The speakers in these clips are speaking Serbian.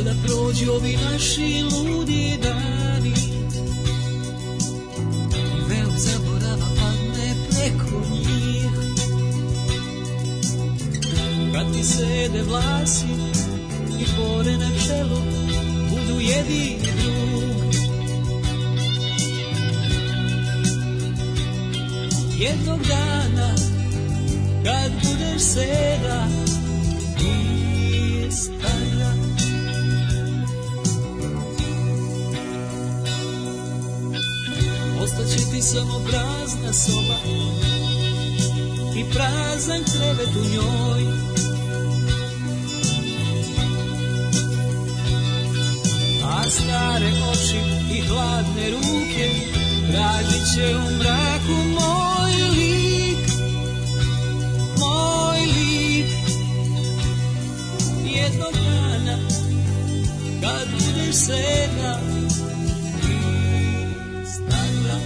proći ovi naši ludi dani I vel zaborava padne preko njih Kad ti sede vlasi i bore na čelu Budu jedini drug Jednog dana kad budeš seda i stara Ostaće ti samo prazna soba i prazan krevet u njoj A stare oči i hladne ruke Radit će u mraku moj lik Moj lik Jednog dana Kad budeš sedna Ti stara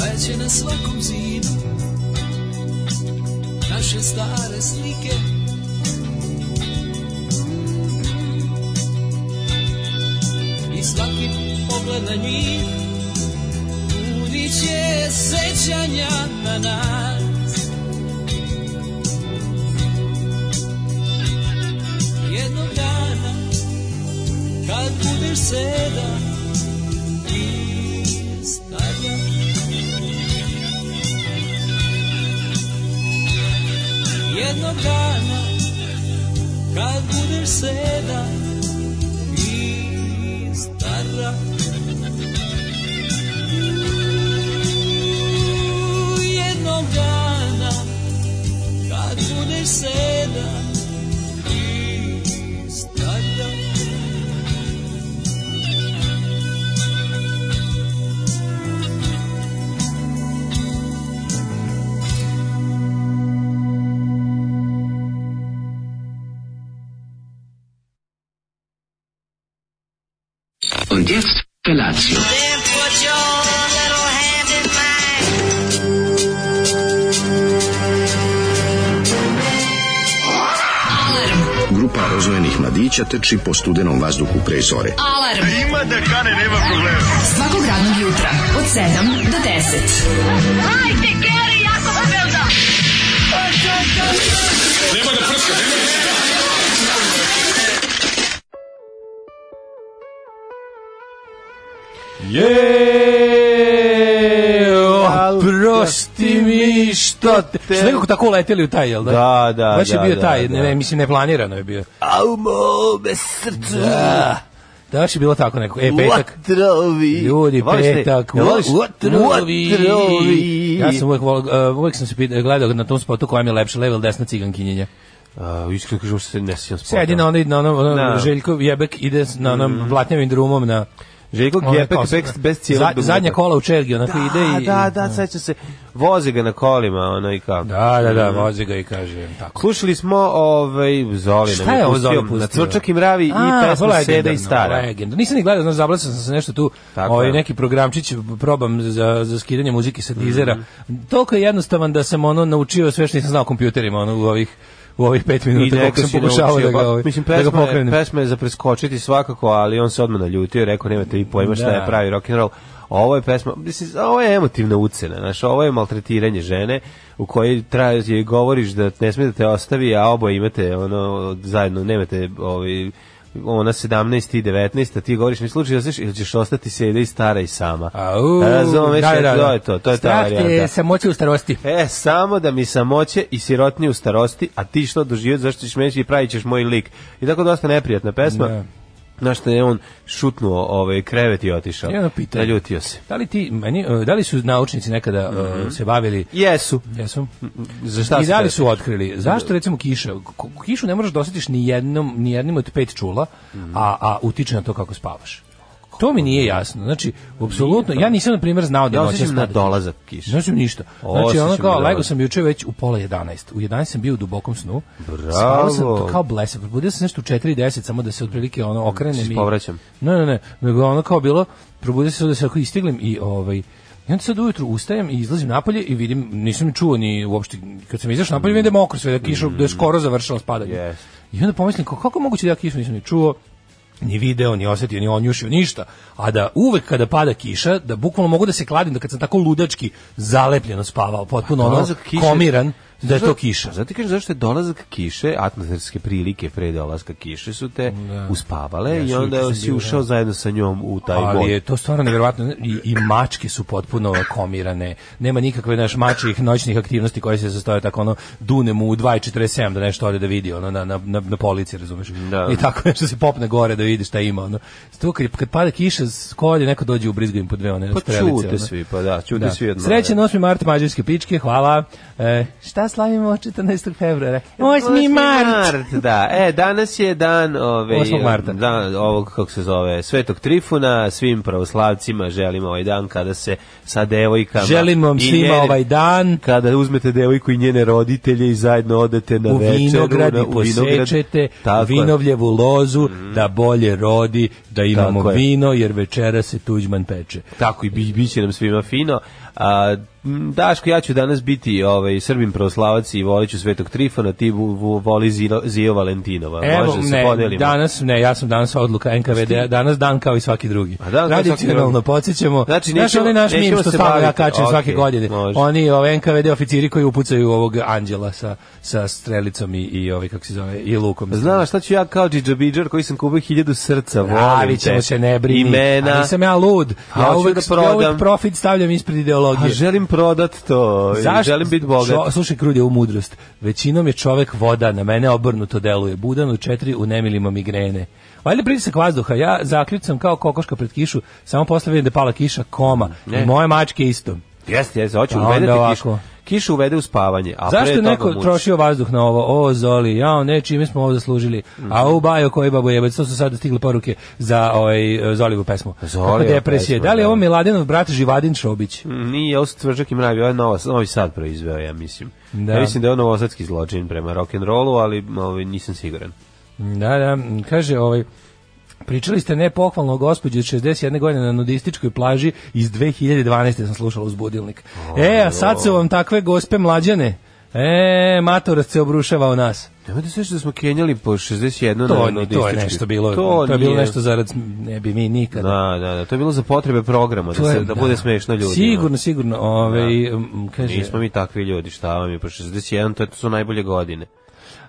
Leće na svakom zidu Naše stare slike I svaki pogled na njih Budit će sećanja na nas Jednog dana Kad budeš sedan Ti stavljam jednog dana kad budeš seda i stara U, jednog dana kad budeš seda i stara Und jetzt Felatio. Then put your little hand in mine. Grupa rozvojenih mladića teči po studenom vazduhu pre zore. Alarm. Ima da kane, nema problema. Svakog radnog jutra, od 7 do 10. Jeo, prosti mi što te- Su nekako tako leteli u taj, jel da? Da, da, Baš je da, bio da, taj, ne, da. ne, mislim, neplanirano je bio. A u mome srcu Da. Da, baš je bilo tako nekako. E, petak. Vatrovi Ljudi, Voliš te? petak, Jel voliš? voliš? Vatrovi Ja sam uvek, volao, uh, uvek sam se pita- gledao na tom spotu koja mi je lepša, leva ili desna cigankinjenja. A, Iskreno kažem što se ne sjećam spota. Sedi na onoj, na onom, Da. Mhm. onom Željko Jebek ide s- na onom blatnjavim drumom na... Željko onaj Gepek kosa- bez- bez cijelog Za- dugmeta. Zadnja kola u čergi, onako ide i... Da, da, sećam se. Voze ga na kolima, ono i kako. Da, da, Mhm. da, voze ga i kaže tako. Slušali smo ovaj Zoli nam Šta je ovo Zoli pustio na pustio? Cvrčak i mravi i A, pa pesmu legendarno, Seda i Stara. legendarno. Nisam ni gledao, znaš, zablasao sam se nešto tu, Tako ovaj, je. neki programčić probam za, za skidanje muzike sa dizera. Mhm. Toliko je jednostavan da sam ono naučio sve što nisam znao o kompjuterima, ono, u ovih u ovih pet minuta koliko neka sam si pokušavao naučio, da ga, pa, ovaj, mislim, da ga pesma, je, pokrenem. pesma je za preskočiti svakako, ali on se odmah naljutio i rekao, nemate vi pojma šta Da. je pravi rock and roll. Ovo je pesma, mislim, ovo je emotivna ucena, znaš, ovo je maltretiranje žene u kojoj traži, joj govoriš da ne smije da te ostavi, a oboje imate ono, zajedno, nemate ovaj, ona 17 i 19, a ti govoriš mi slučaj, znaš, ili ćeš ostati sede i stara i sama. Au, Razumeš, da, da, to da. je to, to je ta Strah te varijanta. samoće u starosti. E, samo da mi samoće i sirotnije u starosti, a ti što doživio, zašto ćeš meći i pravit ćeš moj lik. I tako dosta neprijatna pesma. Da. Znaš što je on šutnuo ovaj krevet i otišao. Jedno pitanje. Naljutio se. Da li, ti, meni, e, da li su naučnici nekada Mhm. e, se bavili Jesu. Jesu. Za šta I se da li kaže? su otkrili? Zašto recimo kiša? K- Kišu ne možeš da osjetiš ni, jednom, ni jednim od pet čula, a, a utiče na to kako spavaš. To mi nije jasno. Znači, apsolutno, ja nisam, na primjer, znao da Ja noćas osjećam na pada kiša. dolazak kiše. Ne osjećam ništa. Znači, Osjećam ono kao, da- lego sam juče već u pola 11. U 11 sam bio u dubokom snu. Bravo. Spavao sam to kao blesav. Probudio sam nešto u 4.10, samo da se otprilike ono okrenem. Se i- povraćam. Ne, ne, ne. Nego ono kao bilo, probudio sam se da se ako istiglim i ovaj, I onda sad ujutru ustajem i izlazim napolje i vidim, nisam ni čuo ni uopšte, kad sam izašao napolje, vidim da je mokro sve, da je kiša, Mm. da je skoro završila spadanje. Yes. I onda pomislim, kako, kako je moguće da ja kišu nisam ni čuo, ni video, ni osetio, ni onjušio, ništa. A da uvek kada pada kiša, da bukvalno mogu da se kladim da kad sam tako ludački zalepljeno spavao, potpuno ono Pa Dolazak kiše- komiran, da je to Zato- kiša. Zato ti kažem zašto je dolazak kiše, atmosferske prilike pre dolaska kiše su te uspavale i Jesu, juče onda sam si bio, ušao zajedno sa njom u taj Ali je bolj. to stvarno nevjerovatno I, i mačke su potpuno komirane. Nema nikakve naš mačih noćnih aktivnosti koje se sastoje tako ono dunemo u 2:47 da nešto ode da vidi ono na na na, na polici, razumeš? Da. I tako nešto se popne gore da vidi šta ima ono. Tu kad, kad pada kiša, skolje neko dođe u brizgu im po dve one Pa strelice, čute ono. svi, pa da, čute svi odmah. Srećan 8. mart mađarske pičke, hvala. E, šta slavimo 14. februara? 8. mart. da. E, danas je dan ove, 8. marta. Dan ovog, kako se zove, Svetog Trifuna. Svim pravoslavcima želimo ovaj dan kada se sa devojkama... Želimo vam i svima njene- ovaj dan. Kada uzmete devojku i njene roditelje i zajedno odete na u večeru... vinograd na- i u vinograd. posečete Tako je. Mhm. vinovljevu lozu da bolje rodi, da imamo Tako je. vino jer večera se tuđman peče. Tako i bi, biće nam svima fino. A, m, Daško, ja ću danas biti ovaj, srbin pravoslavac i volit ću Svetog Trifona, ti vu- vu- voli Zio, Zio Valentinova. Evo, Može da se ne, podelimo. danas, ne, ja sam danas odluka NKVD, danas dan kao i svaki drugi. A dan kao i svaki Tradicionalno drugi. podsjećamo, Znači, znaš nećemo- onaj naš mim nećemo što se stalno ja baviti. kačem Ok, svake godine, može. oni ovaj ove NKVD oficiri koji upucaju ovog anđela sa, sa strelicom i, i ovaj, kako se zove, i lukom. Znaš šta ću ja kao džidžabidžar koji sam kupio hiljadu srca, volim Javit te. ćemo se, ne brini. Imena. A nisam ja lud. A Ja hoću uvek, da ja uvek prodam. profit stavljam ispred ideologije. A želim prodat to. Zašto? Želim biti bogat. Čo- slušaj, krudi ovu mudrost. Većinom je čovek voda, na mene obrnuto deluje. Budan u četiri, u nemilima migrene. Valjda pritisak vazduha, ja zaključam kao kokoška pred kišu, samo posle vidim da je pala kiša, koma. I moje mačke isto. Jeste, jeste, hoću Pa uvede onda ti ovako. kišu. Kišu uvede u spavanje. A Zašto pre je toga neko muči. trošio vazduh na ovo? O, Zoli, jao, ne, čime smo ovo zaslužili? Mhm. A u bajo koji babo jebac, to su sada stigle poruke za ovaj, e, Zolivu pesmu. Zolijeva Kako depresije. pesma, Da li je ovo da. Miladinov brat Živadin Šobić? Mm, Nije, ovo su tvrđak i mravi, ovo je Nova- Novi Sad proizveo, ja mislim. Da. Ja mislim da je on novosadski zločin prema rock'n'rollu, ali ovaj, nisam siguran. Da, da, m, kaže ovaj Pričali ste nepohvalno o gospođi od 61 godine na nudističkoj plaži iz 2012. sam slušala uz budilnik. e, a sad su vam takve gospe mlađane. E, matorac se obrušava u nas. Nemoj da sveći da smo kenjali po 61 To, na ni- to je nudistički. nešto bilo, to, je bilo nije- nešto zarad ne bi mi nikada. Da, da, da, to je bilo za potrebe programa, da, To je- se, da, bude smešno ljudima. Sigurno, sigurno. Ovaj, m, kaže, Nismo mi takvi ljudi, šta vam je, po 61, to, je, to su najbolje godine.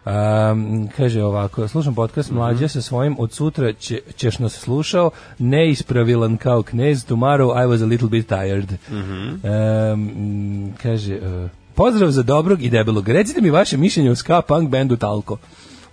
Um, kaže ovako, slušam podcast Mhm. mlađe sa svojim, od sutra će, ćeš nas slušao, neispravilan kao knez, tomorrow I was a little bit tired. Mhm. Um, kaže, uh, pozdrav za dobrog i debelog, recite mi vaše mišljenje o ska punk bendu Talko.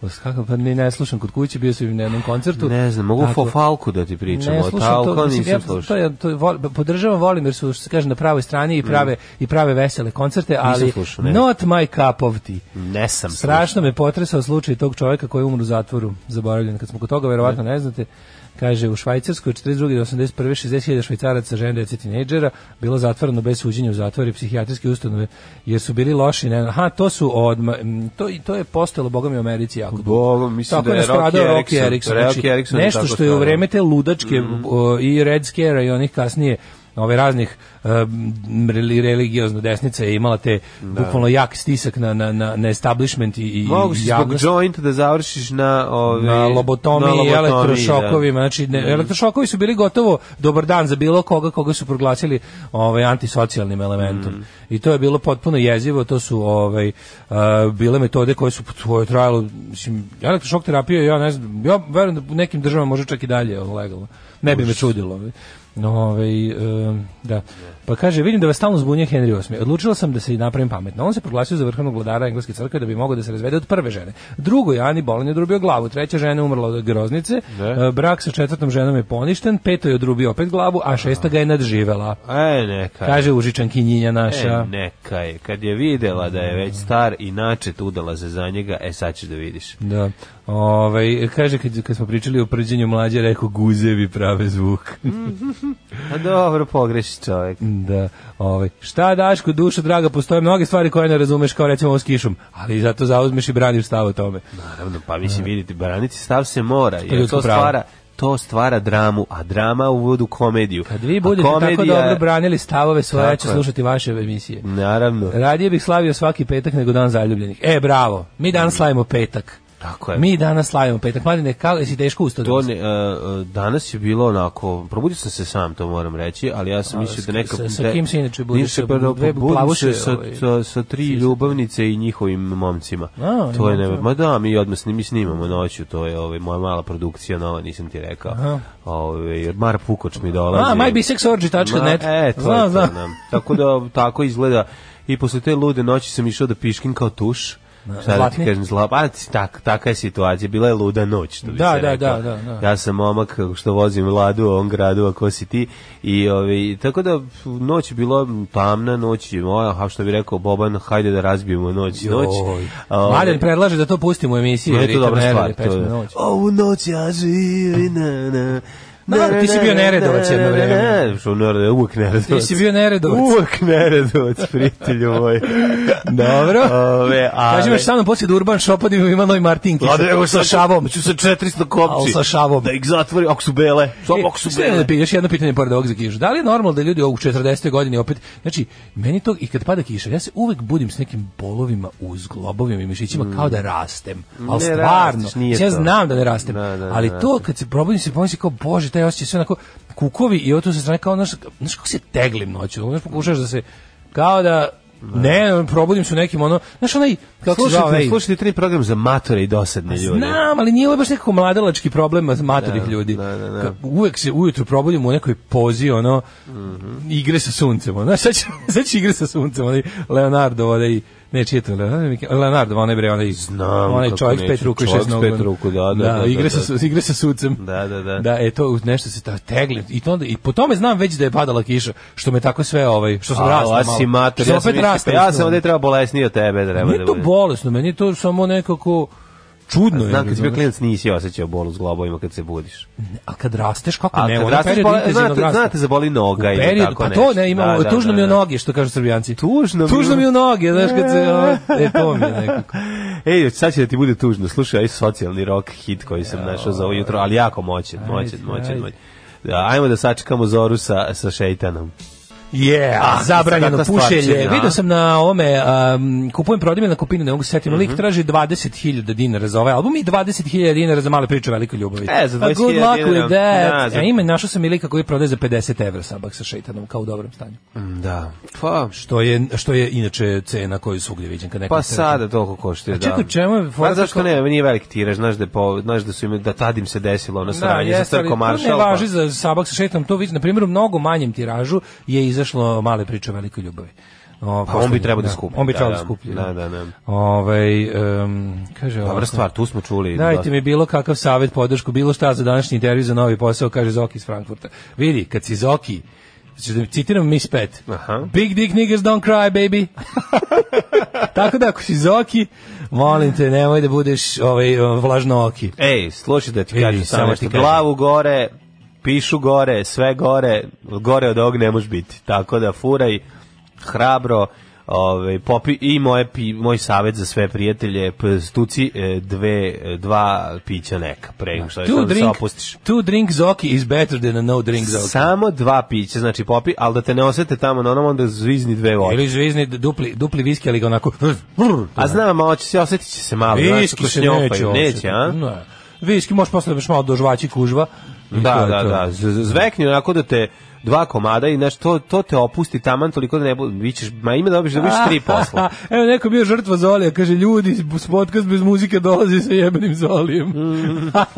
O ska, pa ne, ne slušam kod kuće, bio sam im na jednom koncertu. Ne znam, mogu Tako- Fofalku da ti pričam, ne, o slušam to, Talko mislim, ja nisam to- slušao. To, ja to vol- podržavam, volim jer su, što se kaže, na pravoj strani i prave, i prave vesele koncerte, ali Mhm. slušao, ne. Mhm. not my cup of tea. Ne sam Strašno me potresao slučaj tog čovjeka koji je umro u zatvoru, zaboravljen. Kad smo kod toga, verovatno ne znate, kaže u Švajcarskoj od 42. do 81. 60.000 švajcaraca, žena, djece, tinejdžera, bilo zatvoreno bez suđenja u zatvori i psihijatrijske ustanove, jer su bili loši. Ne, aha, to su odma, m, to, i to je postojalo, boga mi, u Americi jako. dugo. Bogom, mislim tako da je nastradao Rocky Erickson. Rocky Erickson. Rocky Znači, Erickson je nešto tako Mhm. što je u stradao. vreme te ludačke o, i Red Scare i onih kasnije ove raznih um, reli- religiozno desnica je imala te bukvalno jak stisak na, na, na, na establishment i, i Mogu si zbog javnost. jointa da završiš na... Ove, na lobotomiji Ovaj, na i lobotomiji, Mm. elektrošokovima. Znači, ne, elektrošokovi su bili gotovo dobar dan za bilo koga koga su proglasili ovaj, antisocijalnim elementom. Mm. I to je bilo potpuno jezivo, to su ovaj, a, bile metode koje su tvoje trajalo, mislim, elektrošok terapija, ja ne znam, ja verujem da u nekim državama može čak i dalje ono, legalno. Ne bi me čudilo. ovaj. Ove, da. Pa kaže, vidim da vas stalno zbunje Henry VIII. Odlučila sam da se i napravim pametno. On se proglasio za vrhovnog vladara engleske crkve da bi mogao da se razvede od prve žene. Drugo, Ani Bolan je odrubio glavu. Treća žena je umrla od groznice. Da. E, Brak sa četvrtom ženom je poništen. Peto je odrubio opet glavu, a šesta ga je nadživela. E, neka je. Kaže Užičankinjinja naša. E, neka je. Kad je videla da je već star i načet udala se za njega, e sad ćeš da vidiš. Da. Ovaj kaže kad, kad smo pričali o prđenju mlađe rekao guzevi prave zvuk. A Pa dobro, pogreši čovjek. da. Ovaj šta Daško dušo draga postoje mnoge stvari koje ne razumeš kao recimo ovo s kišom, ali zato zauzmeš i braniš stav o tome. Naravno, pa mislim, vidite, braniti stav se mora, je jer Pa ljudsko to pravo. stvara to stvara dramu, a drama uvodi u komediju. Kad Pa vi A budete tako komedija- dobro branili stavove svoje, ja ću Tako je. slušati vaše emisije. Naravno. Radije bih slavio svaki petak nego dan zaljubljenih. E, bravo. Mi danas slavimo petak. Tako je. Mi danas slavimo petak. Mladine, kako jesi teško ustao? To danas? ne, e, e, danas je bilo onako, probudio sam se sam, to moram reći, ali ja sam A, mislio da s- neka... sa- sa da- kim se inače budiš? Nisam, Sa pa, dve pa, budim plavuše, se sa, ovaj, sa, sa tri ljubavnice i njihovim momcima. A, to je ima ne, to. ma da, mi odmah snim, mi snimamo noću, to je ovaj, moja mala produkcija nova, nisam ti rekao. Ovaj, jer Mar Pukoč mi dolazi. A, mybisexorgy.net. Ma, E, to je Znam, to, znam. znam. Tako da, tako izgleda. I posle te lude noći sam išao da piškim kao tuš. Šta da ti zlatni? kažem, zla, pa, tak, taka je situacija, bila je luda noć, što bi Da, se da, reklo. da, da, da. Ja sam momak što vozim ladu u ovom gradu, ako si ti. I, ovi, tako da noć je bila tamna, noć je moja, a što bi rekao Boban, hajde da razbijemo noć, Ovaj, noć. Joj. A, ovi, Mladen predlaže da to pustimo u emisiji. je to Ritam dobra Nered, stvar, pesma to je. Noć. Ovu noć ja živim, na, na. Da, ti si bio neredovac jedno vreme. Ne, što nerede, uvek neredovac. Ti si bio neredovac. Uvek neredovac, prijatelju moj. Dobro. Ove, a... Kaži baš sa mnom poslije pa da Urban Šopad ima novi Martinki. Lada, evo sa šavom. Ću sa 400 kopci. Al sa šavom. Da ih zatvori, ako su bele. Što E, ako su sve bele? da pi- još jedno pitanje pored ovog za kišu. Da li je normalno da ljudi u 40. godini opet, znači, meni to i kad pada kiša, ja se uvek budim s nekim bolovima u zglobovima i mišićima kao da rastem. Ne Ali stvarno, rasteš, nije ja to. znam da ne rastem. Da, da, ali ne to kad se probudim se pomislim kao bože, taj osjećaj sve onako kukovi i oto se strane kao znaš, znaš kako se teglim noću, znaš pokušaš da se kao da Ne, probudim se u nekim ono, znaš onaj, kako se zove, Slušajte, onaj- slušajte tri program za matore i dosadne ljude. Znam, ali nije ovo baš nekako mladalački problem maturih ljudi. da, da, da. Ka- Uvek se ujutru probudim u nekoj pozi, ono, Mhm. igre sa suncem. Ono. Znaš, Sad će, sad će igre sa suncem, onaj Leonardo, onaj, ne, čije je to Leonardo, Leonardo, onaj bre, onaj, Znam onaj kako čovjek s neću, pet ruku i čovjek šest s nogu. ono. pet ruku, da, da, da, igre, da, sa, su- igre sa suncem. Da, da, da. Da, e, to uz nešto se ta tegli. I to onda, i po tome znam već da je padala kiša, što me tako sve, ovaj, što sam A, rastao malo. si mator, Što ja sam, opet mislio, rastao, pa ja što- ono. sam ovde treba bolesniji od tebe, treba da Nije to budem. bolesno, meni je to samo nekako čudno. je, Znam, kad si bio razumeš? klinac nisi osjećao bol u zglobovima kad se budiš. A kad rasteš, kako A ne, Pa kad onaj rasteš, period bole- intenzivnog znate- rasta. znate, zaboli noga U ili period- tako pa nešto. to ne, ima, Da, da, tužno da, mi je da. noge, što kažu srbijanci. Tužno mi je- tužno mi je noge, znaš, kad se, o, e, to mi je nekako. Ej, sad će da ti bude tužno. Slušaj, aj socijalni rock hit koji sam našao za ovo jutro, ali jako moćan, moćan, moćan, ovaj. ajde. moćan. Da, ajmo da sačekamo Zoru sa, sa šeitanom. Yeah, Ah, zabranjeno takva stvar će, pušenje. da. Video sam na ome, um, kupujem prodime na kupinu, ne mogu se setiti, lik traži 20.000 dinara za ovaj album i 20.000 dinara za male priče o velikoj ljubavi. E, za Pa good 20.000 luck with dinara. that. Da, za- E, ima, našao sam i lika koji prodaje za 50 evra sabak sa šeitanom, kao u dobrom stanju. Da. Pa, Što je, što je inače cena koju svugdje viđen. Kad neko pa se- sada toliko koštuje, A da. čekaj, u čemu je fora Pa zašto kako- ne, nije veliki tiraž, znaš da, je po, znaš da su im, da tad im se desilo ono sranje za jeste, ali crko maršal. To ne pa- važi za sabak sa šetom, to vidi, na primjer, u mnogo manjem tiražu je izašlo male priče o velikoj ljubavi. O, Pa on bi trebao da skuplji, On bi da, trebao da, da. skuplji. Da, da, da. Ovaj, em, kaže Dobra ovako, stvar, tu smo čuli. Dajte dosta. mi bilo kakav savjet, podršku, bilo šta za današnji intervju za novi posao, kaže Zoki iz Frankfurta. Vidi, kad si Zoki, ću da- citiram Miss Pet, Aha. Big dick niggas don't cry, baby. Tako da ako si Zoki, molim te, nemoj da budeš ovaj, vlažno oki. Ej, slušaj da ti Vidi, kažem samo samo ti što kažem. glavu gore, pišu gore, sve gore, gore od ovog ne može biti. Tako da furaj hrabro, ovaj popi i moje pi, moj savet za sve prijatelje, p- stuci e, dve e, dva pića neka, pre nego što Two što se drink, opustiš. two drink Zoki is better than a no drink Zoki. Samo dva pića, znači popi, ali da te ne osete tamo na onom, onda zvizni dve vode. Ili zvizni dupli, dupli viski, ali ga onako... vrr, A znam, malo će se, osjetit će se malo. znaš, viski ako se šnjopaju. neće. Neće, a? Ne. Viski možeš posle da biš malo dožvaći kužva. I to Da, je da, to. da. Z- z- Zvekni onako da te dva komada i znaš, to, to te opusti taman toliko da ne budu, bićeš, ma ima da dobiš, dobiš tri posla. Evo neko je bio žrtva Zolija, kaže ljudi, s podcast bez muzike dolazi sa jebenim Zolijem.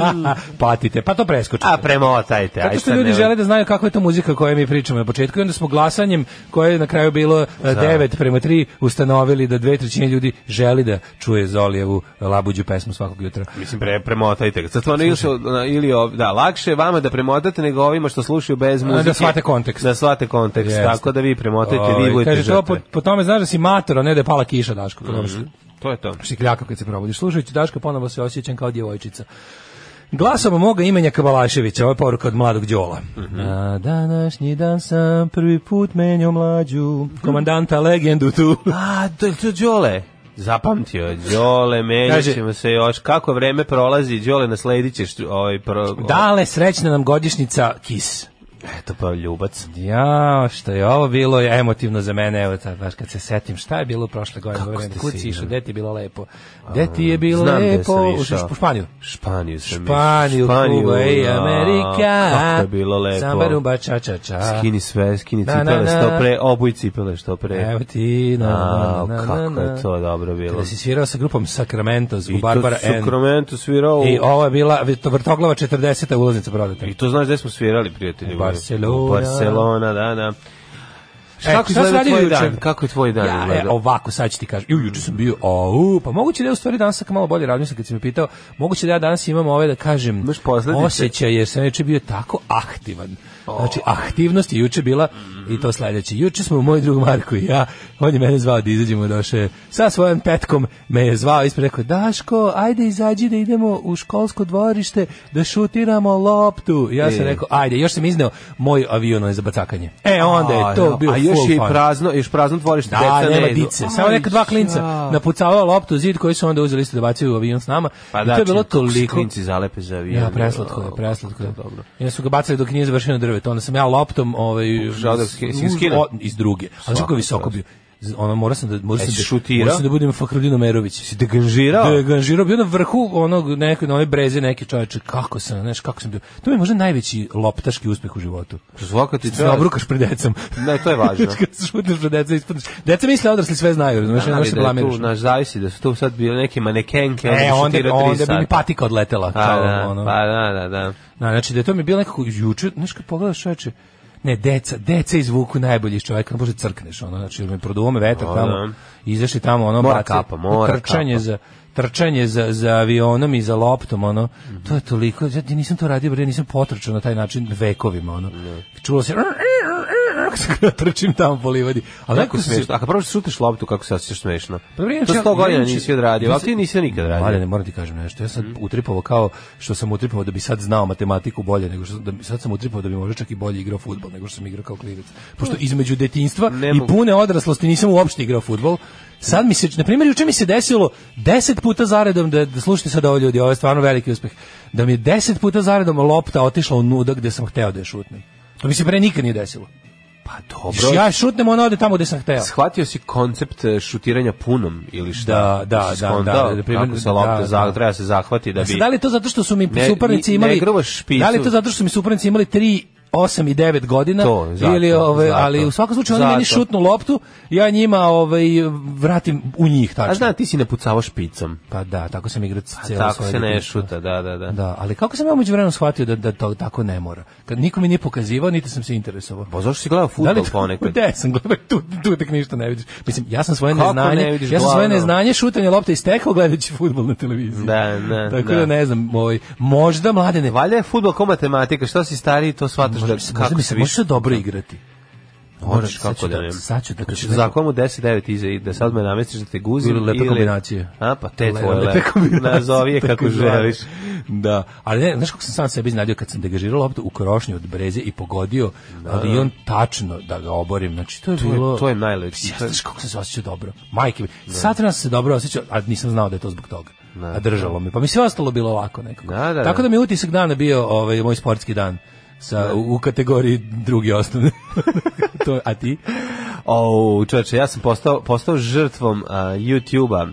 Patite, pa to preskočite. Mhm. A premotajte. aj Zato što sad ljudi nemoj. žele da znaju kakva je to muzika o kojoj mi pričamo na početku i onda smo glasanjem koje je na kraju bilo 9 prema 3 ustanovili da dve trećine ljudi želi da čuje Zolijevu labuđu pesmu svakog jutra. Mislim, pre, premotajte ga. Sad stvarno ili, su- na- ili ov, da, lakše je vama da premotate nego ovima što slušaju bez Da muzike. shvate kontekst. Da shvate kontekst, Jeste. tako da vi premotajte, vi Ovaj, budete Kaže to, po, žrtve. Mhm. po tome znaš da si mator, a ne da je pala kiša, Daško. Mm To je to. šikljaka kad se probudiš. Slušajući Daška ponovo se osjećam kao djevojčica. Glasom moga imenja Kabalaševića, ovo je poruka od mladog Đola. Mhm. Na današnji dan sam prvi put menio mlađu, komandanta legendu tu. A, to je to Đole. Zapamtio, Đole, menjat Kaže- ćemo se još. Kako vreme prolazi, Đole, nasledit ćeš ovaj, pro, Dale, srećna nam godišnjica KIS. Eto pa, ljubac. Ja, što je ovo bilo je emotivno za mene, evo ta, baš kad se setim šta je bilo prošle godine, Kako vreme, ste kud si sigurni? išao, gde ti je bilo lepo, gde ti je bilo Znam gde sam lepo, u, išao. u Španiju. Španiju sam Španiju, Kuba i ja, Amerika. Kako je bilo lepo. Samba, rumba, ča, ča, ča. Skini sve, skini Na, na, cipele na. što pre, obuj cipele što pre. Evo ti, na, A, na, na, kako na, na. je to dobro bilo. Kada si svirao sa grupom Sacramento I u Barbara to N. Sacramento svirao u- I ovo je bila vrt- vrtoglava 40. ulaznica prodata. I to znaš gde smo svirali, prijatelji. U E, Barcelona. U Barcelona, da, da. E, kako šta si izgleda radio tvoj juče? dan? Kako je tvoj dan Ja, e, izgledao? ovako, sad ću ti kažem. Ju, juče sam bio, au, pa moguće da je u stvari danas tako malo bolje razmišljam kad si me pitao. Moguće da ja danas imam ove da kažem Imaš posledice? osjećaj jer sam juče bio tako aktivan. Znači, aktivnost je juče bila i to sledeće. Juče smo moj drug Marko i ja, on je mene zvao da izađemo došle sa svojom petkom, me je zvao ispred rekao, Daško, ajde izađi da idemo u školsko dvorište da šutiramo loptu. Ja sam E. rekao, ajde, još sam izneo moj avion onaj za bacakanje. E, onda je to A, bio A još full je i fun. prazno, još prazno dvorište. Da, deca ne nema idu. dice. Samo Aj, neka dva klinca ja. napucavao loptu u zid koji su onda uzeli isto da bacaju u avion s nama. Pa I da, to je bilo čim- kako se toliko... Klinci zalepe za avion. Ja, preslatko je, O, preslatko je. kako Dobro. Ja su ga bacali dok nije završeno drveto. Onda sam ja loptom ovaj, Pokušao da ski- si skinuo? o- iz druge. Ali kako je visoko bio. Z- Ono, morao sam da, morao E, sam si da, šutirao? morao sam da budem Fahrudin Omerović. Si deganžirao? Da je ganžirao, bio na vrhu onog nekog, na one breze neke čoveče, kako sam, znaš, kako sam bio. To mi je možda najveći loptaški uspeh u životu. Svaka ti Ti se obrukaš pred decom. Ne, to je važno. Kad se šutiš pred deca, ispadneš. Deca misle odrasli sve znaju, razumeš, Da, ne ali možeš se da je tu, blamiraš. znaš, zavisi da su tu sad bile neke manekenke. E, bi onda, šutirao tri onda bi mi sata. patika odletela. Pa kao, da, ono. pa da, da, da. Na, znači da je to mi bilo nekako juče, znaš kad pogledaš čoveče, ne, deca, deca izvuku najbolje iz čoveka, može crkneš, ono, znači, jer me produo me vetar O, tamo, da. izašli tamo, ono, Mora baci- kapa, mora trčanje kapa. za, trčanje za, za avionom i za loptom, ono, to je toliko, ja ti nisam to radio, bre, nisam potrčao na taj način vekovima, ono, čulo se, kako se kada trčim tamo po livadi, ali Kako nekako sam se, smešno. A kad prvo šutiš loptu, kako se osjećaš smešno? Pa dobro, inače, to sto godina inače- nisi odradio, ali ti nisi nikad radio. Mladene, moram ti kažem nešto. Ja sam Mhm. utripovao kao što sam utripovao da bi sad znao matematiku bolje nego što da bi sad sam utripovao da bi možda čak i bolje igrao fudbal nego što sam igrao kao klinac. Pošto između detinjstva Mhm. Ne i mogu. pune odraslosti nisam uopšte igrao fudbal. Sad mi se, na primjer, juče mi se desilo 10 puta zaredom da, da slušajte sad ovo ljudi, ovo je stvarno veliki uspeh. Da mi je 10 puta zaredom lopta otišla u nuda gde sam hteo da je šutnem. To mi se pre nikad nije desilo. Pa dobro. Ja šutnem, ona ode tamo gde sam hteo. Shvatio si koncept e, šutiranja punom ili šta? Da, da, Si da, skontao da, da, da, primjer- kako se lopta da, da. za- treba se zahvati da Da, bi... Znači, da li je to zato što su mi Ne- suparnici ni- imali ne grbaš špicu. Da li je to zato što su mi suparnici imali 3 8 i 9 godina To, zato, ili ove zato. ali u svakom slučaju oni Zato. meni šutnu loptu ja njima ovaj vratim u njih tačno A znam, ti si napucavao špicom. pa da tako sam igrao celo Tako svoje se ne detinjstvo. šuta, da, da, da. da ali kako sam ja umeđu vremenu shvatio da, da to tako ne mora kad niko mi nije pokazivao niti sam se interesovao Pa zašto si gledao futbol to- ponekad? Da, sam gledao tu, tu tek ništa ne vidiš. Mislim, ja sam svoje Kako neznanje, ne vidiš ja sam svoje glavno? neznanje šutanje lopte istekao gledajući fudbal na televiziji. Da, da, Tako da, da. ne znam, ovaj možda mladene Valjda je futbol ko matematika, što si stariji, to shvataš da možda, kako mi se se više... može dobro igrati. Moraš sad kako ću da da- ne. sad ću da kad Znači, neko- Zakon mu 10-9 iza i da sad me namestiš da te guzim. Ili lepe ili- kombinacije. A, pa te Le- tvoje lepe lepe. kombinacije, Nazovi je tako kako zvane. želiš. Da, ali ne, znaš kako sam sam sebi iznadio kad sam degažirao loptu u krošnju od breze i pogodio avion tačno da ga oborim. Znači to je je- bilo to je najlepše. Ja, znaš kako sam se osjećao dobro. Majke mi. Sad sam se dobro osjećao, a nisam znao da je to zbog toga. A držalo me. Pa mi sve ostalo bilo lako nekako. Da, da, Tako da. da mi je utisak dana bio ovaj moj sportski dan sa u, u kategoriji drugi osnovne. to, a ti? O, čoveče, ja sam postao, postao žrtvom a, YouTube-a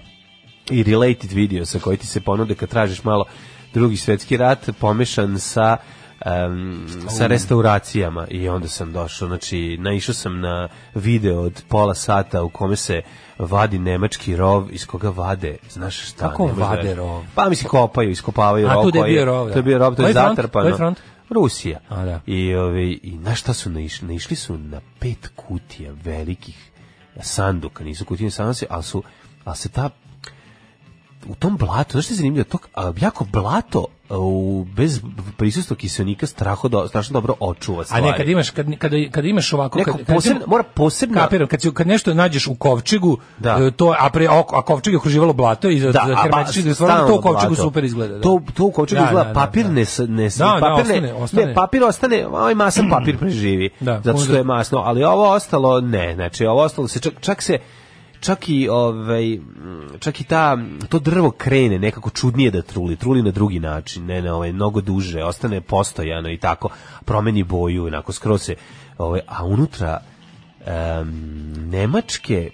i related videosa koji ti se ponude kad tražiš malo drugi svetski rat pomešan sa um, sa restauracijama i onda sam došao, znači naišao sam na video od pola sata u kome se vadi nemački rov iz koga vade, znaš šta? Kako ne možeš vade da veruješ. rov? Pa mislim kopaju, iskopavaju A, rov. tu gde je koji bio rov, da. To je bio rov, to je Koji front? zatrpano. Koji front? Rusija. A, da. I, ovi, I na šta su naišli? Naišli su na pet kutija velikih sanduka, nisu kutije sanduka, ali su, ali se ta u tom blatu, znaš što je zanimljivo, to a, jako blato a, u, bez prisustva kiselnika straho do, strašno dobro očuva A stvari. ne, kad imaš, kad, kada, kada imaš ovako... Neko kad, kad posebno- imaš- mora posebno- Kapiram, kad, si- kad nešto nađeš u kovčigu, Da. e, to, a, pre, a, a kovčig je okruživalo blato i za, da, za a ba- hermetički da stalno to u kovčigu blato. super izgleda. Da. To, to u kovčegu Da, izgleda, da, da, papir da. ne, s- ne, s- Da, da, papir ne- ostane, ostane. ne, papir ostane, ovaj masan papir preživi, Da, zato što uzre- je masno, ali ovo ostalo ne, znači ovo ostalo se čak, čak se čak i ovaj mm, čak i ta to drvo krene nekako čudnije da truli truli na drugi način ne na ovaj mnogo duže ostane postojano i tako promeni boju onako skroz se ovaj a unutra em, nemačke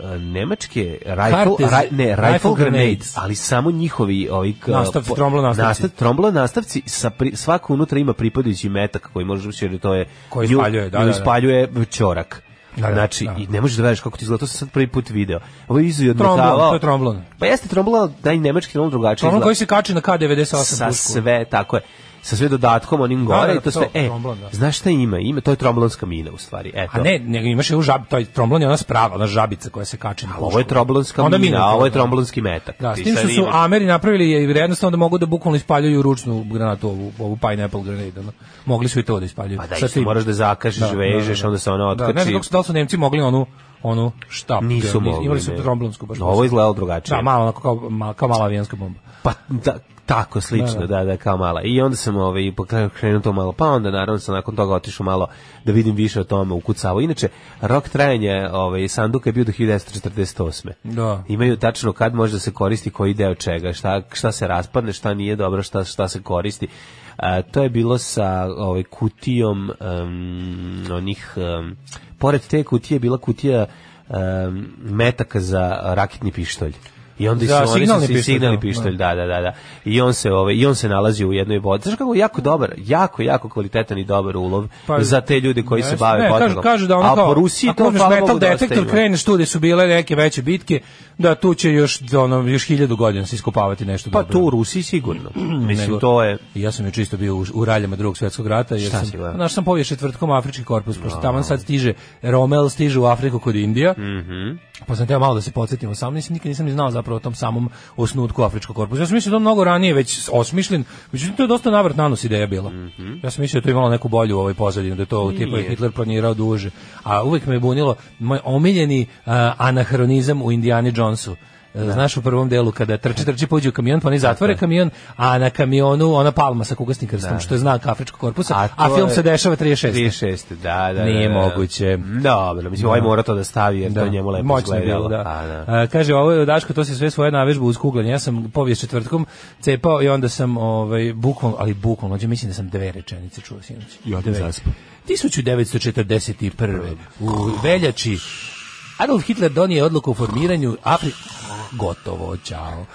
e, nemačke rifle, Karte za- ra- ne, rifle, rifle grenades, grenades. ali samo njihovi ovi k- Nastavci, po- tromblo nastavci. nastav- tromblo nastavci sa pri, svako unutra ima pripadajući metak koji može da jer to je Koji nju- ispaljuje, da, nju da, da. ispaljuje ćorak. Da, da, znači, da. i ne možeš da veriš kako ti izgleda, to sam sad prvi put video. Ovo je izuje od Tromblon, metala. to je tromblon. Pa jeste tromblon, da i nemački tromblon drugačije Ono izgleda. koji se kači na K98 sa pušku. sve, tako je sa sve dodatkom onim Da, gore da, i to to, sve. E, tromblon, da. znaš šta ima? Ima to je tromblonska mina u stvari. Eto. A Pa ne, nego imaš je u žab, to je tromblon je ona sprava, ona žabica koja se kači na pušku. ovo je tromblonska Onda mina, a ovo je da. tromblonski metak. Da, s Ti tim što sad su imaš- Ameri napravili je i vrednost, onda mogu da bukvalno ispaljuju ručnu granatu, ovu, ovu pineapple grenade. Ono. Mogli su i to da ispaljuju. Pa da, Sa isto tim. moraš da zakažeš, vežeš, onda se ona Da, ne znam otkači. kako su, da li su Nemci mogli onu, onu štap. Nisu mogli. Imali su ne. tromblonsku baš. Ovo je izgledalo drugačije. Da, malo, onako kao, mal, kao mala avijanska bomba. Pa da, tako slično, da, da, kao mala. I onda sam ovaj pa krenu- krenuo to malo, pa onda naravno sam nakon toga otišao malo da vidim više o tome ukucavao. Inače, rok trajanja ovaj sanduka je bio do 1948. Da. Imaju tačno kad može da se koristi koji deo čega, šta šta se raspadne, šta nije dobro, šta šta se koristi. A, to je bilo sa ovaj kutijom em, onih em, pored te kutije je bila kutija em, metaka za raketni pištolj. I onda Za su oni signalni signalni pištolj, pištolj, signalni da, pištolj da, da, da, da. I on se ovaj i on se nalazi u jednoj boci. Znaš kako je jako dobar, jako jako kvalitetan i dobar ulov Pa, za te ljude koji se Jeste, bave ne, kažu, potragom. kažu da ono A kao, po Rusiji ako to uzmeš hvala metal Bogu dosta detektor, ima. kreneš tu gde su bile neke veće bitke, da tu će još, ono, još hiljadu godina se iskopavati nešto Pa dobro. to u Rusiji sigurno. Mislim Nego- to je I Ja sam juče isto bio u, u raljama drugog svjetskog rata jer Šta sam si gledao? naš sam povije četvrtkom afrički korpus pošto tamo sad stiže Romel stiže u Afriku kod Indija. Mm. Pa sam teo malo da se podsjetimo sam, nisam nikad nisam ni znao zapravo o tom samom osnutku afričkog korpusa. Ja sam mislio da je on mnogo ranije već osmišljen, međutim to je dosta navrat nanos ideja bila. Mhm. Ja sam mislio da je to imalo neku bolju ovaj pozadinu, da je to tipa Hitler planirao duže. A uvek me je bunilo moj omiljeni a, anahronizam u Indiani Jonesu. E, Znaš u prvom delu kada trči, trči, pođe u kamion, pa oni zatvore kamion, a na kamionu ona palma sa kugasnim krstom, što je znak afričkog korpusa, a, to film je- se dešava 36. 36. Da, da. Nije da, da. moguće. Dobro, mislim ovaj mora to da stavi jer Da, to njemu lepo moćno je izgledalo. bilo, da. Pa, da. A, kaže, ovo je Daško, to se sve svoje navežbe uz kuglanje. Ja sam povijest četvrtkom cepao i onda sam, ovaj, bukvalno, ali bukvalno, mlađe, mislim da sam dve rečenice čuo sinoć. Ja sam Dve. zaspao. 1941. U veljači Adolf Hitler donio odluku o formiranju Afri... Gotovo, čao.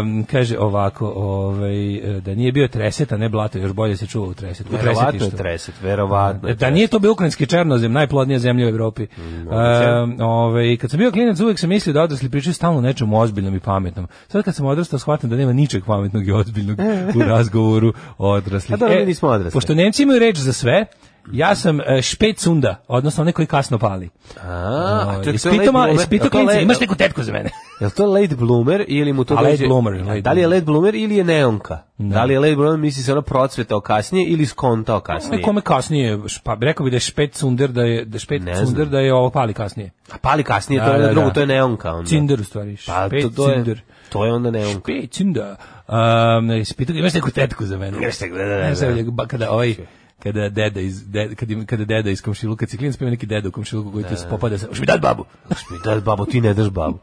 Um, kaže ovako, ovaj, da nije bio treset, a ne blato, još bolje se čuva u treset. U Verovatno je tresetištu. treset, verovatno. je Da nije to bio ukrajinski černozem, najplodnija zemlja u Evropi. Mm, E, ovaj, kad sam bio klinac, uvek sam mislio da odrasli pričaju stalno o nečemu ozbiljnom i pametnom. Sad kad sam odrastao, shvatam da nema ničeg pametnog i ozbiljnog u razgovoru odraslih. E, A dobro, mi nismo odrasli. Pošto Nemci imaju reč za sve, Ja sam e, špet sunda, odnosno onaj koji kasno pali. A, Ovaj, čekaj, to je ispitao late ma- bloomer, ispitao a to klince, late- imaš neku tetku za mene? Jel to late bloomer ili mu to A, late dođe- bloomer, late da li je late bloomer ili je neonka? Da li je late bloomer misli se ono procvetao kasnije ili skontao kasnije? Nekome kasnije, pa rekao bi da je špet sunder, da je, da je špet Ne znam. sunder, da je ovo pali kasnije. A pali kasnije, to Da, je onda da, drugo, da. to je neonka onda. Cinder u stvari, Pa to, špet to je, cinder. to je onda neonka. Pećin da. Um, ispitao ga, imaš neku tetku za mene. Imaš neku, da, da, da, Ja sam da. rekao, ba- kada ovaj kada deda iz de, kad im- kada deda iz komšiluka ciklinac pa ima neki deda u komšiluku koji tu se popada sa "Hoćeš mi dat babu. Daš mi dat babu, ti ne daš babu.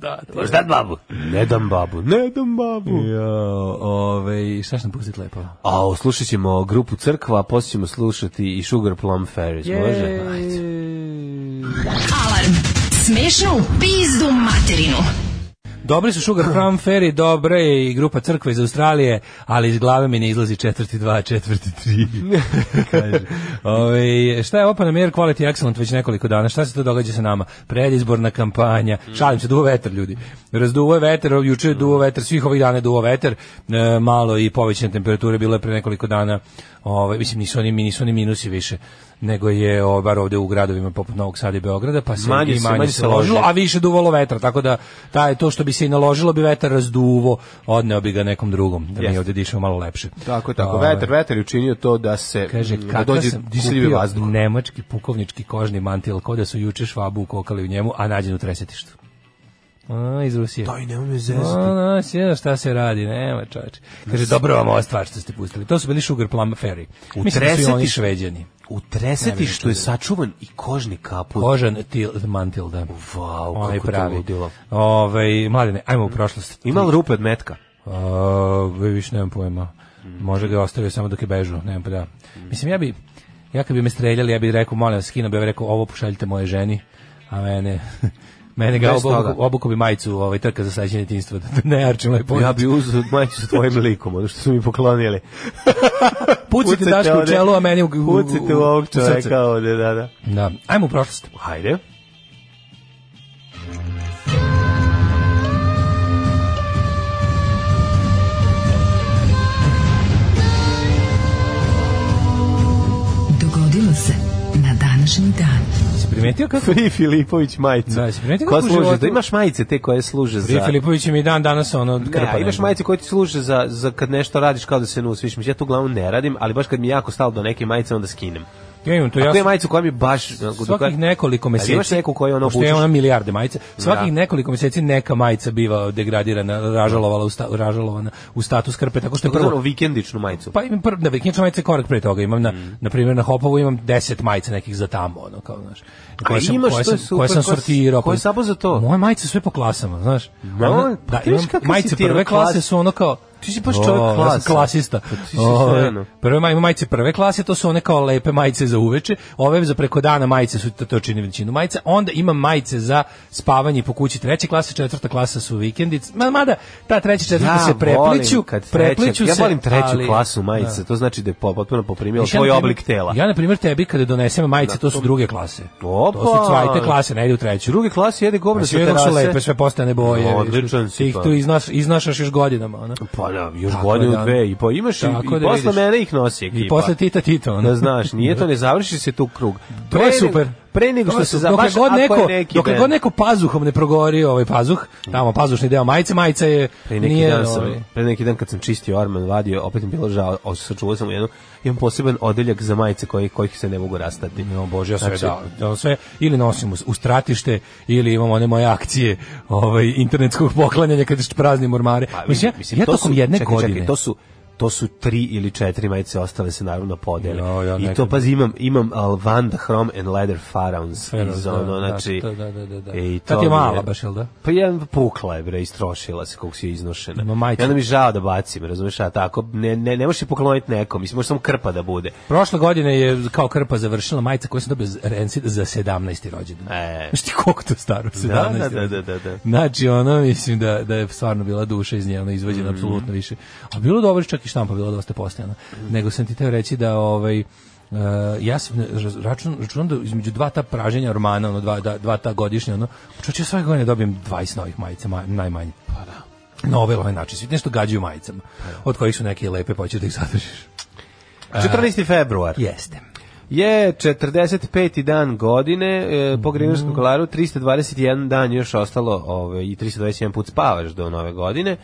da, to je. Možeš dat babu? Ne dam babu, ne dam babu. Jo, ovaj šta sam pustiti lepo. A, slušat ćemo grupu crkva, a poslije ćemo slušati i Sugar Plum Fairies, može? Ajde. Alarm. Smešno u pizdu materinu. Dobri su Sugar Plum Fairy, dobra je i grupa Crkva iz Australije, ali iz glave mi ne izlazi četvrti dva, četvrti tri. Kaže. Ove, šta je Open Air Quality Excellent već nekoliko dana? Šta se to događa sa nama? Predizborna kampanja. Mm. Šalim se, duvo vetar ljudi. Razduvo je vetar, juče je duvo vetar, svih ovih dana je duvo vetar. E, malo i povećane temperature bilo je pre nekoliko dana. Ove, mislim, nisu oni, nisu oni minusi više nego je o, bar ovde u gradovima poput Novog Sada i Beograda, pa se Manje i se- manje, manje se se ložilo, loži. a više duvalo vetra, tako da taj, to što bi se i naložilo bi vetar razduvo, odneo bi ga nekom drugom, da mi Jeste. ovde dišemo malo lepše. Tako, tako, Ovaj, vetar, vetar je učinio to da se, Kaže, da kako dođe sam disljivi kupio vazduh. nemački pukovnički kožni mantil, kao da su juče švabu ukokali u njemu, a nađen u tresetištu. A, iz Rusije. Aj, nemoj me zezati. No, no, sjeda šta se radi, nema čoveče. Kaže, dobro vam ova stvar što ste pustili. To su bili Sugar Plum Fairy. U Mislim da su i oni tresetištu- šveđani. U tresetištu je sačuvan i kožni kaput. Kožan til, mantil, da. Vau, Onaj kako to pravi. ludilo. Ovaj, mladine, ajmo u prošlost. Ima li rupe od metka? A, više nemam pojma. Mm. Može ga je ostavio samo dok je bežu, nemam pojma. Mislim, ja bi, ja kad bi me streljali, ja bi rekao, molim vas, skino bi, ja bi rekao, ovo pošaljite moje ženi, a mene... Mene ga Bez toga. obuku, obuku bi majicu ovaj, trka za sledeće djetinjstvo, da ne jarčim lepo. Ja bi uzeo majicu sa tvojim Znači- likom, ono što su mi poklonili. pucite Dašku u ovde- čelu, a meni u, u, u, Pucite u ovog u srce. čoveka ovde, da, da. Da. Ajmo u prošlost. Hajde. Dogodilo se na današnji dan. Si primetio kako? Free Filipović majicu. Da, si primetio Ko kako u služi? životu- Da imaš majice te koje služe Prije za... Filipović mi i dan danas ono Ne, krpa. a imaš nešto. majice koje ti služe za, za kad nešto radiš kao da se nusviš. Mislim, ja to uglavnom ne radim, ali baš kad mi je jako stalo do neke majice, onda skinem. Ja imam to, A ja to je majica koja mi baš... koja- svakih nekoliko meseci. Ali imaš neku koju ono pošto je obučeš? ona milijarde majice. Svakih Da. nekoliko meseci neka majica biva degradirana, ražalovala u, sta, ražalovana u status krpe, tako što je Prvo prvo vikendičnu majicu. pa imam prvo da vikendična majica je korak pre toga imam na Mhm. na primjer na Hopovu imam 10 majica nekih za tamo ono kao znaš koje sam imaš, koje to je sam, super, koje koje sam s- sortirao koje pa- samo za to. moje majice su sve po klasama znaš Ma, Ono- pa da ti vidiš imam kako si majice ti, ono, prve klase klas- su ono kao Ti si baš čovjek O, ja sam klasa. klasista. Pa ti si O, sjajno. Prve maj- majice prve klase, to su one kao lepe majice za uveče, ove za preko dana majice su to, to čini većinu majica, onda ima majice za spavanje po kući treće klase, četvrta klasa su vikendice, ma, mada ta treća četvrta Ja se prepliću, volim kad prepliću treća, se, Ja volim treću ali- klasu majice, to znači da je po- potpuno poprimila Mislim, tvoj na primer- oblik tela. Ja, na primjer, tebi kada donesem majice, to su druge klase. To Opa! su cvajte klase, ne ide u treću. Druge klase jede govno Pa sa sve dok terase. su lepe, sve postane boje. Odličan si Ti ih pa. tu iznaš, iznašaš još godinama. Ono. Pa da, još Tako godinu da. dve i pa imaš i, i Tako da posle vidiš. mene ih nosi ekipa. I posle Tita Tito. Ono. Da znaš, nije to, ne završi se tu krug. To je Pre ne- super. Pre nego To što je se super. Dokle zabaš, god ako je neko, neki dokle bend. god neko pazuhom ne progori ovaj pazuh, tamo pazušni deo majice, majica je Pre neki, nije dan sam, ovaj, pre neki dan kad sam čistio orman, vadio, opet mi bilo žao, o, sačuvao sam u jednu, imam poseban odeljak za majice koji, kojih se ne mogu rastati. Jo bože, ja sve Znači, da, da, sve ili nosim u, u stratište ili imam one moje akcije, ovaj internetskog poklanjanja kad praznim ormare. Pa, vidi, mislim, ja, ja to tokom su- jedne čekaj, godine. Čekaj, to su to su tri ili četiri majice ostale se naravno podele. Jo, ja I to nekad- pazi imam imam al Van Hrom and Leather Pharaohs Pharaohs, iz da, ono da, znači to- da, da, da, da. i Ta to ti je mi mala baš, jel da? Pa jedan pukla je bre, istrošila se kako si je iznošena. Ima majicu. I onda mi žao da bacim, razumeš, a tako ne ne ne možeš je pokloniti nekom, mislim može samo krpa da bude. Prošle godine je kao krpa završila majica koju sam dobio za Rancid za 17. rođendan. E. Znaš ti koliko to staro? 17. da, da, rođendan. da, da. Znači, ono, mislim da, da je stvarno bila duša iz nje, ono, Mhm. izvađena apsolutno više. A bilo dobro, čak i štampa bila dosta postojana. Mhm. Nego sam ti teo reći da, ovaj, Uh, ja sam raz- račun, računam da između dva ta praženja ormana, ono, dva, da, dva ta godišnja, ono, čoče, ja svake godine dobijem 20 novih majica, maj, najmanje. Pa da. Na ovaj ili onaj način, svi nešto gađaju majicama, Pa od kojih su neke lepe, pa hoćeš da ih zadržiš. 14. februar. Jeste. Je 45. dan godine e, po Mhm. Gregorijanskom kolaru, 321 dan još ostalo ovaj, i 321 put spavaš do nove godine.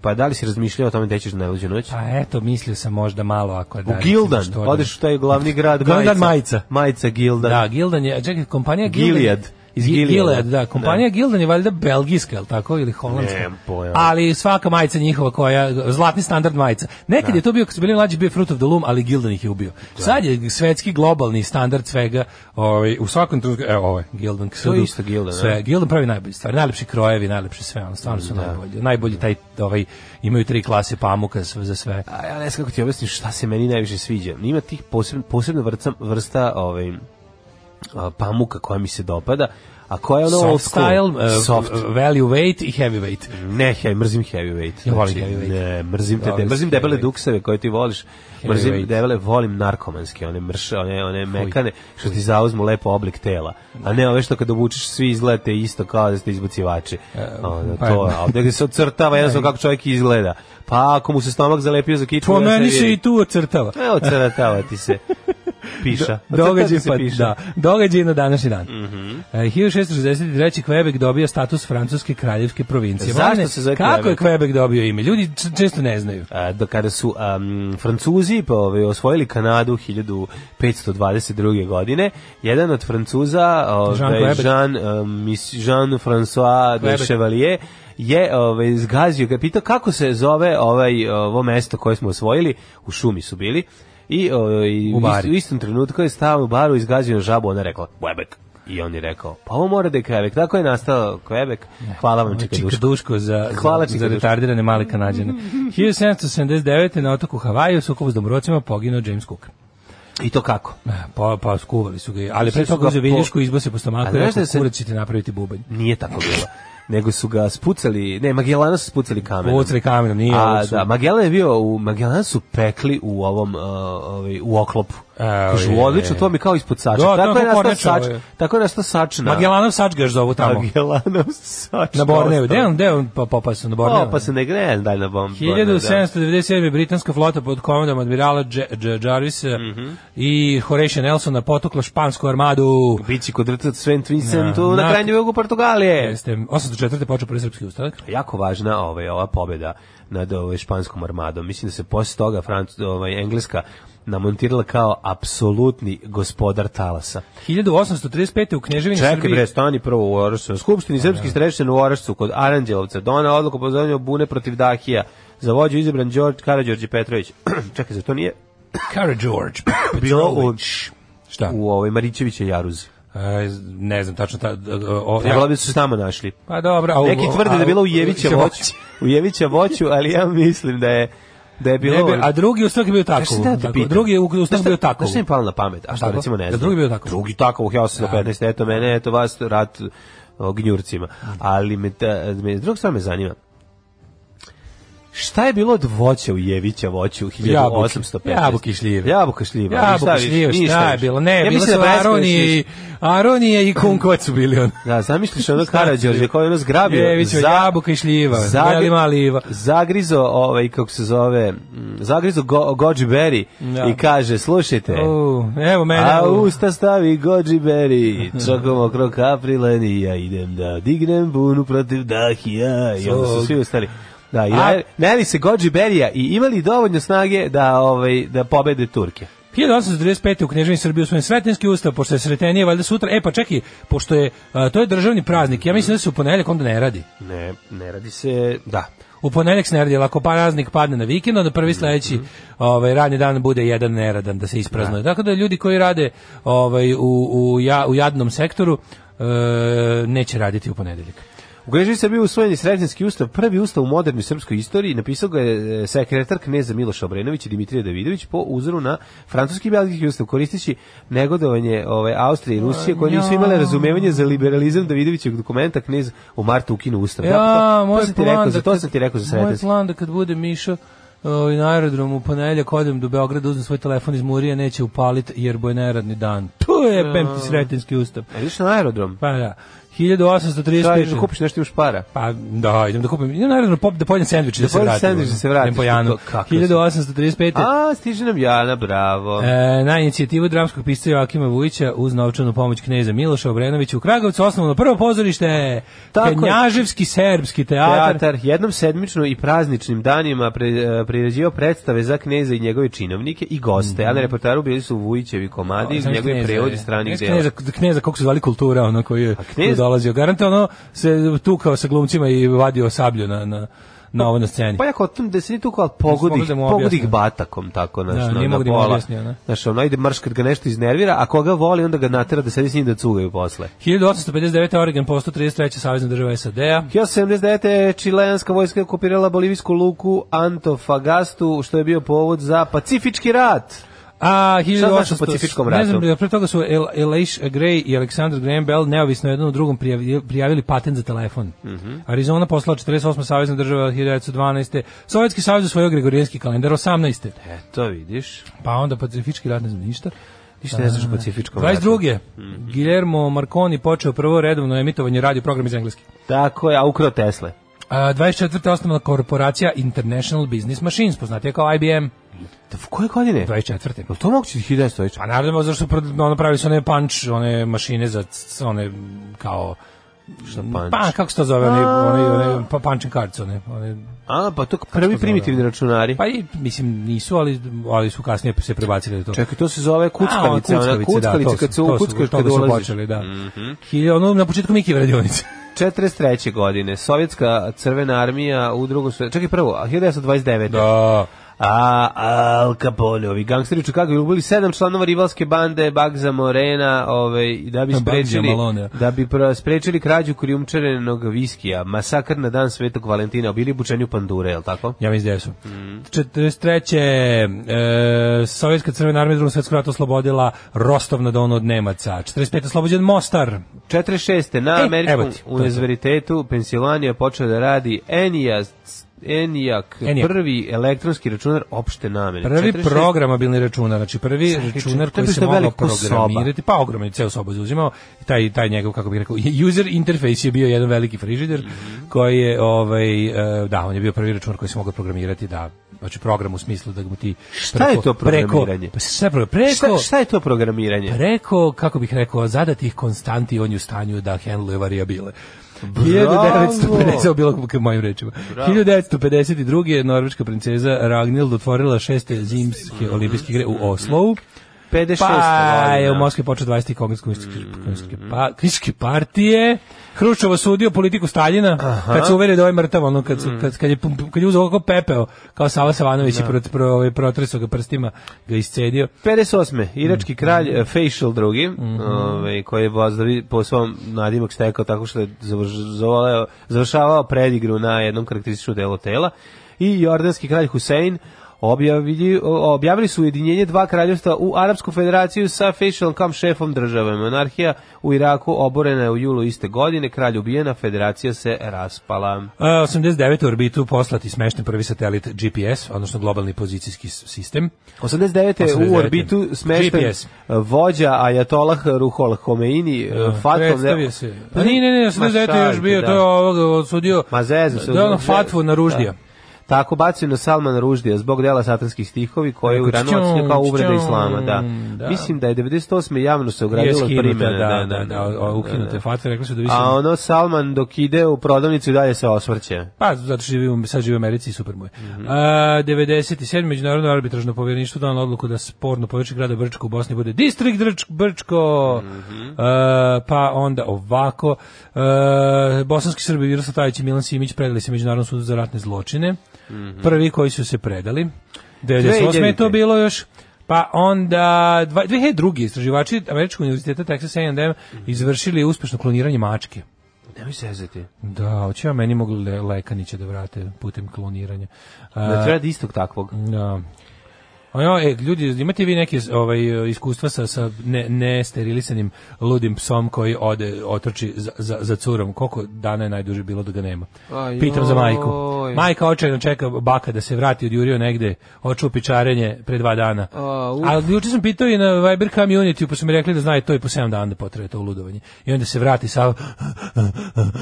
Pa da li si razmišljao o tome gde ćeš na najluđu noć? Pa eto, mislio sam možda malo ako U da. Gildan, što da- odeš u taj glavni grad Gildan majica. majica. Majica Gildan. Da, Gildan je, čekaj, kompanija Gildan. Gilead, iz Gi- Gileada. Gilead, da, kompanija Da. Gildan je valjda belgijska, je li tako, ili holandska? Nemam pojma. Ali svaka majica njihova koja, zlatni standard majica. Nekad je to bio, kad su bili mlađi, bio Fruit of the Loom, ali Gildan ih je ubio. Sad je svetski globalni standard svega, ovaj, u svakom trenutku, evo ovaj, Gildan, To je isto Gildan, da. sve, Gildan pravi najbolje stvari, najlepši krojevi, najlepše sve, ono, stvarno su najbolji. Najbolji taj, ovaj, imaju tri klase pamuka sve- za sve. A ja ne znam kako ti objasnim šta se meni najviše sviđa. Ima tih posebno, posebno vrca, vrsta ovaj, a, pamuka koja mi se dopada, a koja je ono old Soft school. style, uh, soft. value weight i heavy weight. Ne, he, mrzim heavyweight. Ja volim Znači, heavyweight. Ne, mrzim te, Volim mrzim debele heavyweight. dukseve koje ti voliš. Mrzim Heavyweight. debele, volim narkomanske, one mrše, one, one mekane, što ti zauzmu lepo oblik tela. A ne ove što kad obučeš, svi izgledate isto kao da ste izbacivači. Ono, pa- to, a ovde se ocrtava jednostavno kako čovjek izgleda. Pa ako mu se stomak zalepio za kičmu, Po ja meni se vidi. i tu ocrtava. E, ocrtava ti se. Piša. Događaj, Ocrtava ti pa, piša. da, događaj na današnji dan. Mhm. Mm -hmm. 1663. Quebec dobija status francuske kraljevske provincije. Zašto Vane, se zove Kako je Quebec? Quebec dobio ime? Ljudi č- često ne znaju. A, da Eh, kada su um, Francuzi pa, ovaj, osvojili Kanadu 1522. godine, jedan od Francuza, Jean ovaj, Quebec. Jean, um, mis- Jean-François de Quebec. Chevalier, je ovaj, zgazio ga, pitao kako se zove ovaj, ovo mesto koje smo osvojili, u šumi su bili, i ovaj, U u, bari. istu- u istom trenutku je stao u baru i zgazio na žabu, ona je rekla, Quebec. I on je rekao, pa ovo mora da je Quebec. Tako je nastao Quebec. Hvala vam, Čikaduško. Čikaduško za, Hvala, za, za Čikaduško. retardirane male kanadjane. 1779. na otoku Havaju u sukobu s domorocima poginuo James Cook. I to kako? Pa, pa skuvali su ga, ali pre su toga ga uzeo po- viljušku izbose po A stomaku i znaš rekao, da se- kurac ćete napraviti bubanj. Nije tako bilo. Nego su ga spucali, ne, Magellana su spucali kamenom. Pucali kamenom, nije, A, ovog su- da, Magellan je bio, u, Magellan su pekli u ovom, uh, ovaj, u oklopu. A, Kažu, je. odlično, to mi je kao ispod sača. Da, to tako, je je kao nastao Kornjača, sač, ovo je. tako je nastao sač na... Magellanov sačgaš zovu tamo. Magellanov sač. Na Borneu. Gde je ostao. on, gde je on pa, popasao? Na Borneu? O, pa se ne greje dalje na bombu. 1797. je britanska flota pod komandom admirala Dž Dž Jarvisa Mhm. i Horatio Nelsona potukla špansku armadu. Bići kod rtac Svent Vincentu Da. na Na- krajnjem jugu Portugalije. Jeste, 804. počeo prvi srpski ustanak. Pa jako važna ovaj ova pobeda nad ovaj španskom armadom. Mislim da se posle toga Franc, ovaj engleska namontirala kao apsolutni gospodar talasa. 1835. u Kneževini Čekaj Srbiji. bre, stani prvo u Orašcu. Na skupštini srpskih strešćana u Orašcu kod Aranđelovca dona odluku o pozovanju bune protiv Dahija. Za vođu izabran Đorđe Karađorđe Petrović. Čekaj, zar to nije Kara George. bilo u, Šta? u ovaj, ovoj Marićeviće Jaruzi? E, ne znam tačno. Ta, o, o, Trebalo bi da su se tamo našli. Pa dobro. A, u- Neki tvrde da je bilo u Jevića voću, u Jevića voću, ali ja mislim da je da je bilo Ne bi- a drugi ustanak je bio tako. Šta sam teo da te pitam? Drugi je u- Znaš ustanak šta- bio tako. Znaš šta mi je palo na pamet? A šta Tako? recimo ne Da znam? drugi bio tako. Drugi tako, ja sam do 15, eto mene, eto vas, rat o, gnjurcima. Ali me, ta, me druga stvar me zanima. Šta je bilo od voća u Jevića voću u 1815? Jabuke i šljive. Jabuka šljiva. ali Ja, šta bok više, šljive, ništa šta je više. bilo? Ne, ja bilo mislim su da Bresković Aronije, i- Aronije i Kunkovac su bili on. Da, zamisliš ono Karađorđe koji je ono zgrabio. Jevićeva jabuka i šljiva, zagri- veli mali Iva. Zagrizo, ovaj, kako se zove, mm, zagrizo go, Goji Berry Da. Oh. i kaže, slušajte, U, evo mene. a u- usta stavi Goji Berry, čokom okro kaprilen i ja idem da dignem bunu protiv dahija i onda su Svog. svi ustali. Da, i A- najeli- najeli se Goji Berija i imali dovoljno snage da ovaj da pobede Turke. 1835. u Kneževini Srbiji usvojen Sretenski ustav, pošto je Sretenije valjda sutra. E, pa čekaj, pošto je, a, to je državni praznik, ja mislim da se u ponedeljak onda ne radi. Ne, ne radi se, da. U ponedeljak se ne radi, ali ako praznik padne na vikend, onda prvi sledeći ovaj, radni dan bude jedan neradan da se ispraznuje. Tako da ljudi koji rade ovaj, u, u, ja, u jadnom sektoru e, neće raditi u ponedeljak. U Grežiji se bio usvojen je Sretenski ustav, prvi ustav u modernoj srpskoj istoriji, napisao ga je e, sekretar kneza Miloša Obrenović i Dimitrija Davidović po uzoru na francuski i belgijski ustav, koristeći negodovanje ove, Austrije i Rusije, koje nisu imale razumevanje za liberalizam Davidovićeg dokumenta, knez u martu ukinu ustav. Ja, Pa to, moj to sam ti plan rekao, da za to kad- sam ti rekao za Moj Sretenski. plan da kad bude Miša ovaj, na aerodromu u ponedeljak odem do Beograda, uzmem svoj telefon iz Murija, neće upaliti jer bo je neradni dan. To je pemti sretenski ustav. A ideš na aerodrom? Pa da, Kažeš 1835. da kupiš nešto imaš para. Pa da, idem da kupim, idem naravno pop, da pojedem sandvič i da, se pojedeš vratim. ono, sendvič i da se vratiš. Idem po Janu. To kako si? 1835. A, stiže nam Jana, bravo. E, na inicijativu dramskog pisca Joakima Vujića uz novčanu pomoć kneza Miloša Obrenovića u Kragovcu osnovano prvo pozorište Tako je. Knjaževski serbski teatar. teatar jednom sedmično i prazničnim danima pre, e, priređivao predstave za kneza i njegove činovnike i goste, a na repertoaru bili su Vujićevi komadi i Mhm. Znaš njegovi kneza, prevodi je. stranih Znaš dela. Kneza, kneza kako se zvali kultura, ono koji je knez- tu dolazio. Garante ono se tukao sa glumcima i vadio sablju na, na, na ovo na sceni. Pa jako, tom da se ni tukao, ali pogodi, ih- Nisam mogao da mu pogodi objasnim. ih batakom, tako, znaš, Da, na, nije na mogao da mu pola. objasni, ono. Znaš, ono, ide mrš kad ga nešto iznervira, a koga voli, onda ga natera da sedi s njim da cugaju posle. 1859. Oregon postao 33. savjezna država SAD-a. 1979. čileanska vojska je okupirala bolivijsku luku Antofagastu, što je bio povod za pacifički rat. A, 1800, Šta znači u Pacifičkom ratu? Ne znam, pre toga su El, Elish Gray i Alexander Graham Bell neovisno jednom drugom prijavili, prijavili patent za telefon. Mhm. Arizona poslala 48. savezna država 1912. Sovjetski savez osvojio Gregorijanski kalendar 18. Eto, E, vidiš. Pa onda Pacifički rat ne znam ništa. Ništa ne znaš o Pacifičkom ratu. 22. Mhm. Guillermo Marconi počeo prvo redovno emitovanje radio programa iz engleske. Tako je, a ukrao Tesle. A, 24. osnovna korporacija International Business Machines, poznatija kao IBM. Da, u koje godine? 24. Jel to moguće 1900? Pa naravno, zašto su pro- ono pravili su one punch, one mašine za c- one kao Šta punch? Pa, kako se to zove, one, one, one pa, punching cards, one, one, A, pa to prvi zove? primitivni računari. pa i, mislim, nisu, ali, ali su kasnije se prebacili da to. Čekaj, to se zove A, one kuckavica, ona kuckavica, kad se to su- ukuckaš to kad Mhm. su ulaziš. počeli, da. Hilja- ono, na početku Miki radionice. 43. godine, Sovjetska crvena armija u drugom svetu. Čekaj, prvo, a 1929. da. A, Al Capone, ovi gangsteri u Čikagu ubili sedam članova rivalske bande Bagza Morena, ovaj, da bi Bagza sprečili, Malone. da bi pro- sprečili krađu krijumčarenog viskija, masakr na dan Svetog Valentina, bili bučeni u pandure, je tako? Ja mislim da jesu. Mhm. 43. E, Sovjetska crvena armija u drugom svetskom ratu oslobodila Rostov na Donu od Nemaca. 45. oslobođen Mostar. 46. na E, evo američkom ti, to je to. univerzitetu Pensilvanija počeo da radi Enijas Enijak, Enijak. prvi elektronski računar opšte namene. Prvi 46. programabilni računar, znači prvi računar čekaj, koji to je se bilo mogao veliko soba. programirati, pa ogromno je ceo sobu zauzimao, i taj, taj njegov, kako bih rekao, user interface je bio jedan veliki frižider Mhm. koji je, ovaj, e, da, on je bio prvi računar koji se mogao programirati, da, znači program u smislu da mu ti... Šta je to programiranje? Preko, pa sve pro- preko, E, Šta, šta je to programiranje? preko, kako bih rekao, zadatih konstanti on je u stanju da handluje variabile. Bravo! 1950, ovo je bilo k- mojim rečima. 1952. je norveška princeza Ragnhild otvorila šeste Mhm. zimske olimpijske igre u Oslovu. 56. Pa je u godina. Moskvi počeo 20. kongres komunističke Mhm. komunističke pa, krističke partije. Hruščov osudio politiku Staljina kad se uverio da je ovaj mrtav, ono, kad, Mhm. su, kad, kad je, pum- kad je uzeo oko pepeo, kao Sava Savanović i prot, pro, ovaj, protresao ga prstima, ga iscedio. 58. Irački kralj eh, Facial II, ovaj, koji je vazdavi po svom nadimak stekao tako što je završ- zavoleo- završavao predigru na jednom karakterističnom delu tela. I jordanski kralj Hussein objavili, o- objavili su ujedinjenje dva kraljevstva u Arapsku federaciju sa Facialom kam šefom države. Monarhija u Iraku oborena je u julu iste godine, kralj ubijena, federacija se raspala. A, 89. u orbitu poslati smešten prvi satelit GPS, odnosno globalni pozicijski s- sistem. 89. je u 89.. orbitu smešten GPS. eh, vođa Ajatolah Ruhol Homeini, eh, Fatov... Predstavio se. Pa nije, ne, ne, 89. je Ma još bio, šaljite, to je da. ovoga odsudio. Ma zezam se. Da je ono uzme- fatvu naruždija. Da. Tako bacio na Salman Ruždija zbog dela satanskih stihovi koje je Rekao, uranovacnje kao "Ććom, uvreda islama. Da. ććom, da. Mislim da je 98. javno se ogradilo od skinuta, primjene. da, da, da, o- ukinute fatve, rekli su da više... A ono Salman dok ide u prodavnicu i dalje se osvrće. Pa, zato što živi, u- sad živi u Americi i super mu je. A, 97. Međunarodno arbitražno povjereništvo dano odluku da sporno područje grada Brčko u Bosni bude distrikt Drč, Brčko. A, pa onda ovako. A, bosanski Srbi Viroslav Tajić i Milan Simić predali se Međunarodnom sudu za ratne zločine. Prvi koji su se predali. 98. je to 2009.. bilo još. Pa onda, dva- 2002. istraživači Američkog univerziteta Texas A&M izvršili uspešno kloniranje mačke. Nemoj se zezati. Da, hoće ja meni mogli le, lekaniće da vrate putem kloniranja. A, Da treba da istog takvog. da. A ja, e, ljudi, imate vi neke ovaj, iskustva sa, sa ne, nesterilisanim ludim psom koji ode, otrči za, za, za curom? Koliko dana je najduže bilo da ga nema? Ajoj. Pitam za majku. Majka očajno čeka baka da se vrati, odjurio negde, očupi čarenje pre dva dana. A, uf. Ali juče sam pitao i na Viber community, pa su mi rekli da znaju to i po 7 dana da potraje to ludovanje. I onda se vrati sa...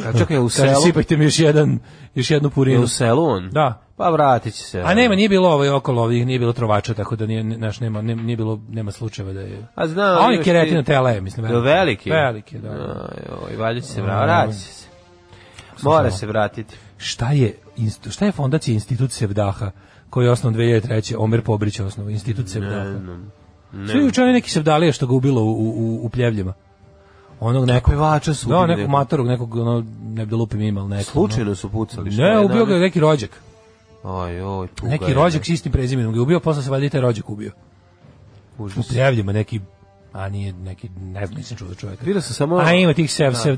A čekaj, u Kaže, selu? sipajte mi još, jedan, još jednu Je purinu. u selu on? Da. Pa vratit će se. A nema, nije bilo ovaj okolo ovih, nije bilo trovača, tako da nije, naš, nema, ne- nije bilo, nema slučajeva da je... A znam, A on je imaš keretino ti- tele, mislim. Do veliki? Veliki, da. Ajoj, valja će se vratiti. Vratit će se. Mora se vratiti. Šta je, instu- šta je fondacija Institut Sevdaha, koji je osnovan 2003. Omer Pobrić je osnovan, Institut Sevdaha. Svi juče onaj neki Sevdalija što ga ubilo u, u, u pljevljima. Onog nekog... pevača su Da, ubili nekog nekog. matorog, nekog, ono, ne bi da lupim ima, ali nekog. Slučajno su pucali. ono. šta Ne, je ubio ga je danas? neki rođak. Aj, oj, tuga Neki je, rođak s istim prezimenom ga je ubio, posle se valjda i taj rođak ubio. Užas. U pljevljima neki a nije neki, ne znam, nisam čuo za čovjeka. Vidio sam samo- A ima tih sev, sev,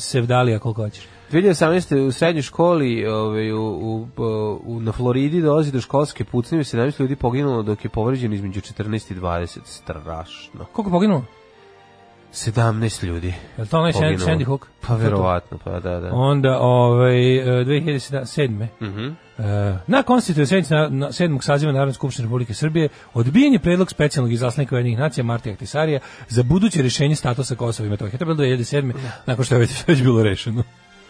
sevdalija koliko hoćeš. 2018. u srednjoj školi ovaj, u, u, u, na Floridi dolazi do školske pucnje, 17 ljudi poginulo dok je povređeno između 14 i 20. Strašno. Koliko poginulo? 17 ljudi. Je li to onaj Sandy, poginulo. Sandy Hook? Pa verovatno, pa da, da. Onda, ovaj, e, 2007. Mhm. E, na konstitutivnoj sednici na, na sedmog saziva Narodne skupštine Republike Srbije odbijen je predlog specijalnog izaslanika Ujedinjenih nacija Martija Ahtisarija za buduće rješenje statusa Kosova i Metohije. To je bilo 2007. nakon što je već, već bilo rešeno.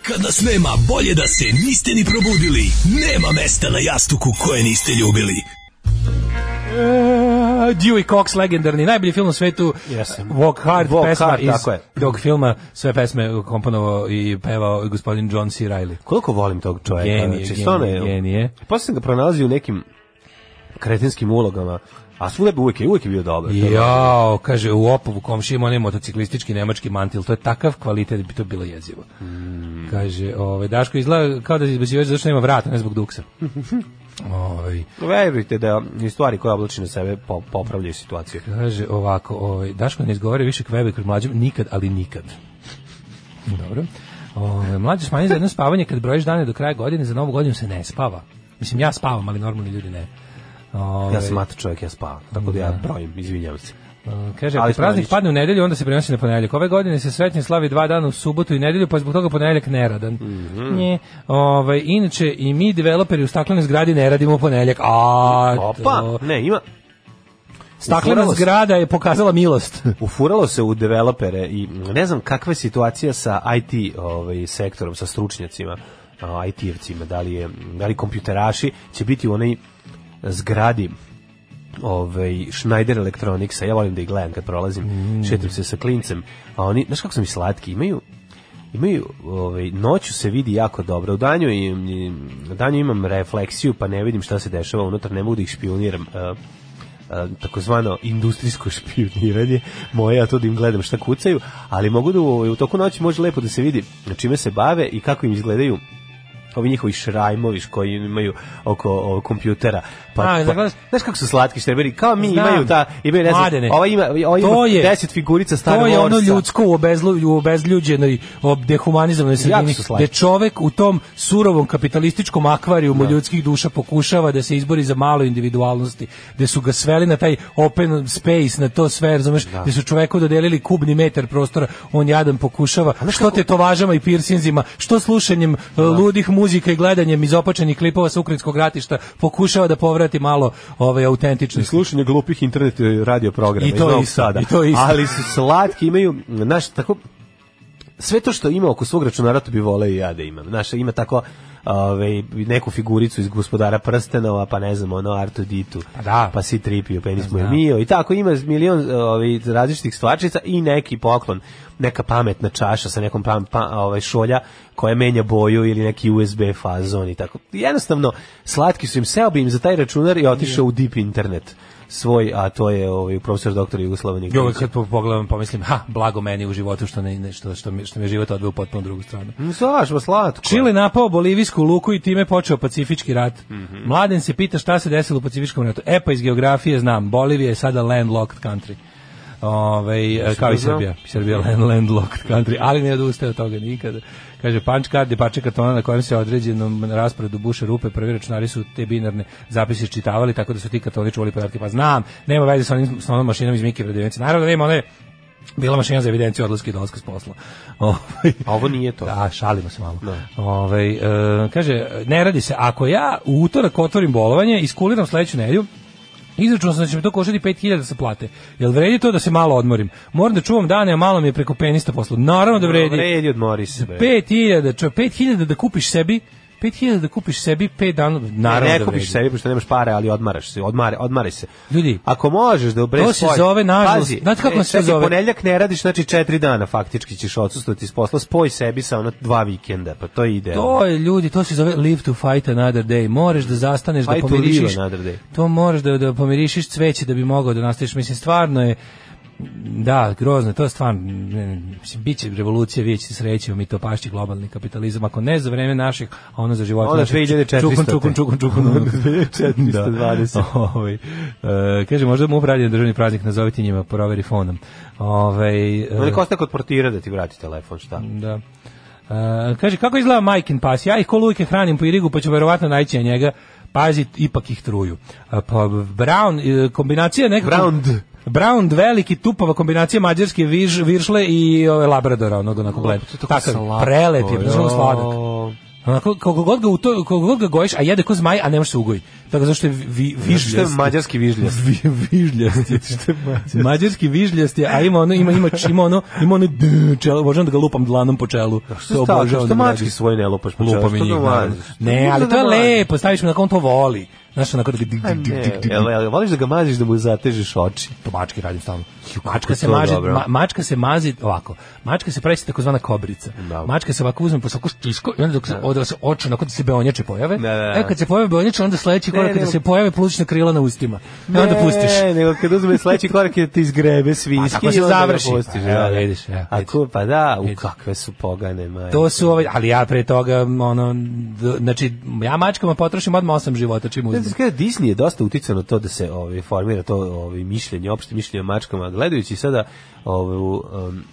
Kad nas nema, bolje da se niste ni probudili. Nema mesta na jastuku koje niste ljubili. E, Dewey Cox, legendarni, najbolji film u svetu Jesam. Walk Hard, Walk pesma Hard, iz tako je. tog filma, sve pesme komponovao i pevao gospodin John C. Reilly. Koliko volim tog čovjeka. Genije, znači, genije, stvarno je- genije. Posle sam ga pronalazio u nekim kretinskim ulogama, a svuda bi uvijek, uvijek je bio dobar. Jao, kaže, u Opovu komši ima onaj motociklistički nemački mantil, to je takav kvalitet, da bi to bilo jezivo. Hmm. Kaže, ovaj, Daško izgleda kao da je izbazivač zato što nema vrata, ne zbog duksa. ovaj, Verujte da i stvari koje oblači na sebe po- popravljaju situaciju. kaže ovako, ovaj, Daško ne izgovara više kvebe kod mlađem, nikad, ali nikad. Dobro. Ovaj, mlađe smanji za jedno spavanje, kad brojiš dane do kraja godine, za novu godinu se ne spava. Mislim, ja spavam, ali normalni ljudi ne. Ovaj, Ja sam mat čovjek, ja spavam. Tako da ja brojim, izvinjam se. eh, Kaže, Ali ako smo praznik nadići. padne u nedelju, onda se prenosi na ponedeljak. Ove godine se srećnje slavi dva dana u subotu i nedelju, pa je zbog toga ponedeljak neradan. Mhm. Nje. Ovaj, inače, i mi developeri u staklenoj zgradi ne radimo u ponedeljak. A, Opa, to- ne, ima, Staklena Ufuralo se. zgrada je pokazala milost. ufuralo se u developere i ne znam kakva je situacija sa IT ovaj, sektorom, sa stručnjacima, a, IT-evcima, da li, je, da li kompjuteraši će biti u onoj zgradi ovaj Schneider Electronicsa, ja volim da ih gledam kad prolazim, šetam se sa klincem, a oni, znaš kako su mi slatki, imaju imaju, ovaj, noću se vidi jako dobro, u danju, im, im- u danju imam refleksiju pa ne vidim šta se dešava unutar, ne mogu da ih špioniram, e, e, takozvano industrijsko špioniranje moje, a to da im gledam šta kucaju, ali mogu da u, u toku noći može lepo da se vidi čime se bave i kako im izgledaju ovi njihovi šrajmovi koji imaju oko, o, kompjutera. Pa, A, pa- da gledaš- znaš kako su slatki štreberi, kao mi Znam. imaju ta, imaju ne znam, Mladene, ova ima, ova ima to je- 10 figurica Star To je ono Warsa. ljudsko u, obezlu, u obezljuđenoj, ob- dehumanizovanoj sredini, su slatki. gde čovek u tom surovom kapitalističkom akvarijumu ljudskih duša pokušava da se izbori za malo individualnosti, gde su ga sveli na taj open space, na to sve, razumeš, gde su čoveku dodelili kubni metar prostora, on jadan pokušava, što te to važama i piercinzima, što slušanjem e, ludih muzika i gledanjem izopačenih klipova sa ukrajinskog ratišta pokušava da povrati malo ovaj, ove autentičnosti. slušanje glupih internet radio programa I to iz Novog isto, Sada. i to isto. Ali su slatki, imaju, znaš, tako, sve to što ima oko svog računara to bi voleo i ja da imam. Znaš, ima tako ovaj, neku figuricu iz gospodara prstenova, pa ne znam, ono Artu Ditu, Pa da. pa si tripio, penis mu je mio i tako ima milion ovaj, različitih stvarčica i neki poklon, neka pametna čaša sa nekom pam, pa, ovaj, šolja koja menja boju ili neki USB fazon i tako. Jednostavno, slatki su im, seo bi im za taj računar i otišao u deep internet svoj, a to je ovaj, profesor doktor Jugoslava Ja uvek Nikolić. kad po- pogledam pomislim, ha, blago meni u životu što ne, ne- što, što, mi, što mi je život odveo u potpuno drugu stranu. Svaš, slatko. Čile napao bolivijsku luku i time počeo pacifički rat. Mladen se pita šta se desilo u pacifičkom ratu. E pa iz geografije znam, Bolivija je sada landlocked country. Ovaj, kao i to znao? Srbija. Srbija je land- landlocked country, ali ne odustaje od toga nikada. Kaže, punch card je pače kartona na kojem se određenom rasporedu buše rupe, prvi računari su te binarne zapise čitavali, tako da su ti kartoni čuvali podatke. Pa znam, nema veze sa, onim, sa onom mašinom iz Mike Vredivice. Naravno da nema, ona je bila mašina za evidenciju odlaska i dolaska s posla. Ovaj, A ovo nije to. da, šalimo se malo. Ovaj, e, kaže, ne radi se, ako ja u utorak otvorim bolovanje, iskuliram sledeću nedelju, Izračunao sam da će mi to koštati 5000 sa plate. Jel vredi to da se malo odmorim? Moram da čuvam dane, a malo mi je preko penista posla. Naravno da vredi. Vredi, odmori se. bre. 5000, čo, 5000 da kupiš sebi, 5000 da kupiš sebi 5 dana, naravno E, ne, ne da vredi. kupiš sebi pošto nemaš pare, ali odmaraš se, odmare, odmare se. Ljudi, ako možeš da obreš to se zove, nažalost, znate kako se to zove? Ponedeljak e, ne radiš, znači četiri dana faktički ćeš odsustvovati iz posla, spoj sebi sa ono dva vikenda, pa to je idealno. To je ljudi, to se zove live to fight another day. Moraš da zastaneš Fight da to live pomirišiš. another day. To moraš da da pomirišiš cveće da bi mogao da nastaviš. Mislim stvarno je Da, grozno, je, to je stvarno, ne, ne, mislim, bit će revolucija, vidjet ćete srećemo mi to pašći globalni kapitalizam, ako ne za vreme naših, a ono za života Onda naših. 2400. Čukun, čukun, čukun, čukun. ono. 2420. Ovaj, e, kaže, možda mu upravljen državni praznik, nazoviti njima, proveri fonom. Ovaj, e, Mm, To... Nek ostaje kod portira da ti vrati telefon, šta? da. E, kaže, kako izgleda majkin pas? Ja ih ko lujke hranim po irigu, pa ću verovatno naći na njega. Pazi, ipak ih truju. A, pa, Brown, e, kombinacija nekako... Brown. Brown veliki tupava kombinacija mađarske viž, viršle i ove labradora onog onako gleda. Takav prelep je, bezumno sladak. Onako, kako god ga, u to, kako god ga gojiš, a jede ko zmaj, a ne može se ugoji. Tako zašto je vi, vižljast. Što je mađarski vižljast? Vi, vižljast je. Što je mađarski? Mađarski vižljast je, a ima ono, ima, ima, ima ono, ima ono, d, čelo, obožavam da ga lupam dlanom po čelu. Što obožavam sta- da što mi radi. mački svoj ne lupaš? po čelu? Lupam i Što njih, ga naravno. maziš? Ne, Što ali ga to je ne maziš? lepo, staviš mu na on to voli. Znaš, onako da ga dik, A dik, ne, dik, dik, dik. jel- jel E, voliš da ga maziš da mu zatežeš oči? To mački radim stalno. kako Mačka se to maže, dobro. ma, mačka se mazi ovako. Mačka se pravi sa takozvana kobrica. Da. Mačka se ovako uzme po svaku stisko i onda dok se da. se oči onako da se beonjače pojave. Da, da, da. E kad se pojave beonjače onda sledeći korak je da nego- se pojave plućna krila na ustima. I onda pustiš. Ne, nego kad uzme sledeći korak je da ti izgrebe Pa svinjski tako se i onda ga završi. pustiš. Pa, evo, da, da. vidiš, evo, A vidiš. ko, pa da, u Vidiš. kakve su pogane, majke. To su ovaj, ali ja pre toga ono d- znači ja mačkama potrošim odmah osam života čim Ne uzmem. znam, kada Disney je dosta uticao na to da se ovaj, formira to ovaj, mišljenje, opšte mišljenje o mačkama. Gledajući sada ovaj, u,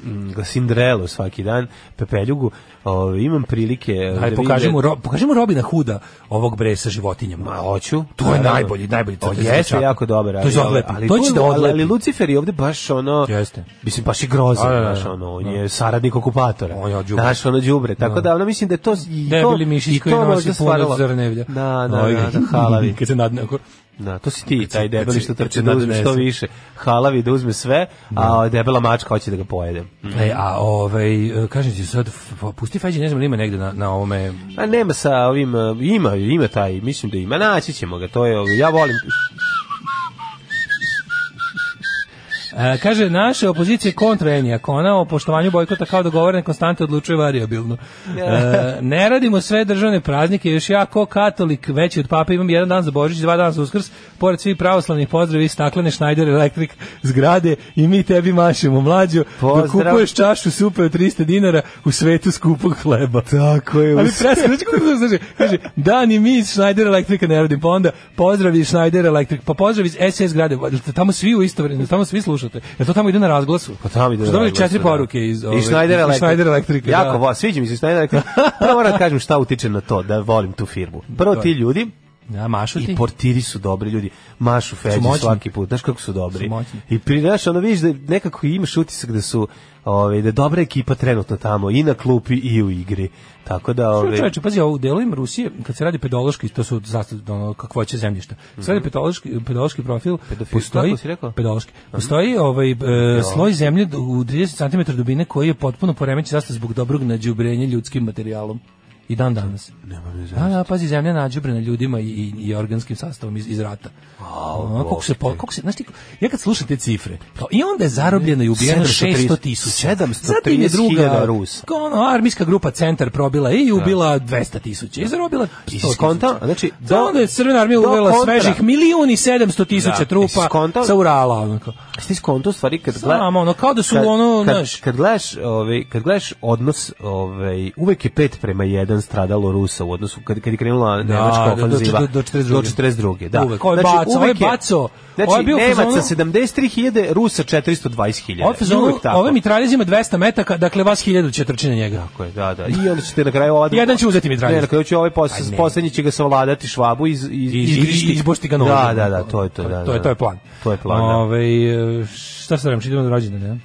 um, mm, Cinderelu svaki dan, Pepeljugu, ovaj, imam prilike... eh, da Aj vidim pokažemo da- ro, pokažemo Robina Huda ovog bre sa životinjama. Ma, hoću. To je Naravno. najbolji- najbolji To crtez jeste dečaka. jako dobar. Pa To ali- ovaj, će odlepi. ali To će da ali- Ali odlepi. Lucifer je ovde baš ono... Jeste. Mislim, baš i grozan, Da, da, da. znaš, ono, on je saradnik okupatora. On je od đubre. Znaš, ono đubre. Tako da, ono, mislim da je to... I to, Debeli mišić i koji to nosi možda puno stvaralo- zrnevlja. Da, da, Ovaj da, ga- da, halavi. Kad se nadne oko. Da, to si ti, Kad se- taj debeli kad što se- kad trče se da uzme što nadnese. više. Halavi da uzme sve, a debela mačka hoće da ga pojede. E, a ovaj, e, kažem ti sad, f- f- pusti Feđi, ne znam, ili ima negde na, na ovome... A nema sa ovim, e, ima, ima taj, mislim da ima, naći ćemo ga, to je, ja volim, E, kaže, naše opozicije kontra Enjakona o poštovanju bojkota kao dogovorene konstante odlučuje variabilno. E, ne radimo sve državne praznike, još ja ko katolik veći od papa imam jedan dan za Božić, dva dana za Uskrs, pored svih pravoslavnih pozdravi, staklene Schneider Electric zgrade i mi tebi mašemo mlađo, dok Pozdrav. kupuješ čašu supe od 300 dinara u svetu skupog hleba. Tako je. Ali presne, znači kako to znači? Kaže, da, ni mi iz Schneider Electrica ne radim, pa onda pozdrav iz Schneider Electric, pa pozdrav iz SS grade, tamo svi u isto vreme, tamo svi slušate, jer to tamo ide na razglasu. Pa tamo ide. Su da dobili razglas, četiri da. poruke iz, ove, I Schneider iz Electric. Schneider Electrica, Jako, da. da. sviđa mi se Schneider Electric. Prvo moram da kažem šta utiče na to, da volim tu firmu. Prvo ti ljudi, Ja, mašu ti. I portiri su dobri ljudi. Mašu feđi moćni. svaki put. Znaš kako su dobri. Su moćni. I pri znaš, ono vidiš da nekako imaš utisak da su ovaj da je dobra ekipa trenutno tamo i na klupi i u igri. Tako da Čuj, ovaj Čovječe, pazi, ovo u delovima Rusije, kad se radi pedološki, to su zastav, ono, kakvoće zemljišta. Kad se radi pedološki, pedološki profil, Mhm. Pedofil, postoji, kako si rekao? Mhm. pedološki, postoji ovaj, e, sloj zemlje u 30 cm dubine koji je potpuno poremećen zastav zbog dobrog nađubrenja ljudskim materijalom. I dan danas. Nema da, da, pazi, zemlja nađubrena ljudima i, i, i organskim sastavom iz, iz rata. Ono, kako se, po, kako se, znaš ti, ja kad slušam te cifre, kao, i onda je zarobljeno i ubijeno 730 600 tisuća. 730 Zatim je druga hiljada Rusa. kao ono, armijska grupa centar probila i ubila 200 tisuća i zarobila 100 I tisuća. si skontao? Znači, do, onda je crvena armija do uvela kontra. svežih milijun i 700 tisuća Da, i si trupa skontao? sa Urala. Onako. Jesi ti skonto u stvari kad Znam, gleda- ono, kao da su ono, kad, znaš. kad gledaš, ovaj kad gledaš odnos, ovaj uvek je 5 prema 1 stradalo Rusa u odnosu kad kad je krenula nemačka do- do- ofanziva do- do 42.. Do 42., da. Uvek. Ovo je baco, ovo je baco. Znači, Ovo je bio u Nemaca fazonu- 73.000, Rusa 420.000. Ovo, I ono, uvek tako. ove mitraljez ima 200 metaka, dakle vas 1000 će trči na njega. Tako je, da, da. I onda ćete na kraju ova druga- Jedan će uzeti mitraljez. Ne, na kraju će ovaj posle, Aj, ne. poslednji će ga savladati švabu iz iz I- i- izgrišti. izbošti ga nožem. Da, da, da, to je to, da. To je, da. to je plan. Ovaj, To je plan. da. Ove, šta sad reći, idemo na rođendane, ja?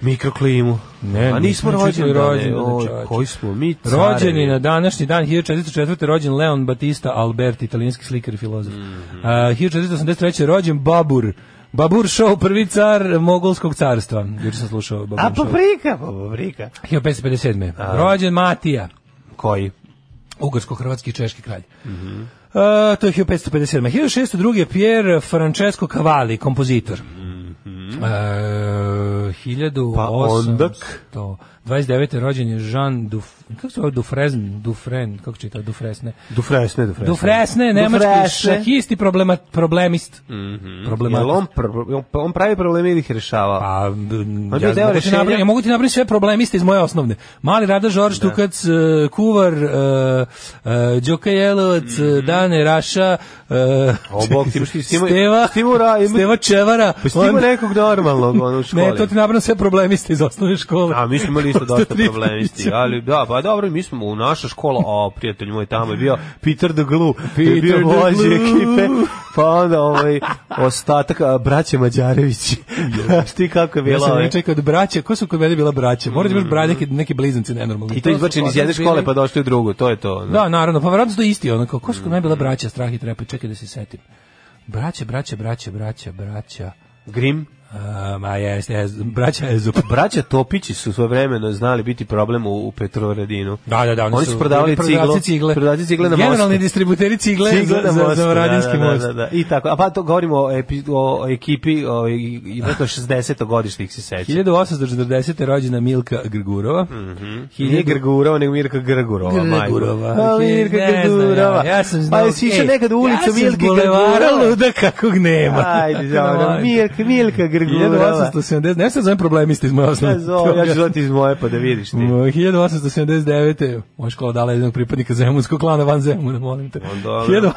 Mikroklimu. Ne, A nismo nismo čitali rođeni, rođendane, čoveče. koji smo mi carevi. Rođeni na današnji dan 1404. rođen Leon Batista Alberti, italijanski slikar i filozof. Mhm. A, 1483. rođen Babur. Babur Show, prvi car mogulskog carstva. Juče sam slušao Babur A Show. paprika, pa paprika. 1557. Rođen Matija, Koji? ugarsko-hrvatski i češki kralj. A, to je 1557. 1602. je Pier Francesco Cavalli, kompozitor. E, 1800 Mm-hmm. Pa ondak. 29. rođen je Jean Duf, kako se zove Dufresne, Dufren, kako čita Dufresne. Dufresne, Dufresne. Dufresne, nemački Dufresne. Mm-hmm. šahist i problema, problemist. Mm Jel on, pr- on- on pravi probleme ili ih rešava? Pa, On ja, bi deo mogu ti rešenja- nabrojati- ja mogu ti nabrojati sve problemiste iz moje osnovne. Mali Rada Žorž, Tukac, e, Kuvar, e, e, Đoka Jelovac, e, Dane Raša, e, Mhm. O, Bog, ti imaš ti- ti ima- Steva, ti ima ra- ima- Steva Čevara. Pa si imao on- nekog normalnog ono, u školi. ne, to ti nabrojam sve problemiste iz osnovne škole. A, mi smo imali isto dosta problemisti, ali da, pa dobro, mi smo u naša škola, a prijatelj moj tamo je bio Peter the Glue, Peter je bio Peter the vođe Glue. ekipe, pa onda ovaj, ostatak, a, braće Mađarevići, znaš ti kako je Ja bila sam ovaj- ne čekao od braća, ko su kod mene bila braća? Mora da imaš bra, neki, neki blizanci nenormalni. I to su izbačeni iz kod jedne nas škole bili- pa došli u drugu, to ono. je to. Da, naravno, pa verovatno su to isti, ono kao, ko su kod mene bila braća, strah i trepa, čekaj da se setim. Braća, braća, braća, braća, braća. Grim. Um, a jeste, jeste, braća Ezup. Braća Topići su svoje vremeno znali biti problem u, u Petrovaradinu. Da, da, da, Oni su prodavali bili ciglu, prodavci cigle. prodavci cigle na mostu. Generalni distributeri cigle, Cigle na za, mostu, za, za Radinski da, da, most. Da, da, I tako, a pa to govorimo o, epi, o ekipi o, i, i verovatno 60. godišnjih se seća. 1840. rođena Milka Grgurova. Mm Mhm. Nije Grgurova, nego Mirka Grgurova. majko. Grgurova. A, Mirka Grgurova. Ja, ja sam Pa znao. jesi išao ej, nekad u ulicu ja sam s Milke bulevara Grgurova? luda kakvog nema. Ajde, dobro. Milka, Milka Grgurova. 1870, ne sad zovem problemisti iz moje osnovne. Ja zovem, ja ću zvati iz moje pa da vidiš ti. 1879. Moja škola dala jednog pripadnika zemunskog klana van Zemuna, molim te. dobro.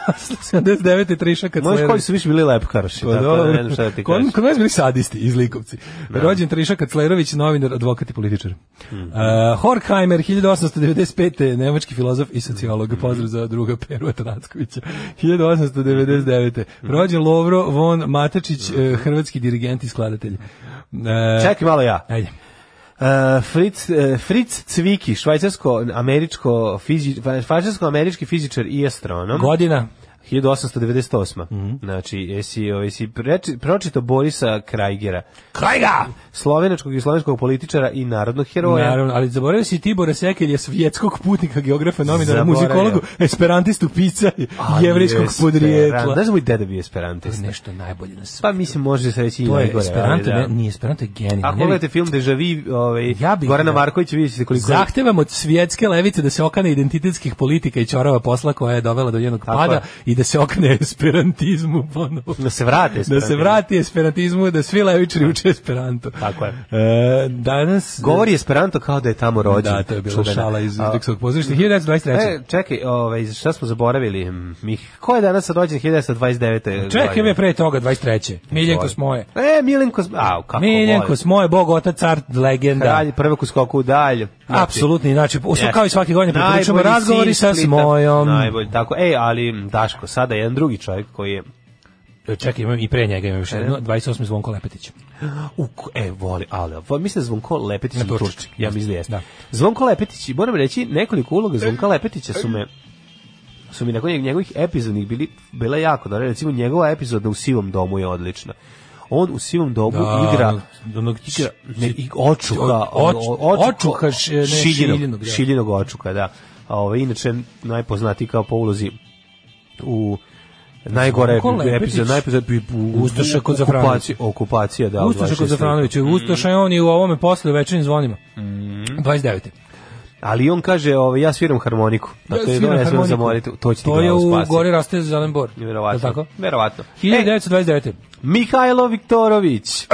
1879. Triša kad Moje školi su više bili lepkaroši, Pa tako da ne znam šta da ti Kod, kažem. kod nas bili sadisti iz Likovci. Rođen Triša Kaclerović, novinar, advokat i političar. Mhm. Mm Horkheimer, 1895. Nemački filozof i sociolog. Pozdrav za druga Peru Atanackovića. 1899. Mhm. Rođen Lovro von Matečić, eh, hrvatski dirigent i skladatelj. E, Čekaj malo ja. Ajde. Uh, Fritz, uh, Fritz Cviki, švajcarsko-američko fizi, švajcarsko-američki fizičar i astronom. Godina. 1898. Mhm. Znači, jesi, jesi preči, pročito Borisa Krajgera, Krajga! slovenačkog i slovenskog političara i narodnog heroja. Naravno, ali zaboravio si Tibora Sekelja, svjetskog putnika, geografa, novinara, Zaboravio. muzikologu, esperantistu, pica, Ali jevrijskog Esperan- podrijetla. Znaš da moj deda bio esperantista? Nešto najbolje na svijetu. Pa mislim, može se reći i To je najgore, ali Esperanto, da. ne, nije Esperanto, je genijalno. Ako pogledate film Deja Vu, ovaj, Ja bih- Gorana da. Marković, vidjet ćete koliko je Zahtevam od svjetske levice da se okane identitetskih politika i čorava posla koja je dovela do njenog Tako je. pada i da se okane esperantizmu ponovo. da se vrate. Da se esperantisti. vrati esperantizmu, da svi levičari uče esperanto. Tako je. E, danas... Govori Esperanto kao da je tamo rođen. Da, to je bila Čuvena. šala iz A, Dixog pozorišta. 1923. E, čekaj, ovaj, šta smo zaboravili? Mi, ko je danas rođen 1929. Čekaj godine? me pre toga 23. Miljenko Smoje. E, Miljenko Smoje. A, kako Miljenko volim. Smoje, bog otac, car, legenda. Kralj, prvak u skoku u dalj. Apsolutni, znači, u- Jeste. kao i svake godine preporučujemo Najbolji razgovori sin sa Splita. Smojom. Najbolji, tako. E, ali Daško, sada je jedan drugi čovjek koji je... Čekaj, imam i pre njega imam E. još jedno, 28. Zvonko Lepetić. U, ko- e, voli, ali, vo- mislim da Zvonko Lepetić Na je Turčić. Turčin. Ja mislim da jeste. Da. Zvonko Lepetić, moram reći, nekoliko uloga Zvonka Lepetića su me su mi nakon njeg- njegovih epizodnih bili, bila jako dobra. Recimo, njegova epizoda u Sivom domu je odlična. On u Sivom domu igra onog igra ne, i očuha, oč, o- očuha, š- ne, šiljinog, šiljinog, da. šiljinog očuha, da. A ovaj inače najpoznatiji kao po ulozi u najgore Zvonko Lepetić. epizod, najepizod u, Ustaša kod okupacija, okupacija, da. Pa u Ustaša kod 26. Zafranovića, Ustaša je on i u ovome posle u večernim zvonima. Mhm. 29. Ali on kaže, ovaj ja sviram harmoniku. Da, to je Svira dobro, ja smem harmoniku. zamoliti, to će ti To je glavu u spasiti. Gori raste zelen bor. Je li Verovatno. Tako? Verovatno. E, 1929. Mihajlo Viktorović.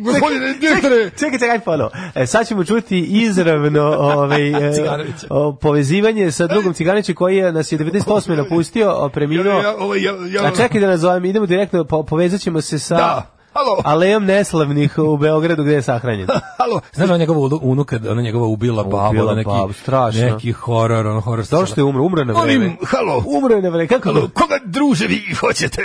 Gospodine Čekaj, čekaj, ponovo. E, sad ćemo čuti izravno ovaj, e, Ciganića. o, povezivanje sa drugom Ciganićem koji je nas je 98. napustio, o, preminuo. A čekaj da nazovem, idemo direktno, po, povezat ćemo se sa Da. Alo. alejom neslavnih u Beogradu gde je sahranjen. Halo, Znaš da njegova ulu- unuka, ona njegova ubila babu, Ubila da neki, babu, strašno. neki horor, on horor. Zato što je umro, umro je na vreme. molim, halo, Umro je na vreme, kako? halo, koga druže vi hoćete?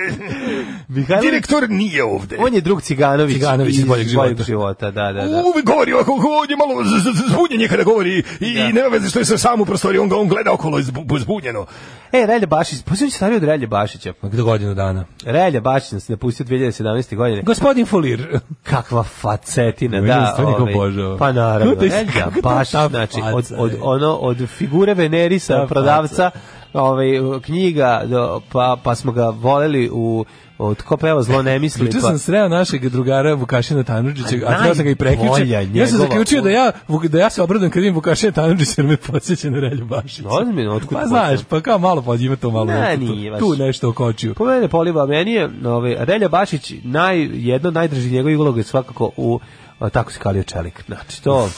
Mihajlo, Direktor nije ovde. on je drug Ciganović. Ciganović iz boljeg života. života. Da, da, da. Uvijek govori ovako, on je malo z- z- zbunjen kada govori i Da. nema veze što je sam sam u prostoriji, on, ga- on gleda okolo zbu- zbunjeno. E, Relja Bašić, posljedno će stariji od Relje Bašića. Gde godinu dana. Relja Bašić nas je napustio 2017. godine. Gospodin Fulir. kakva facetina, Vidim da da. stvarno ga obožavam. pa naravno, Kako to je- Relja kako to baš, ta znači, faca od, od, je? ono, od figure Venerisa, Ta prodavca, ovaj, knjiga, do, pa, pa smo ga voleli u, od ko peva zlo ne misli, Juče pa... sam sreo našeg drugara Vukašina Tanurđića, A a sreo sam ga i prekjuče. najbolja Ja sam njegova zaključio da ja Vuk- da ja se obradujem kad vidim Vukašina Tanurđića jer me podsjeća na Relju Bašića. Ozbiljno, otkud Pa pođe? znaš, pa kao malo pa ima to malo. Ne, tu- nije baš. Tu nešto okočio. Po mene poliva, meni je ovaj, Relja Bašić naj, jedno od najdražih njegovih uloga je svakako u a, tako se kalio čelik. Znači, to...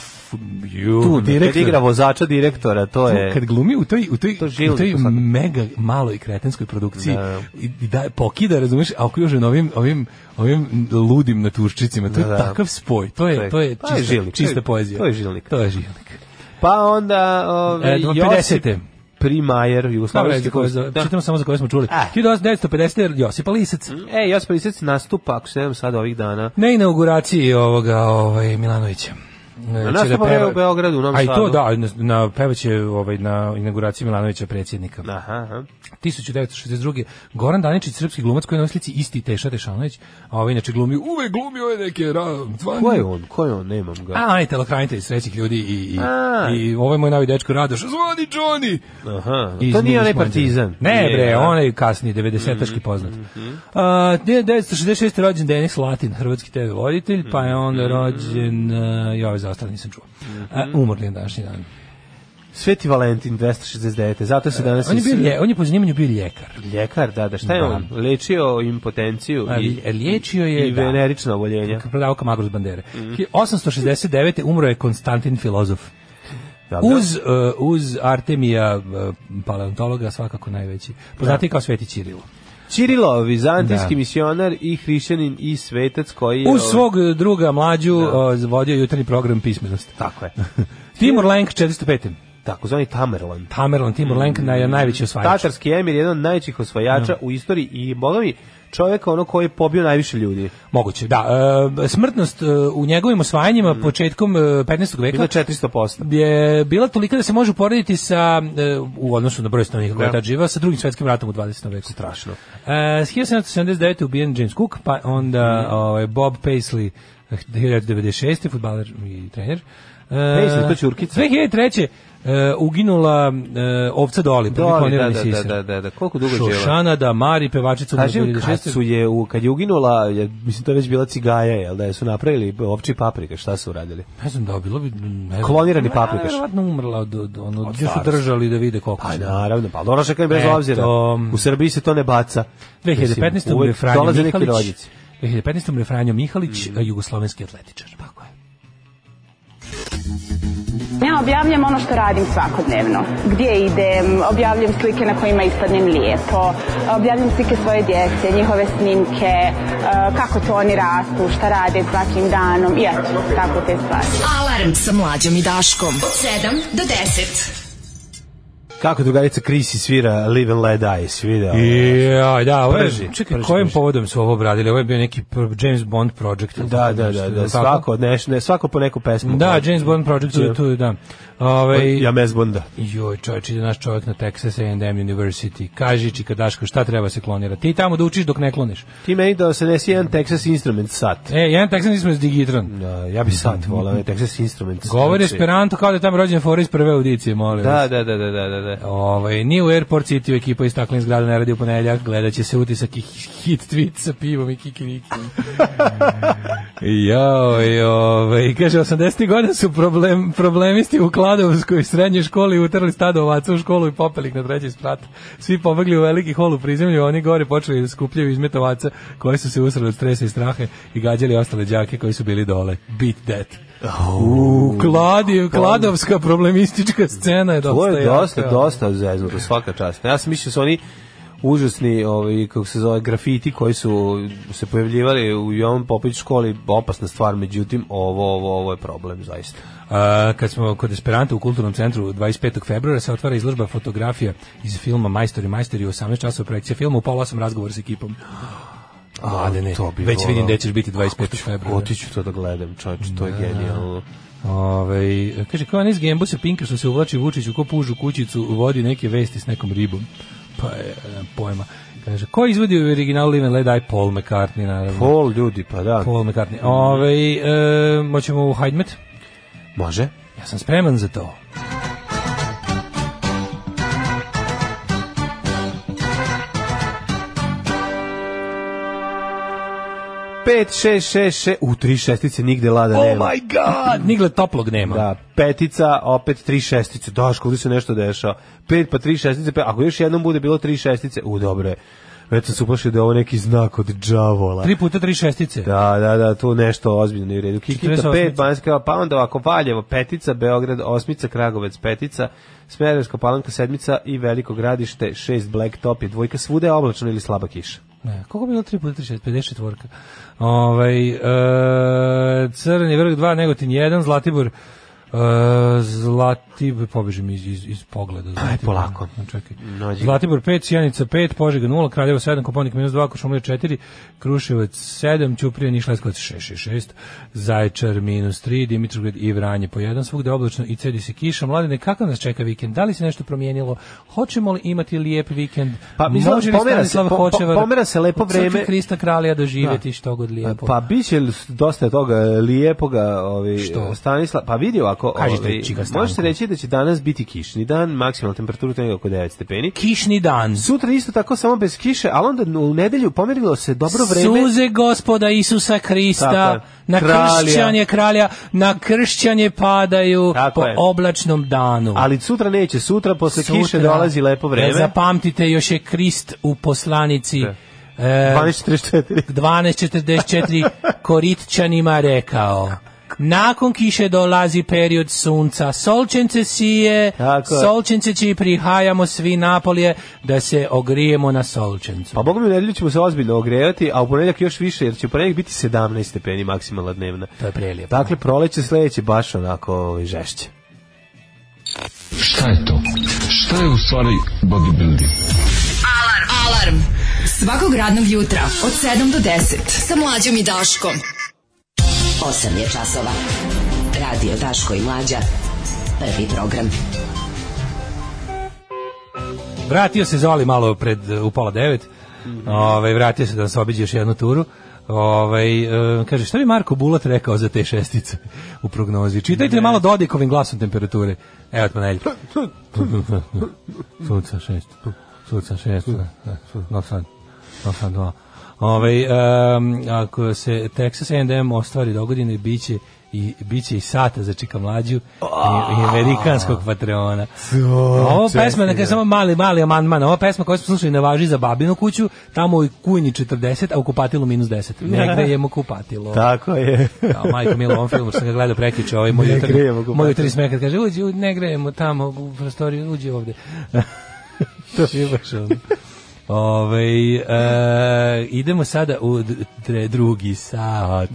ju, tu, kad direktor- igra vozača direktora, to je... kad glumi u toj u toj To to je žilni u toj posad. mega maloj kretenskoj produkciji Da. i, i da pokida razumeš a ako još na ovim ovim ovim ludim natuščicima to je Da, da. takav spoj to je to je Pa je čista, žilnik, to je- čista poezija to je žilnik. to je žilnik Pa onda... Ove, E, do 50-te. Primajer, Dobro, jugoslavijski... za koje, za, da. čitamo samo za koje smo čuli. Ah. 1950. Josipa Lisac. E, Josip Lisec nastupa, ako se nemam sad ovih dana. Na inauguraciji ovoga ovaj, Milanovića. Na nastupu u Beogradu, u Novom A i to Sadu. da, na, na pevaće ovaj, na inauguraciji Milanovića predsjednika. Aha, aha. 1962. Goran Daničić, srpski glumac koji je na ovoj slici isti Teša Tešanović, a ovaj inače glumi, uvek glumi ove neke ra- zvan- Ko je on? Ko je on? Nemam ga. A, on je telokranitelj srećih ljudi i, i, A. i ovo je moj novi dečko Radoš, zvani Johnny! Aha. Iz To nije onaj Nišmonđe. partizan. Ne Nije, bre, da. Mm-hmm, onaj kasni 90-taški poznat. A, 1966. rođen Denis Latin, hrvatski TV voditelj, pa je onda Mm-hmm. rođen, a, ja ove zaostale nisam čuo. A, umrli je na današnji dan. Sveti Valentin 269. Zato se danas... On je, bio, is- lje- on je po zanimanju bio ljekar. Ljekar, da, da. Šta je Da. e, on? Lečio impotenciju A, i, lje- liječio je... i Mm-hmm. da. venerična oboljenja. prodao kao magru s bandere. 869. umro je Konstantin Filozof. Dobro. Uz, uh, uz Artemija uh, paleontologa svakako najveći. Poznati kao Sveti Ćirilo. Čirilo, vizantijski Da. misionar i hrišćanin i svetac koji je... Uz svog uh, druga mlađu uh, vodio je jutarnji program pismenost. Tako je. Timur Lenk 405. Takozvani Tamerlan. Tamerlan Timur Mm. Lenk na, najveći osvajač. Tatarski emir je jedan od najvećih osvajača u istoriji i boga mi čovjek ono koji je pobio najviše ljudi. Moguće, da. Uh, smrtnost uh, u njegovim osvajanjima početkom uh, 15. veka Bilo Mm. je 400%. je bila tolika da se može uporediti sa e, u odnosu na broj stanovnika koji je tad živa sa drugim svetskim ratom u 20. veku. Strašno. E, 1779. ubijen James Cook, pa Mm. onda ovaj, Bob Paisley eh, 1996. futbaler i trener. E, Paisley, to će Urkica. 2003. e, uginula e, ovca Doli, prvi Doli, klonirani da, da, da, sisar. da, da, da. Koliko dugo je živela? Šošana da Mari, pevačica u Kažem, kad 2006. su je, u, kad je uginula, je, mislim to je već bila cigaja, jel da je su napravili ovči paprika, šta su uradili? Ne znam da, bilo bi... ne znam. Klonirani Ma, paprikaš. Verovatno umrla od, od, ono, gdje su starstva. držali da vide koliko Pa su. naravno, pa ono šekaj bez Eto. obzira. U Srbiji se to ne baca. 2015. Mislim, umre uvek Franjo dolaze Mm. neki Mihalić. rođaci. 2015. umre Franjo Mihalić, jugoslovenski atletičar. Tako je. Ja objavljam ono što radim svakodnevno. Gdje idem, objavljam slike na kojima ispadnem lijepo, objavljam slike svoje djece, njihove snimke, eh, kako to oni rastu, šta rade svakim danom i eto, tako te stvari. Alarm sa mlađom i Daškom. Od 7 do 10. Kako drugarica Krisi svira Live and Let Die, svidao. E, Ja, da, ovo je- Prži, čekaj, prži, kojim prži. povodom su ovo obradili? Ovo je bio neki pr- James Bond project. ili Da, tako da, nešto, da, je da, li svako, od neš, ne, svako po neku pesmu. Da, James Bond project, tu, tu, da. Ove, Pa, Ja mezbonda. Joj, čovječ, ide naš čovjek na Texas A&M University. Kaži, čika Daško, šta treba se klonirati? Ti tamo da učiš dok ne kloniš. Ti meni da se desi jedan Texas Instrument sat. E, jedan Texan nismo iz Digitron. Da, ja bi sat volao, ne, Texas Instrument. Govori Znači, Esperanto kao da je tamo rođen fora iz prve audicije, molim vas. Da, da, da, da, da, da. da. Ovaj ni u Airport City ekipa iz staklenih zgrada ne radi u ponedeljak, gledat će se utisak i hit tweet sa pivom i kikirikom. Joj, ovaj, kaže 80. godina su problem, problemisti u Kladovskoj srednjoj školi utrli stado ovaca u školu i popeli ih na treći sprat. Svi pobegli u veliki hol u prizemlju, a oni gore počeli da skupljaju izmet ovaca koji su se usrali od stresa i strahe i gađali ostale đake koji su bili dole. Beat that. U, kladi, kladovska problemistička scena je dosta Ovo je jaka. dosta, dosta zeznuto, svaka čast. Ja sam mislio su oni užasni, ovaj, kako se zove, grafiti koji su se pojavljivali u Jovan Popović školi, opasna stvar, međutim, ovo, ovo, ovo je problem, zaista. A, kad smo kod Esperanta u kulturnom centru 25. februara se otvara izložba fotografija iz filma Majstori Majstori u 18 časova projekcija filma u pola sam razgovor s ekipom. Mladene, to bi već volao. vidim da ćeš biti 25. februara. Otiću to da gledam, čovječe, to je genijalno. Ove, Ovaj, kaže, kao Anis Gembo se Pinkerson se uvlači Vučiću ko pužu kućicu, vodi neke vesti s nekom ribom. Pa je, pojma. Kaže, ko izvodi u originalu Live and Let Die? Paul McCartney, naravno. Paul, Pol ljudi, pa da. McCartney. Ove, e, moćemo u Hajdmet? Može? Ja sam spreman za to. Pet, šest, šest, šest, u tri šestice nigde lada nema. Oh my god! Nigle toplog nema. Da, petica, opet tri šestice. Daško, ovdje se nešto dešava. Pet pa tri šestice, pet. Ako još jednom bude bilo tri šestice, u, dobro je. već sam se uplašio da je ovo neki znak od džavola. Tri puta tri šestice. Da, da, da, tu nešto ozbiljno nije u redu. Kikinda 48. 5, Banjska, pa onda ovako Valjevo, Petica, Beograd, Osmica, Kragovec, Petica, Smederevska palanka, Sedmica i Veliko gradište, 6 Black Top je dvojka, svuda je oblačno ili slaba kiša. Ne, koliko je bilo 3 puta 36, 54. Ovaj, e, Crni vrh 2, Negotin 1, Zlatibor, e, Zlatibor, pobežim iz, iz, iz pogleda. Zlatibor. polako. Čekaj. Nođi. Zlatibor 5, Sjenica 5, Požega 0, Kraljevo 7, Koponik minus 2, Košumlija 4, Kruševac 7, Ćuprija, Niš, Leskovac 6, 6, 6, Zaječar minus 3, Dimitrovgrad i Vranje po 1, svugde oblačno i cedi se kiša. Mladine, kako nas čeka vikend? Da li se nešto promijenilo? Hoćemo li imati lijep vikend? Pa, mislim, Može li pomera se- Stanislav po- po- Hočevar pomera se lepo od Crkve vreme. Krista kralja doživjeti što god lijepo. Pa biće li dosta toga lijepoga, ovi Što? Stanislav, pa vidi ovako, Kažite, ovi, čika Stanko. može se reći da će danas biti kišni dan, maksimalna temperatura to je oko 9 stepeni. Kišni dan. Sutra isto tako samo bez kiše, ali onda u nedelju pomerilo se dobro vreme. Suze gospoda Isusa Tako Krista, je. na Kralja. kršćanje kralja, na kršćanje padaju Tako po je. oblačnom danu. Ali sutra neće, sutra posle Sutra, kiše dolazi lepo vreme. Da zapamtite, još je Krist u poslanici Da. e, 12.44. 1244 Koritčanima rekao Nakon kiše dolazi period sunca, solčence sije, Tako je. solčence će i prihajamo svi napolje da se ogrijemo na solčencu. Pa Bogom mi u nedelju ćemo se ozbiljno ogrejati, a u ponedjeljak još više, jer će u ponedjeljak biti 17 stepeni maksimalna dnevna. to je prelijepo. Dakle, proleće sledeće baš onako ovaj, žešće. Šta je to? Šta je u stvari bodybuilding? Alarm. Alarm. Svakog radnog jutra od 7 do 10. Sa mlađom i Daškom. 8 je časova. Radio Daško i Mlađa. Prvi program. Vratio se Zoli malo pred e, u pola devet. Ovaj, vratio se da se obiđe još jednu turu. Ovaj, e, kaže, šta bi Marko Bulat rekao za te šestice u prognozi? Čitajte malo Dodikovim glasom temperature. Evo od ponedjeljka. Sunca šest. Sunca šest. No sad. No sad dva. Ovaj, em, ako se Texas A&M ostvari dogodine, bit će i bit će i sata za čika mlađu i, i amerikanskog patreona. Ovo pesma, neka je samo mali, mali amandman, ova pesma koju smo slušali ne važi za babinu kuću, tamo u kujni 40, a u kupatilu minus 10. Negde je mu kupatilo. Tako je. Kao majko Milo, on film što sam ga gledao prekiče, ovaj moj Ne jutarnji- grejemo kupatilo. moj jutarnji smekar kaže, uđi, uđi, ne grejemo tamo u prostoriju, uđi ovde. to je baš ono. Ovaj, e, idemo sada u d- tre- drugi sat.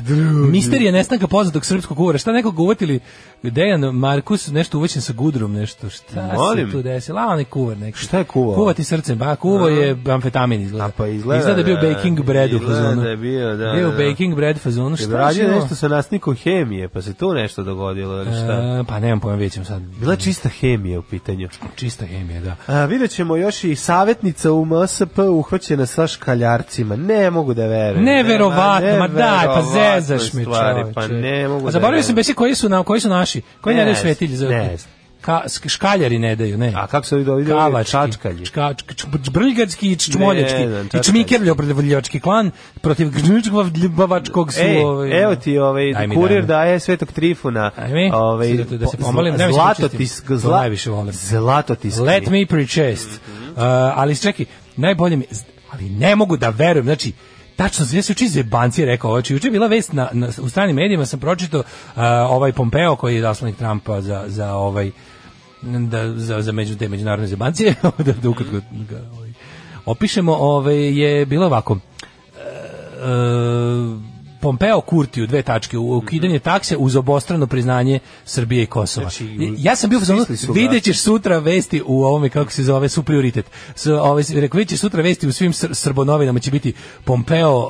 Misterija nestanka poznatog srpskog uvora. Šta nekog uvatili? Dejan Markus nešto uvećen sa gudrom, nešto. Šta Molim? se tu desilo? A, onaj kuvar neki. Šta je kuvao? Kuvati srcem. Pa, kuvo je amfetamin izgleda. A, pa izgleda da je da, bio baking bread u izgleda fazonu. da je bio, da, Bio da, da. baking bread fazonu. Jel Šta radio je ovo? nešto sa nasnikom hemije, pa se tu nešto dogodilo ili šta? E, pa nemam pojma, vidjet ćemo sad. Bila je čista hemija u pitanju. Čista hemija, da. A, vidjet ćemo još i savjetnica u MSP uhvaćena sa škaljarcima. Ne mogu da verujem. Neverovatno, Nema, ma daj, pa neverovatno zezaš me stvari, čoveče. Pa ne mogu A zaboravio da sam verujem. besi koji su nam, koji su naši, koji Ne ne daju znam, svetilje za ne znam. Ka, sk- škaljari ne daju, ne. A kako se ovi dovidio? Kavački, Čačkalji. čka- čk- čk- Čbrljarski i čmoljački, Ne znam, i čačkalji. čmikerljoprljočki klan protiv gžnjčvavljovačkog su ovaj... Ej, E, evo ti ovaj Aj mi kurir daj mi. daje Svetog Trifuna. Ajme, ovaj sad da- da se po- pomolim, nemoj se Zlatotisk, počistim. To zla- najviše volim. Zlatotisk. Let me prechest. Uh, ali čekaj, najbolje mi, ali ne mogu da verujem, znači, Tačno, sve se uči zebanci je rekao, ovo juče je bila vest na, na, u stranim medijima, sam pročitao uh, ovaj Pompeo koji je zaslanik Trumpa za, za ovaj da, za, za među, te međunarodne zebancije, da, da ukratko ga, ovaj, opišemo, ovaj, je bilo ovako, e, Pompeo Kurtiju dve tačke u ukidanje takse uz obostrano priznanje Srbije i Kosova. Mhm. Znači, ja sam bio u fazonu, stisli su ga. videćeš sutra vesti u ovome kako se zove su prioritet. S, ovaj rekao videćeš sutra vesti u svim sr srbonovinama će biti Pompeo uh,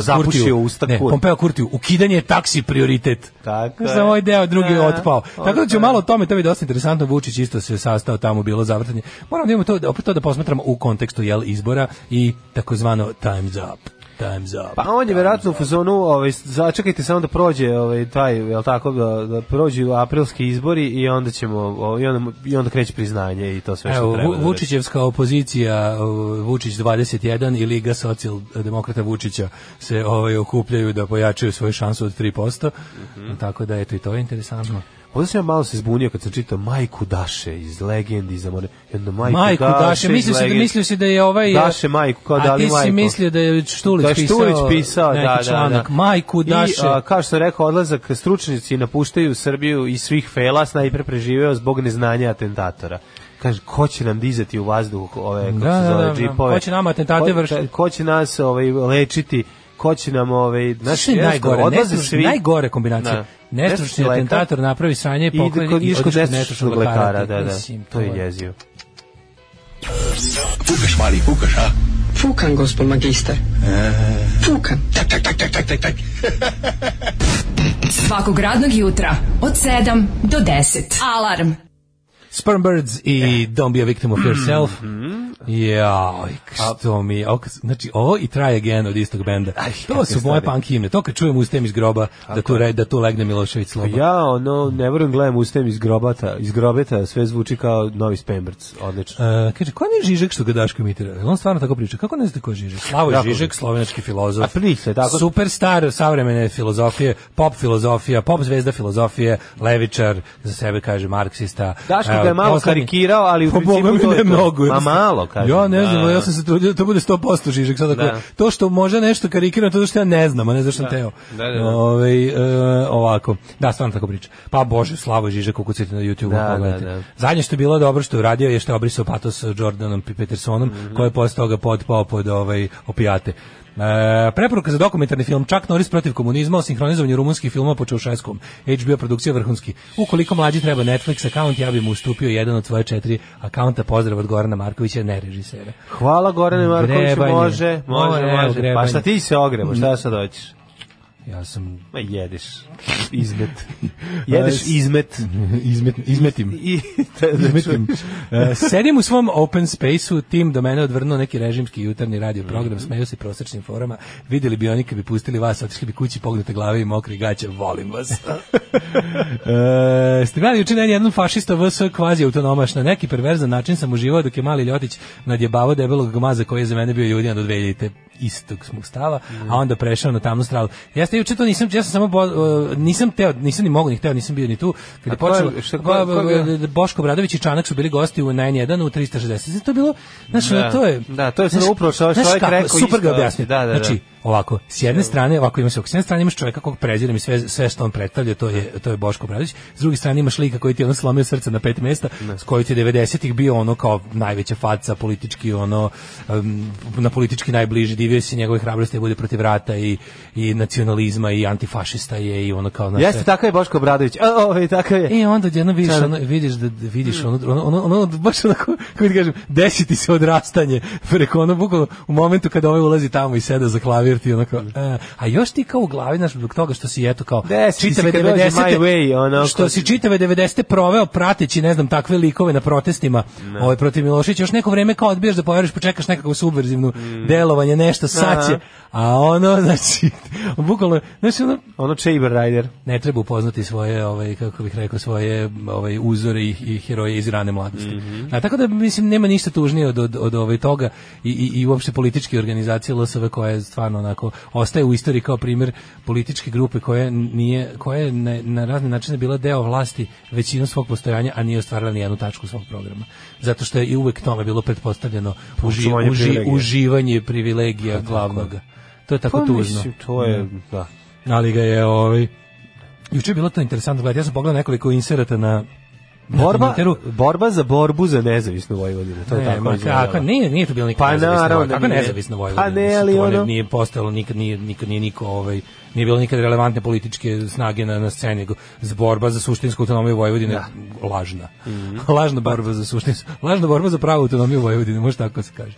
Zapušio Kurtiju. usta ne, Kurtiju. Pompeo Kurtiju ukidanje taksi prioritet. Tako je. Za ovaj deo drugi je Da, otpao. Tako da otpao. ću Pa malo o tome, to je dosta interesantno. Vučić isto se sastao tamo, bilo zavrtanje. Moram da imamo to, opet to da posmatramo u kontekstu jel, izbora i takozvano time's up. Time's up. Pa on je verovatno u fazonu, ovaj začekajte samo da prođe ovaj taj, jel tako, da, da prođu aprilski izbori i onda ćemo ovaj, i onda mu- i onda kreće priznanje i to sve što Evo, treba. Vu- Vučićevska opozicija, uh, Vučić 21 i Liga socijaldemokrata Vučića se Mhm. ovaj okupljaju da pojačaju svoju šansu od 3%. Tako da eto i to je interesantno. Onda sam ja malo se zbunio kad sam čitao Majku Daše iz legendi iz Amore. I onda Majku, Majku Daše, mislio iz si da Legendi. mislio si da je ovaj Daše Majku kao da A ti li si Majku. mislio da je Štulić da je pisao. Štulić pisao, neki da, da, da. članak. Majku Daše. I, a, kao što sam rekao, odlazak stručnjaci napuštaju Srbiju i svih fela, najpre preživeo zbog neznanja atentatora. Kaže, ko će nam dizati u vazduh ove, kako Da, se da, zove, da, da. džipove? Ko će nama atentate Ko- vršiti? Ko će nas ovaj, lečiti? Ko će nam, ovaj, Znaš, znaš, je jednostavno, najgore, odlaze nestručni- svi- najgore kombinacija. Da. Nestručni lekar atentator napravi sranje, i pokloni kod- i iško odiš kod nestručnog lekara, da, da, to je jezio. Fukaš, mali, fukaš, a? Fukan, gospod magister. Fukan. Tak, tak, tak, tak, tak, tak, tak. Svakog radnog jutra od 7 do 10. Alarm. Sperm Birds Eh. i Don't be a victim of yourself. Mhm. Jaj, što mi... je- ok, Znači, ovo i Try Again od istog benda. To su moje punk himne. To kad čujem ustem iz groba, da tu, re- da tu legne Milošević Sloba. Ja, ono, ne volim gledam ustem iz grobata, iz grobeta, sve zvuči kao novi Spembrc, odlično. E, kaže, ko nije Žižek što ga Daško imitira? Jel On stvarno tako priča. Kako ne znate ko je Žižek? Slavoj Jako Žižek, slovenački filozof. A priča, tako- Superstar savremene filozofije, pop filozofija, pop zvezda filozofije, levičar, za sebe kaže marksista. Daško E, ga je malo poslednji- karikirao, ali u Pa principu Boga mi to je ne to. mnogo. Ma jednostavno. malo, kažem. Ja ne znam, Da. ja sam se trudio da to bude 100% Žižek. Sad ako, Da. To što možda nešto karikirano, to je zato što ja ne znam, a ne zašto sam teo. Da, da, da. Ovaj, e, ovako. Da, stvarno tako priča. Pa Bože, Slavo Žižek, ukucajte na YouTube. Da, pogledajte. da, da. Zadnje što je bilo dobro što je uradio je što je obrisao patos sa Jordanom P- Petersonom, koji je posle toga potpao pod ovaj opijate. E, preporuka za dokumentarni film Čak Norris protiv komunizma o sinhronizovanju rumunskih filma po Čaušeskom. HBO produkcija vrhunski. Ukoliko mlađi treba Netflix akaunt, ja bi mu ustupio jedan od svoje četiri akaunta. Pozdrav od Gorana Markovića, ne režisera. Hvala Gorane Marković, Grebanje. može, može, Evo, može. Pa grebanje. šta ti se ogremo, šta sad hoćeš? Ja sam... Ma jedeš izmet. Pa, Jedeš izmet. Izmet, izmetim. I, da, da Izmetim. E, sedim u svom open space-u, tim do mene odvrnuo neki režimski jutarnji radio program, smeju se prosečnim forama, vidjeli bi oni kad bi pustili vas, otišli bi kući, pognute glave i mokri gaće, volim vas. e, ste gledali učinjenje jednom fašista VS kvazi autonomaš, na neki perverzan način sam uživao dok je mali ljotić nadjebavao debelog gmaza koji je za mene bio judina do 2000 istog smo stava, a onda prešao na tamnu stranu. Ja ste juče to nisam, ja sam samo bo- e, nisam teo, nisam ni mogu ni hteo, nisam bio ni tu kad A je ko je- počelo. e, šta- ko je- ko je bio? Boško Bradović i Čanak su bili gosti u N1 u 360. Znači, to je bilo, znači Da. to je. Da, to je sad znaš- upravo što ovaj znaš čovjek kako, rekao Super ga isto. objasnio. Da, da, da. Znači, ovako, s jedne strane, ovako ima se, s jedne strane imaš čovjeka kog prezirem i sve, sve što on predstavlja, to je, to je Boško Bradović. S druge strane imaš lika koji ti je ono slomio srce na pet mjesta, s koji ti je 90-ih bio ono kao najveća faca politički, ono, um, na politički najbliži, divio si njegove hrabrosti da bude protiv rata i, i nacionalizma i antifašista je i ono kao... znaš, sve- Jeste, takav je Boško Obradović. A, ove, takav je. E, onda jedno vidiš, Šta? ono, vidiš da da vidiš Mm. ono, ono, ono, ono baš onako, kako ti kažem, desiti se odrastanje preko ono, bukvalno u momentu kada ovaj ulazi tamo i seda za klavir ti onako, e, a još ti kao u glavi, znaš, zbog toga što si eto kao Desi ti čitave se kad dođe My 90-te, Way, ono, što ko- si čitave 90 proveo prateći, ne znam, takve likove na protestima ovaj, protiv Milošića, još neko vreme kao odbijaš da poveriš, počekaš nekako subverzivno Mm. delovanje, nešto, sad će, a ono, znači, bukvalno, znači, ono, Ono Chamber Rider. ne treba upoznati svoje ovaj kako bih rekao svoje ovaj uzore i, i heroje iz rane mladosti. Mhm. A tako da mislim nema ništa tužnije od od, od ovaj toga i i i uopšte političke organizacije LSV koja je stvarno onako ostaje u istoriji kao primjer političke grupe koja nije koja je na, na razne načine bila deo vlasti većinu svog postojanja, a nije ostvarila ni jednu tačku svog programa. Zato što je i uvek tome bilo pretpostavljeno uži, Očuvanje uži- privilegija. uživanje privilegija glavnog. To je tako Pa, tužno mislim, To je, da. ali ga je ovaj juče je bilo to interesantno gledati ja sam pogledao nekoliko inserata na na Borba, Twitteru. borba za borbu za nezavisnu Vojvodinu. To je Ne, tako. ma izgledalo. kako, nije, nije to bilo nikad Pa nezavisno, naravno Vojvodina, da kako nije. nezavisno Pa Vojvodina, ne, mislim, ali to ono- nije postojalo nikad, nije, nikad nije niko, ovaj, nije bilo nikad relevantne političke snage na, na sceni, nego z- borba za suštinsku autonomiju Vojvodine, je lažna. Mhm. lažna borba za suštinsku, lažna borba za pravu autonomiju Vojvodine, može tako se kaže.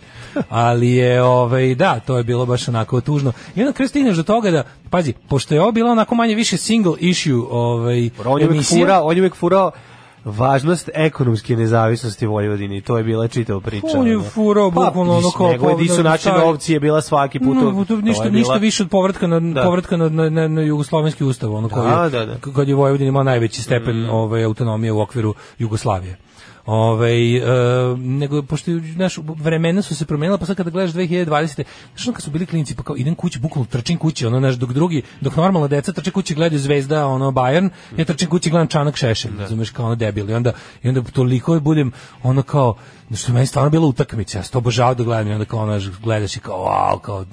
ali je, ovaj, da, to je bilo baš onako tužno. I onda kada stigneš do toga da, pazi, pošto je ovo bila onako manje više single issue ovaj, On je uvek emisija, furao, on je uvek furao važnost ekonomske nezavisnosti Vojvodine i to je bila čitava priča. On je ono. furao bukvalno ono kao Njegove povratak disu način stari. ovci je bila svaki put. No, to ništa, to je bila- ništa više od povratka na Da. povratka na, na, na, na jugoslovenski ustav, ono koji je- da, Mm. da. ovaj, kad je Vojvodina imao najveći stepen ove autonomije u okviru Jugoslavije. Ovaj e, nego pošto naš vremena su se promenila, pa sad kada gledaš 2020, znaš ono kad su bili klinici pa kao idem kući, bukvalno trčim kući, ono naš dok drugi, dok normalna deca trče kući gledaju Zvezda, ono Bayern, ja trčim kući gledam Čanak Šešelj, da. razumeš kao ono debil i onda i onda toliko budem ono kao što je meni stvarno bila utakmica, ja sam to obožavao da gledam i onda kao ono, gledaš i kao, wow, kao,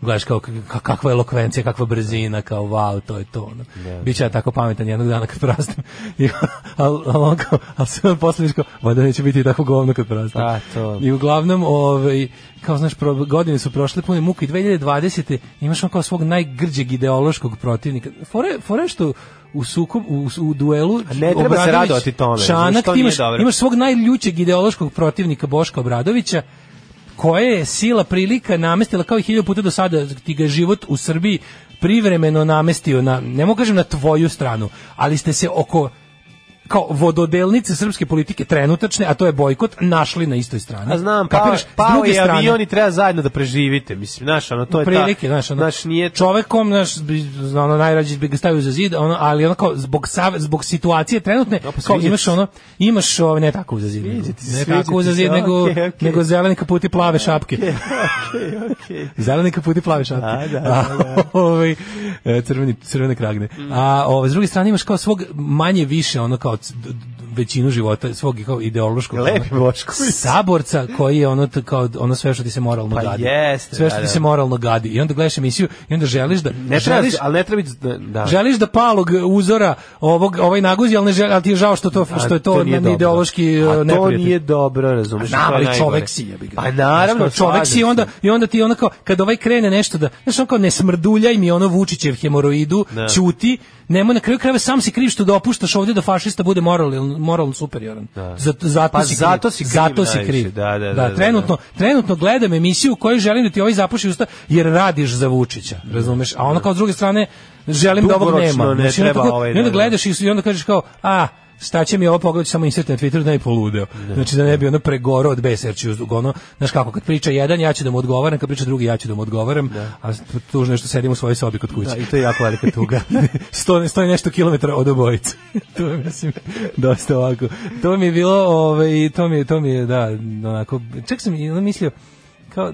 gledaš kao ka- kakva je elokvencija, kakva brzina, kao wow, to je to. Ono. Da. Biće ja tako pametan jednog dana kad prastim. I, al, al, on kao, al se on posle viš kao, vada neće biti tako govno kad prastim. A, to. I uglavnom, ovaj, kao znaš, pro, godine su prošle pune muke i 2020. imaš on kao svog najgrđeg ideološkog protivnika. Fore, fore što u sukob, u, u duelu A ne treba se Obradović- radovati tome, znaš, Čanak, to ti imaš, nije dobro. imaš svog najljućeg ideološkog protivnika Boška Obradovića, koje je sila prilika namestila kao i hiljadu puta do sada ti ga je život u Srbiji privremeno namestio na, ne mogu kažem na tvoju stranu, ali ste se oko kao vododelnice srpske politike trenutačne, a to je bojkot, našli na istoj strani. A znam, pa Kapiraš? S pao druge je strane- avion i treba zajedno da preživite. Mislim, znaš, ono, to je prilike, ta... znaš, ono, nije čovekom, znaš, bi, ono, najrađe bi ga stavio za zid, ono, ali ono kao zbog, sav, zbog situacije trenutne, kao sviđa imaš ti ono, imaš ovo, ne tako za zid, nego, se, ne sviđa tako ti za se, zid, nego, okej, okej. nego zeleni kaputi plave šapke. Zeleni kaputi plave šapke. A, ovaj, e, crveni, crvene kragne. Mm. A ovaj, s druge strane imaš kao svog manje više, ono kao c- d- d- većinu života, svog kao ideološkog. Lepi ono, Bošković. Saborca koji je ono, t- kao, ono sve što ti se moralno Pa gadi. jeste, sve što da, ti da. se moralno gadi. I onda gledaš emisiju i onda želiš da... Ne treba, želiš, ali ne treba biti... da- Da. Želiš da palog uzora ovog ovaj naguzi, ali ne žel, ali ti je žao što to A što je to, nije na- dobro. ideološki e, A to neprijatelj. nije dobro, razumeš? Znam, to je ali najgore. čovek si jebi ga. Pa Znaš naravno, kao, čovek si i slažem onda se. i onda ti onako kad ovaj krene nešto da znaš onako ne smrduljaj mi ono Vučićev hemoroidu, Da. ćuti, nemoj na kraju krajeva sam si kriv što dopuštaš ovdje da fašista bude moralno moralno superioran. Zato, zato Pa si kriv. zato si kriv zato si najviše, kriv. da, da, da, da, da. trenutno trenutno gledam emisiju u kojoj želim da ti ovaj zapuši usta jer radiš za Vučića, razumeš? A ono kao s druge strane želim da ovog Dugoročno nema. ne Znači, ono treba tako- ovaj I onda da- gledaš i i onda kažeš kao, a, šta će mi ovo pogledati samo insert na Twitteru da ne poludeo. Znači da ne bi ono pregoro od besa, jer ću uz- ono, znaš kako, kad priča jedan, ja ću da mu odgovaram, kad priča drugi, ja ću da mu odgovaram, a tu- tužno je što sedim u svojoj sobi kod kuće. Da, i to je jako velika tuga. Sto, sto i nešto kilometara od obojice. to je, mislim, dosta ovako. To mi je bilo, ovaj, to mi je, to mi je, da, onako, čak sam i ono mislio, kao,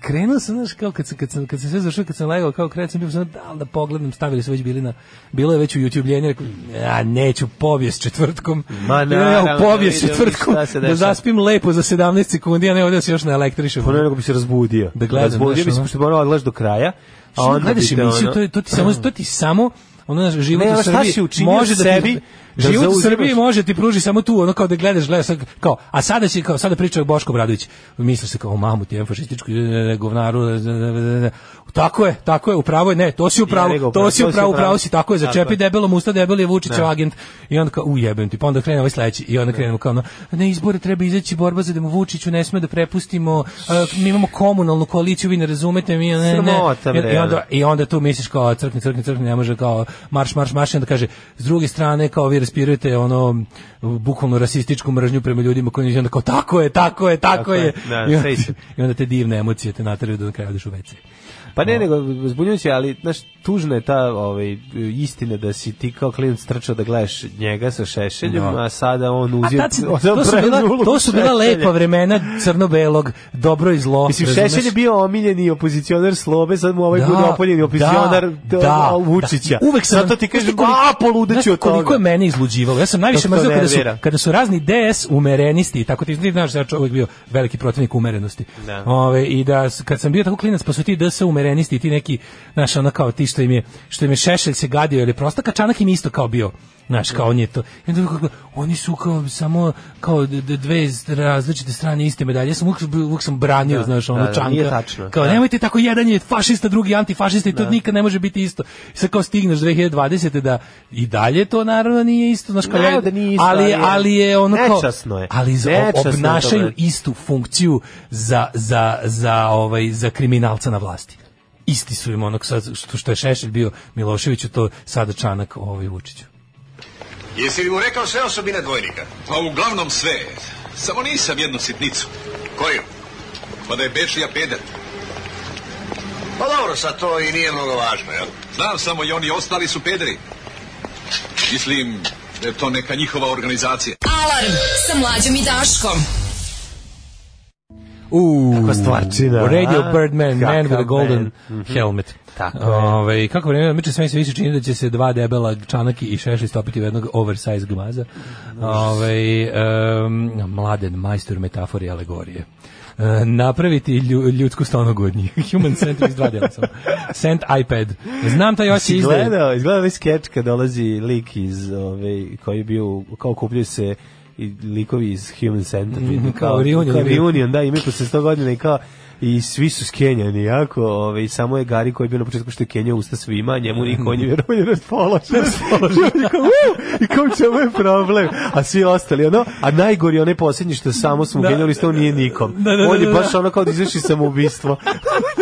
krenuo sam, znaš, kao kad, sam- kad, sam, kad sam sve završio, kad sam legao, kao krenuo sam, bio sam, da, li da pogledam, stavili su već bili na, bilo je već u YouTube ljenje, rekao, ja neću povijest četvrtkom, Ma, ja naravno, u povijest da vidim četvrtkom, šta se da dešava. zaspim lepo za 17 sekundi, a ne ovdje da se još ne elektrišem. Pa ne, nego bi se razbudio. Da gledam, razbudio znaš, bi se, ono. pošto bi morao odlaš do kraja. A Što onda gledaš bi te emisiju, ono- to, je- to ti samo, to ti samo ono, znaš, život Ne, u ali šta si Srbiji učinio može da ti- sebi da život u zauzimaš? Srbiji može ti pruži samo tu, ono kao da gledaš, gledaš, sad kao, a sada će, kao, sada priča Boško Bradović, misli se kao, o, mamu ti je fašističku e, e, govnaru, e, e, e, e. tako je, tako je, upravo je, ne, to si Ja upravo, rekao, to si upravo, upravo, upravo si, tako je, Tako začepi je. debelom usta, debeli je Vučićev Da. agent, i onda kao, ujebem ti, pa onda krene ovaj sledeći, i onda krenemo kao, ono, ne, izbore treba izaći, borba za demo Vučiću, ne sme da prepustimo, e, mi imamo komunalnu koaliciju, vi ne razumete, mi, ne, ne, Sramota, I- bre, i onda, ono. i onda tu misliš kao crkni, crkni, crkni, ne može kao marš, marš, marš, i onda kaže, s druge strane kao vi respirujete ono bukvalno rasističku mržnju prema ljudima koji i onda kao tako je, tako je, tako, Tako je. je, da, I, onda, sej se. I onda te divne emocije te nateraju da na kraju odeš u WC. Pa ne, nego zbunjujuće, ali znaš, tužna je ta ovaj, istina da si ti kao klinac trčao da gledaš njega sa šešeljom, No. a sada on uzio... A tad, se- on to, su preuzeo bila, ulogu to su bila Šešelja. lepa vremena crno-belog, dobro i zlo. Mislim, razumeš? Šešelj je bio omiljeni opozicionar Slobe, sad mu ovaj Da, bude opoljeni opozicionar da, da, da, Vučića. da. Uvek sam, Zato ti znaš kažem, koliko- a, poludeću od znaš koliko toga. je mene izluđivalo. Ja sam najviše Kako to mrzio kada su, nervira. kada su razni DS umerenisti, i tako ti ti znaš, ja sam uvek bio veliki protivnik umerenosti. Da. Ove, I da s- kad sam bio tako klinac, pa su ti DS umerenisti i ti neki, znaš, ono kao ti što im je, što im je šešelj se gadio, ili prosto kačanak im isto kao bio. Znaš, kao on je to. I onda kako, oni su kao samo kao d- d- dve različite strane iste medalje. Ja sam uvijek, uvijek sam branio, Da, znaš, ono da, da, čanka. nije tačno. Kao, Da. nemojte tako, jedan je fašista, drugi antifašista i to nikad ne može biti isto. I sad kao stigneš 2020. da i dalje to naravno nije isto, znaš, kao, Naravno da nije isto, ali, ali je- ali je ono kao, nečasno je. ali za, Nečasno je to, obnašaju bre. istu funkciju za, za, za, ovaj, za kriminalca na vlasti. Isti su im onog sad, što, što je Šešelj bio Miloševiću, to sada Čanak ovaj Vučiću. Jesi li mu rekao sve osobine dvojnika? Pa uglavnom sve. Samo nisam jednu sitnicu. Koju? Pa da je Bečija peder. Pa dobro, sad to i nije mnogo važno, jel? Znam samo i oni ostali su pederi. Mislim da je to neka njihova organizacija. Alarm sa mlađom i Daškom. U, Kakva stvarčina, Radio znači, a? Birdman, Kakav Man with a Golden man. Mhm. Helmet. Tako je. Ove, kako vreme, miče sve mi se više čini da će se dva debela čanaki i šešli stopiti u jednog oversize gmaza. Ove, em, mladen majstor metafore i alegorije. E, napraviti lju, ljudsku stonogu od njih. Human centric dva dela samo. Sent iPad. Znam taj oči Jesi izdaje. gledao, izgleda ovaj skeč kad dolazi lik iz, ove, koji je bio, u- kao kupljaju se i likovi iz Human Centipede. Mhm, kao reunion. Kao reunion, da, imaju posle 100 godina i kao, i svi su skenjani jako, ove, i samo je Gari koji je bio na početku što je kenjao usta svima, a njemu niko on je vjerovanje raspoložen. I kao, "U!" I kao, u čemu je problem? A svi ostali, ono, a najgori je onaj posljednji što samo smo Da. da, kenjali usta, on nije nikom. Da, da, on je da, da. baš ono kao da izvrši samoubistvo.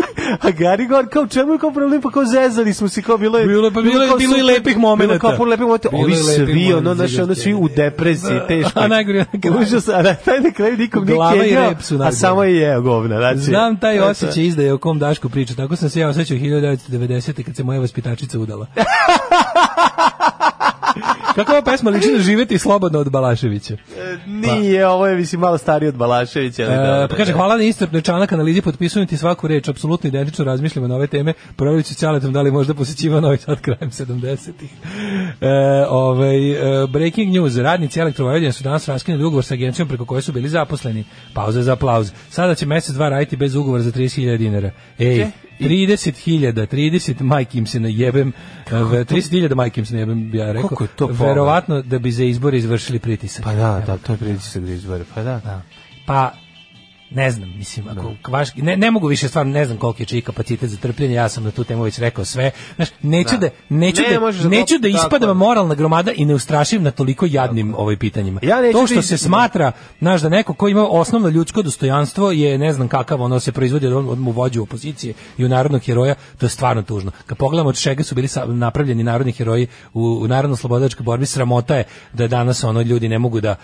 A Gary Gore, kao u čemu je kao problem, pa kao zezali smo se, kao bilo je... Bilo je- pa bilo je- kao bilo je super, lepih momenata. Bilo kao puno lepih momenta, Bilo je ovi lepih svi, momenata ono, za znaš, ono, svi u žrtvovanje. depresiji, Da. teško. A najgori je na kraju. Užas, a na taj na kraju nikom nije Glava i kenjao, rep su a najgori. samo je jeo govna, znači. Znam taj Eto. osjećaj izdaje o kom Daško priča. Tako sam se ja osjećao 1990. kad se moja vaspitačica udala. Kako ova pesma liči na živeti slobodno od Balaševića? e, Nije, ovo je, mislim, malo stariji od Balaševića. ali dobro, Pa. E, pa kaže, da. hvala na istrpnoj članak analizi, potpisujem ti svaku reč, apsolutno identično razmišljamo na ove teme, provjerit ću s Aletom da li je možda posjećivao novi sad krajem 70-ih. E, ovaj, e, breaking news, radnici elektrovojvodina su danas raskinuli ugovor sa agencijom preko koje su bili zaposleni. Pauza za aplauz. Sada će mjesec dva raditi bez ugovora za 30.000 dinara. Ej, 30.000, 30 majke im se najebem, e, 30.000 majke im se najebem, ja rekao. Koliko je to pola? Verovatno da bi za izbore izvršili pritisak. Pa da, da, to je pritisak da izbore, pa da. Pa ne znam, mislim, ako vaš, ne, ne mogu više stvarno, ne znam koliki je čiji kapacitet za trpljenje, ja sam na tu temu već rekao sve. Znaš, neću da, Da. neću Ne možeš da, da neću da tako ispadam je. moralna gromada i ne ustrašim na toliko jadnim ovaj pitanjima. Ja neću to da što se is- smatra, znaš, da neko ko ima osnovno ljudsko dostojanstvo je ne znam kakav, ono se proizvodi od, od mu vođu opozicije i u narodnog heroja, to je stvarno tužno. Kad pogledamo od čega su bili sa- napravljeni narodni heroji u, u narodno-slobodačkoj borbi, sramota je da danas ono ljudi ne mogu da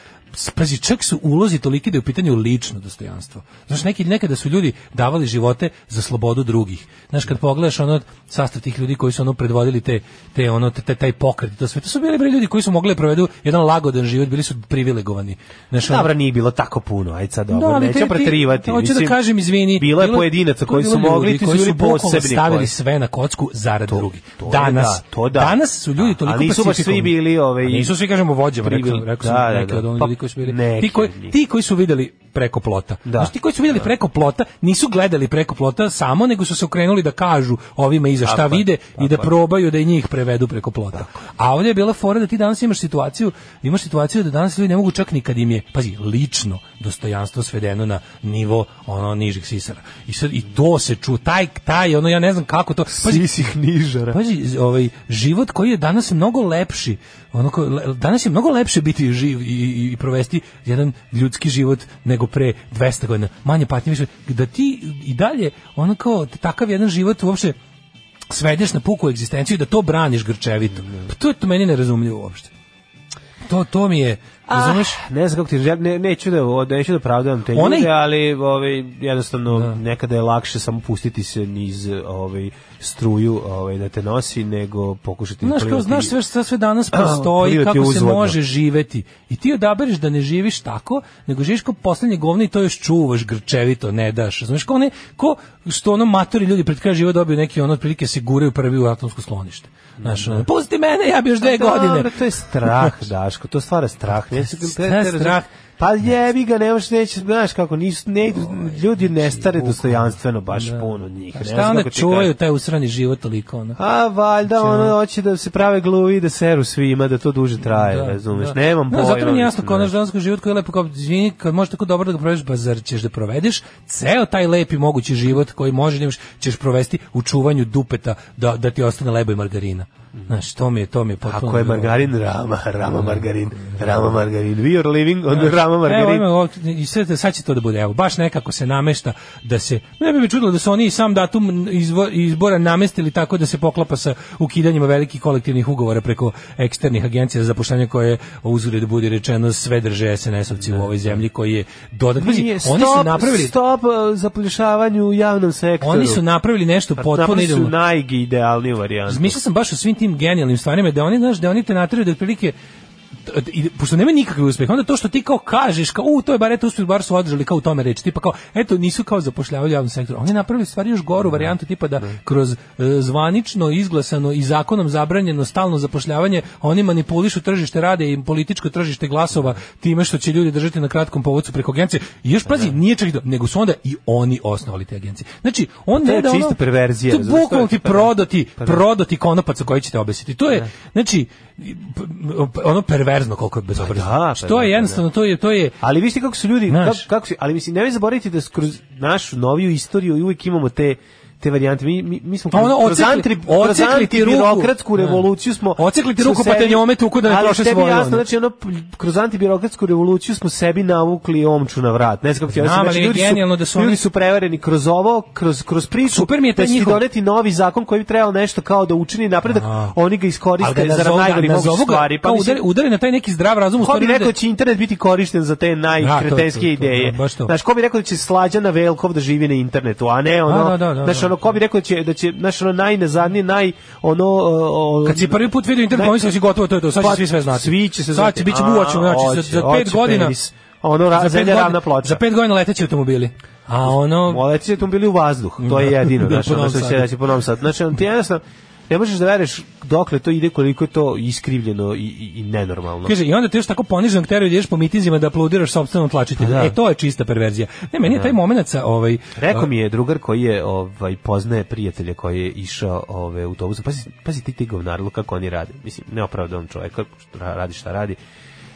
Pazi, čak su ulozi toliki da je u pitanju lično dostojanstvo. Znaš, neki, nekada su ljudi davali živote za slobodu drugih. Znaš, kad pogledaš ono sastav tih ljudi koji su ono predvodili te, te ono, te, te- taj pokret, i to sve, to su bili bre ljudi koji su mogli da provedu jedan lagodan život, bili su privilegovani. Znaš, ono- Dobro, nije bilo tako puno, ajde sad dobro, ali neću te- ti- preterivati. Hoću da mislim, kažem, izvini. Bilo je bilo- pojedinaca to koji je su bilo mogli, ljudi ti koji su su ljudi bukvalno posebni. stavili koji- sve na kocku zarad drugih. to je Danas, da, to da. danas su ljudi toliko Ali nisu baš pacifikovani. svi bili, ovaj, A Nisu svi kažemo vođama, rekao, privil- rekao sam da, da, neke da. od onih Pa, ljudi koji su bili. neki ti koji od njih. ti koji su videli preko plota. Znači, ti koji su videli preko plota, nisu gledali preko plota samo, nego su se okrenuli da kažu ovima iza šta Tako je, vide i da tako je. probaju da i njih prevedu preko plota. A ovdje je bila fora da ti danas imaš situaciju, imaš situaciju da danas ljudi ne mogu čak ni kad im je, pazi, lično dostojanstvo svedeno na nivo ono nižih sisara. I sad i to se ču, taj, taj, ono ja ne znam kako to, pazi, Sisih nižara. Pazi, z- ovaj život koji je danas mnogo lepši. Ono ko- le- danas je mnogo lepše biti živ i, i, i provesti jedan ljudski život nego pre 200 godina. Manje patnje više da ti i dalje ono kao takav jedan život uopšte svedeš na puku egzistenciju i da to braniš grčevito. Pa to je to meni nerazumljivo uopšte. To to mi je, razumeš? Ne znam kako ti želim, ne, neću da, o, neću da pravdam te Onaj- ljude, ali ovaj, jednostavno nekada je lakše samo pustiti se niz ovaj, struju ovaj, da te nosi, nego pokušati... Znaš, kao, plivati- znaš sve šta sve danas postoji, Plivati kako se uzvodno. može živeti. I ti odabereš da ne živiš tako, nego živiš kao poslednje govno i to još čuvaš grčevito, ne daš. Znaš, kao, ne, ko što ono matori ljudi pred kraj života dobiju neki ono otprilike se guraju prvi u atomsko sklonište. Znaš, ono, pusti mene, ja bi još dve Pa Dobro, godine. to je strah, Daško, to stvara strah. Ne, Šta je strah? Pa jebi ga, nemaš neće, znaš kako, nisu, ne, ljudi ne znači, stare dostojanstveno baš puno njih. Ne Šta znam onda kako ti čuvaju kažem. taj usrani život toliko, ono? A valjda Znači, ono ono- hoće da se prave gluvi, da seru svima, da to duže traje, razumeš? Nemam Da, pojma. Zato mi je jasno mislim, kao znaš. naš danski život koji je lepo kao izvini, kad možeš tako dobro da ga provedeš, pa zar ćeš da provedeš ceo taj lepi mogući život koji može da imaš, ćeš provesti u čuvanju dupeta da, da ti ostane lebo i margarina. Znaš, to mi je, to mi je potpuno... Ako Mhm. je margarin, rama, rama margarin, rama margarin. We are living on rama Evo, margarin. ima ovo, i sad, sad će to da bude, evo, baš nekako se namešta da se, ne bi me čudilo da su oni i sam datum izvo- izbora namestili tako da se poklapa sa ukidanjima velikih kolektivnih ugovora preko eksternih agencija za zapošljanje koje, uzgled budi rečeno, sve drže SNS-ovci u ovoj zemlji koji je dodatno, Pazi, Nije, oni su stop- napravili... Stop uh, zaplišavanju u javnom sektoru. Oni su napravili nešto Pa, potpuno napravili su idealno. najgidealniju varijantu. Mislio sam baš o svim tim genijalnim stvarima da oni znaš da oni te nateraju da otprilike i, pošto nema nikakve uspeha, onda to što ti kao kažeš, kao, u, to je bar eto uspjeh, bar su održali kao u tome reči, tipa kao, eto, nisu kao zapošljavali u javnom sektoru. Oni napravili stvari još goru varijantu, tipa da kroz e, zvanično, izglasano i zakonom zabranjeno stalno zapošljavanje, oni manipulišu tržište rade i političko tržište glasova time što će ljudi držati na kratkom povodcu preko agencije. I još pazi, nije čak i to, nego su onda i oni osnovali te agencije. Znači, on Pa To je ne da ono- čista perverzija, To je razumeš, to je bukvalno ti tipa- prodati, Pa da. prodati konopac sa koji ćete obesiti. To je, znači, p- p- ono perverzno koliko Pa je bezobrazno. što je jednostavno, to je, to je... Ali vi ste kako su ljudi, Znaš. kako, kako su, ali mislim, nemoj zaboraviti da kroz našu noviju istoriju i uvijek imamo te te varijante. Mi, mi, mi smo A ono, kroz, ocekli- antri, kroz ocekli ti ruku. antibirokratsku Da. revoluciju smo... Ocekli ti smo ruku, pa te sebi- njome tuku da ne ali troše tebi svoje, jasno, ono. znači, ono, p- kroz antibirokratsku revoluciju smo sebi navukli omču na vrat. Ne znam kako ti ja Znam, sam, ali je ljudi genijalno da su oni- ljudi su prevareni kroz ovo, kroz, kroz priču, Super mi je taj da će ti njihov- doneti novi zakon koji bi trebao nešto kao da učini napredak, oni ga iskoriste ga za nazovu- najgori da, moguće nazovu ga- stvari. pa kao mislim- udari- udari na taj neki zdrav razum, Ko u stvari bi onda- rekao da će internet biti korišten za te Da, to najkretenske je to, to, ideje? da, baš to. Znaš, ko bi rekao da će Slađana Velkov da živi na internetu, a ne ono... Da, da, da, da, znaš, da. ono, ko bi rekao da će, da će znaš, ono, najnezadnije, naj, ono... o, o, Kad si prvi put vidio internet, naj- pomislio si gotovo, to je to, sad će Pa, svi sve znati. Svi će se Sad će, bit će buvač, A, znači, za, hoće, za hoće pet godina... penis. Ono, ra, za pet zemlja godina- ravna ploča. Za pet godina leteći automobili. A ono... Moleći tu bili u vazduh, to je Da. jedino, Da, znaš, po ono Novom što Sadu. se daći po novom sadu. Znači, on ti jednostavno, ne možeš da veruješ dokle to ide, koliko je to iskrivljeno i, i, i nenormalno. Kaže, i onda te još tako ponižan teraju da ideš po mitinzima da aplaudiraš sopstvenom tlačitelju. Pa Da. E, to je čista perverzija. Ne, meni je Da. taj moment sa, ovaj... Rekao mi je drugar koji je ovaj poznaje prijatelja koji je išao ovaj autobusom. Pazi, pazi ti ti govnarilo kako oni rade. Mislim, neopravdan čovjek kako što ra- radi šta radi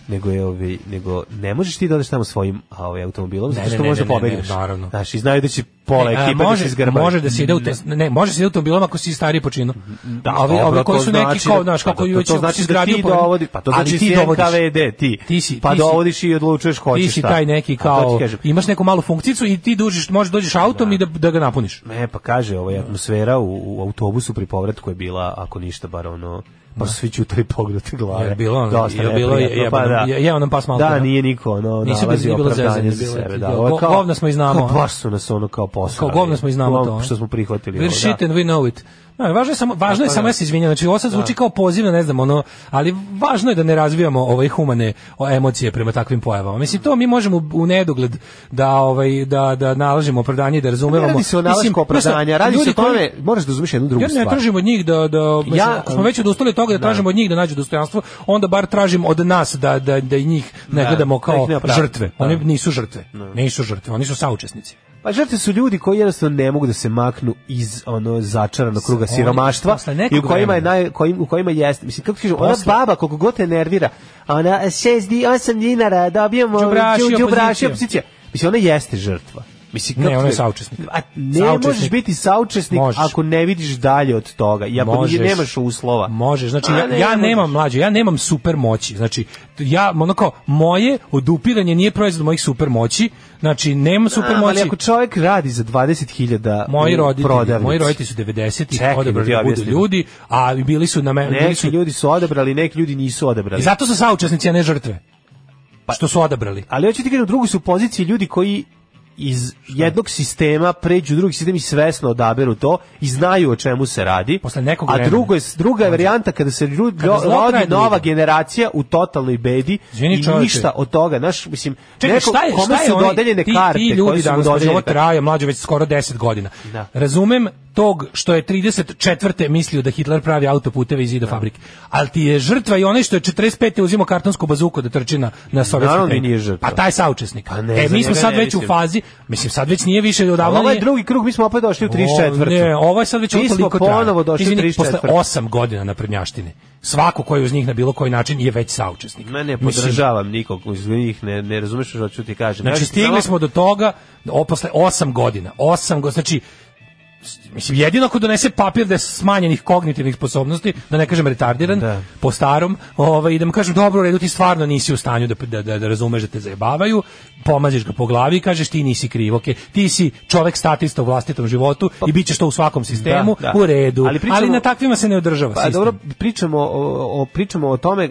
nego je ovaj nego ne možeš ti da odeš tamo svojim a, ovaj automobilom Ne, zato ne, što ne, možeš ne, da ne, ne, pobegneš. naravno. Znaš, i znaju da će pola E, a, ekipe da se može, izgrba. može da se ide u te, ne, može se ide u automobilom ako si stariji počinu. Da, ovi, Dobro, ovi koji to su neki znači kao, da- znaš, pa kako to- ju to znači da ti dovodi, pa to znači ti NKVD, ti. Ti si- pa ti si- dovodiš i odlučuješ hoćeš Ti si šta. taj neki A to ti kao, kažem. imaš neku malu funkcijicu i ti dužiš, možeš dođeš autom i da, da ga napuniš. Ne, pa kaže, ovaj atmosfera u, u autobusu pri povratku je bila, ako ništa, bar ono, pa su svi ćutali pogledati glave. Je bilo ono, Dosta je bilo neprijatno, Pa je- jebeno, je- jeo nam pas malo, Da, da. nije niko, ono, Nisu nalazi bili- nije bilo opravdanje zezanje, za bilo je sebe. to, Da, go- Ovo kao- govna smo i znamo, Kao a? baš su nas ono kao posrali. Kao govna smo i znamo Kao to, ono. a? Što smo prihvatili. We're ovo, shit da. and we know it. No, važno je samo važno je Tako je. samo ja se izvinjavam. Znači ovo sad zvuči Da. kao poziv, ne znam, ono, ali važno je da ne razvijamo ovaj humane o, emocije prema takvim pojavama. Mislim to mi možemo u- u nedogled da ovaj da da nalažemo opravdanje i da razumevamo. Ne radi se o Mislim, nalasku opravdanja, znaš, radi se ljudi o koji- tome, moraš da razumiš jednu drugu Ja stvar. ne tražim od njih da da mislim, Ja- ako smo već odustali od toga da, tražimo od njih da nađu dostojanstvo, onda bar tražim od nas da da da i njih ne Da, gledamo da kao ih ne opravdamo. žrtve. Da. Oni nisu žrtve. Nisu žrtve, oni su saučesnici. Pa žrtve su ljudi koji jednostavno ne mogu da se maknu iz ono začaranog kruga Oni- siromaštva posle nekog i u kojima je naj, kojim, u kojima jeste. Mislim kako ti kažem, ona Posle- baba koliko god te nervira, ona 6 di 8 dinara dobijemo Đubraši đu- đubraši opozicija. opozicija. Mislim ona jeste žrtva. Mislim Ne, kako ona je ti- saučesnik. A ne Saučesnik. možeš biti saučesnik Možeš. ako ne vidiš dalje od toga i ako nije, Možeš. nemaš uslova. Možeš, znači Pa, A ja, ne, ja ne nemam mlađe, ja nemam super moći. Znači ja ono kao moje odupiranje nije proizvod mojih super moći. Znači nemam super Ali moći. ako čovjek radi za 20.000 Moji u roditelji, prodavnici, moji roditelji su 90 Čekaj, i da odabrali ti da budu objasnim. ljudi, a bili su na meni, bili Neki su ljudi su odabrali, neki ljudi nisu odabrali. I zato su saučesnici, a ne žrtve. Pa- što su odabrali. Ali hoću ti kažem, u drugoj su poziciji ljudi koji iz jednog sistema pređu u drugi sistem i svesno odaberu to i znaju o čemu se radi. Posle nekog A vremena. drugo je, druga je varijanta kada se ljudi, Kada zlo traje rodi dugo. nova generacija u totalnoj bedi Izvini, i čoveče. ništa od toga. Znaš, mislim, Čekaj, neko, šta je, kome šta je su onaj- dodeljene ti, karte? ti kome ljudi su danas, znači, dodeljene ovo karte? traje mlađe već skoro 10 godina. Da. Razumem tog što je 34. mislio da Hitler pravi autoputeve i zida fabrike. Ali ti je žrtva i onaj što je 45. uzimao kartonsku bazuku da trči na, na sovjetski Naravno da tank. nije žrtva. Pa taj je saučesnik. Pa ne, e, za mi smo njega sad ne već u mislim. fazi, mislim sad već nije više Ali odavno. ovaj nije- drugi krug, mi smo opet došli u 34. O, Ne, ovo je sad već Mi smo toliko ponovo došli u Izvini, 34. Posle 8 godina na prednjaštine. Svako koji je uz njih na bilo koji način je već saučesnik. Ne, ne Mislim, podržavam nikog iz njih, ne, ne razumeš što ću ti kažem. Znači, Kažem ti stigli samo- smo do toga, o, posle 8 godina, 8 godina, znači, s- mislim, jedino ako donese papir da je smanjenih kognitivnih sposobnosti, da ne kažem retardiran, po starom, ovaj, i da mu kažem, dobro, u redu, ti stvarno nisi u stanju da, da, da, da razumeš da te zajebavaju, pomaziš ga po glavi i kažeš, ti nisi kriv, okej, ti si čovek statista u vlastitom životu i bit ćeš to u svakom sistemu, da. u redu, Ali ali, pričamo- na takvima se ne održava Pa sistem. dobro, pričamo o, o- pričamo o tome e,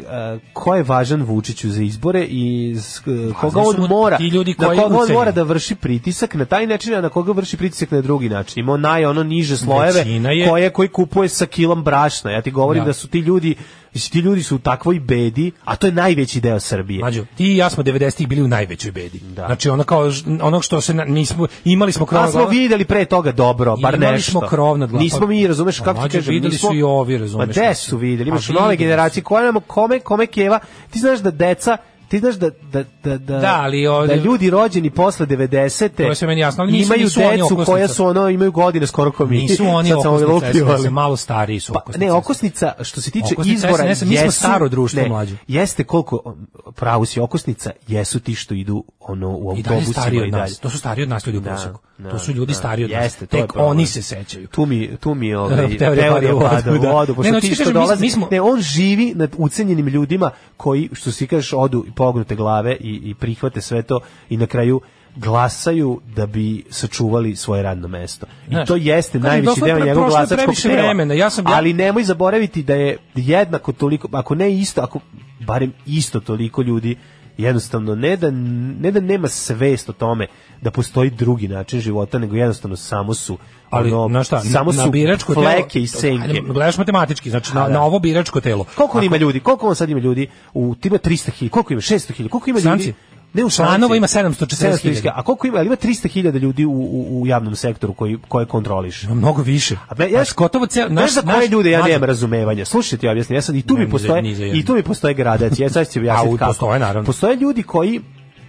ko je važan Vučiću za izbore i s- e, koga znaš, on mu mora, ti ljudi na koji koga on ucenjuju. mora da vrši pritisak na taj način, a na koga vrši pritisak na drugi način. Ima on naj ono niže slojeve Većina je- koje koji kupuje sa kilom brašna. Ja ti govorim Da. da, su ti ljudi mislim, ti ljudi su u takvoj bedi, a to je najveći deo Srbije. Mađo, ti i ja smo 90-ih bili u najvećoj bedi. Znači ono kao ž- ono što se na- nismo imali smo krov Pa nad smo glavom. videli pre toga dobro, bar Imali nešto. smo krov nad glavom. Nismo mi, razumeš Pa, kako ti mlađe, kažem, videli nismo- su i ovi, razumeš, Ma gde mislim. su videli? Imaš Pa, nove videli generacije koja nam kome kome keva. Ti znaš da deca Ti znaš da, da, da, da, Da, ali ovde- da ljudi rođeni posle 90-te To je sve meni jasno, ali nisu- imaju nisu oni decu okosnica. koja su ono, imaju godine skoro ko mi. Nisu oni Sad sam ovo okosnica lupio, SNS, ali- Pa, malo stariji su okosnica Ne, okosnica, što se tiče Okosnica izbora, SNS, mi smo jesu- staro društvo, ne, mlađe. Jeste koliko, pravu si, okosnica, jesu ti što idu ono u I dalje autobusima stariji od i dalje. nas. To su stariji od nas ljudi u Da, proseku. da, To su ljudi da. stariji od nas. Jeste, to je Tek problem. oni se sećaju. Tu mi, tu mi ovaj, Teorija teorija pada u pada vodu, u da. vodu, Ne, pošto no, ti hoću što kažem, mi- dolazi, mi smo- ne, on živi nad ucenjenim ljudima koji, što si kažeš, odu i pognute glave i, i prihvate sve to i na kraju glasaju da bi sačuvali svoje radno mesto. I Znaš, to jeste kažem, najveći dosta je deo pre- njegovog prošlo je glasačkog previše tela. vremena, ja sam- ja- Ali nemoj zaboraviti da je jednako toliko, ako ne isto, ako barem isto toliko ljudi jednostavno ne da, ne da nema svest o tome da postoji drugi način života, nego jednostavno samo su ali ono, na šta, samo na, su biračko telo- fleke i Ajde, senke. Gledaš matematički, znači na, A, da. na ovo biračko telo. Koliko on ima ljudi? Koliko on sad ima ljudi? U tima 300.000, koliko ima? 600.000, koliko ima Stranci? ljudi? Ne u Članova ima 740.000. 740.000. A koliko ima? Ali ima 300.000 ljudi u, u, u javnom sektoru koji koje kontroliš. Ima Mnogo više. A be, ja Znaš, Pa gotovo cel, znaš za koje ljude ja mlađe- nemam razumevanja. Slušaj ti objasni, ja sad i tu Ne, mi ni za- postoje ni za jedno. i tu mi postoje gradac. Ja sad ću ti A, u- objasniti kako. postoje, naravno. Postoje ljudi koji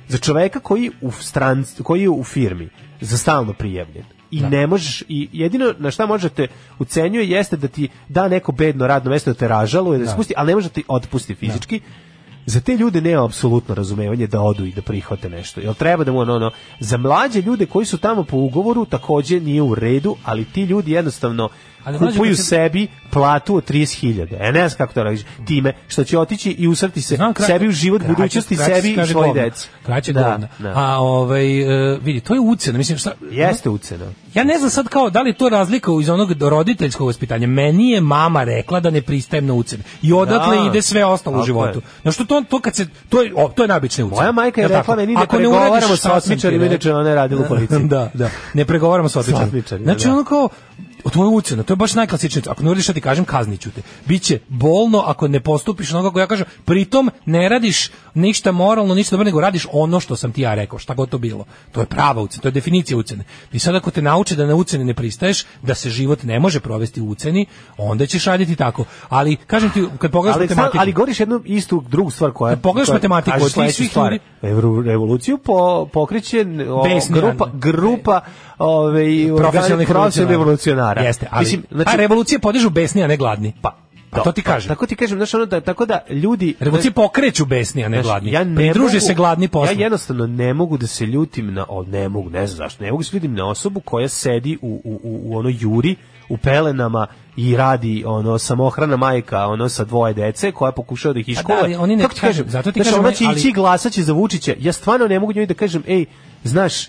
za čoveka koji u stran koji je u firmi za stalno prijavljen i Da. ne možeš i jedino na šta možete ucenjuje jeste da ti da neko bedno radno mesto da te ražaluje da, Da. da. spusti, ali ne može da ti otpusti fizički. Za te ljude nema apsolutno razumevanje da odu i da prihvate nešto. Jel treba da mu ono, ono, za mlađe ljude koji su tamo po ugovoru takođe nije u redu, ali ti ljudi jednostavno Ali mlađe kupuju kad se- sebi platu od 30.000. E ne znam kako to radiš. Time što će otići i usrti se Znam, kra- sebi u život, kraće- budućnosti, kraće se sebi i kaže svoji govno. deci. Kraće Da, govna. da. A ovaj e, vidi, to je ucena, mislim šta Jeste ucena. Ja ne znam sad kao da li je to razlika iz onog roditeljskog vaspitanja. Meni je mama rekla da ne pristajem na ucene. I odatle Da. ide sve ostalo u Tako životu. je. Znaš što to, to kad se, to je, o, to je najobičnija ucena. Moja majka je Jel tako? rekla meni da Ako ne pregovaramo uradiš sa šta sam ti otmičarima, rekla- inače ona je radila u policiji. da, da. Ne pregovaramo sa Sa otmičarima. otmičarima, Znači da. ono kao, to je ucena, to je baš najklasičnije. Ako ne uradiš šta ti kažem, kazniću te. Biće bolno ako ne postupiš onako kako ja kažem. Pritom ne radiš ništa moralno, ništa dobro, nego radiš ono što sam ti ja rekao, šta god to bilo. To je prava ucena, to je definicija ucene. I sad ako te nauče da na ucene ne pristaješ, da se život ne može provesti u uceni, onda ćeš raditi tako. Ali kažem ti, kad pogledaš Ali, sad, matematiku, ali govoriš jednu istu drugu stvar koja je... Kad pogledaš matematiku, od tih svih ljudi- revoluciju po, pokriće o, Besni grupa, radnik. grupa ovaj, profesionalnih organi- profesionalnih revolucionara. Jeste, ali, Mislim, znači, a revolucije podižu besni, a ne gladni. Pa, da, to ti pa, kažem. Tako ti kažem, znaš, ono da, tako da ljudi... Revolucije pokreću besni, a ne Znaš, gladni. Ja ne Pridruže mogu- se gladni poslu. Ja jednostavno ne mogu da se ljutim na o, ne mogu, ne znam zašto, ne mogu da se ljutim na osobu koja sedi u u u, u ono juri u pelenama i radi ono samohrana majka ono sa dvoje dece koja pokušava da ih iškoluje. Pa ali oni ne- Kako ti kažem, kažem, zato ti znaš, kažem, ona oni- će ali- ići i glasaće za Vučića. Ja stvarno ne mogu njoj da kažem, ej, znaš,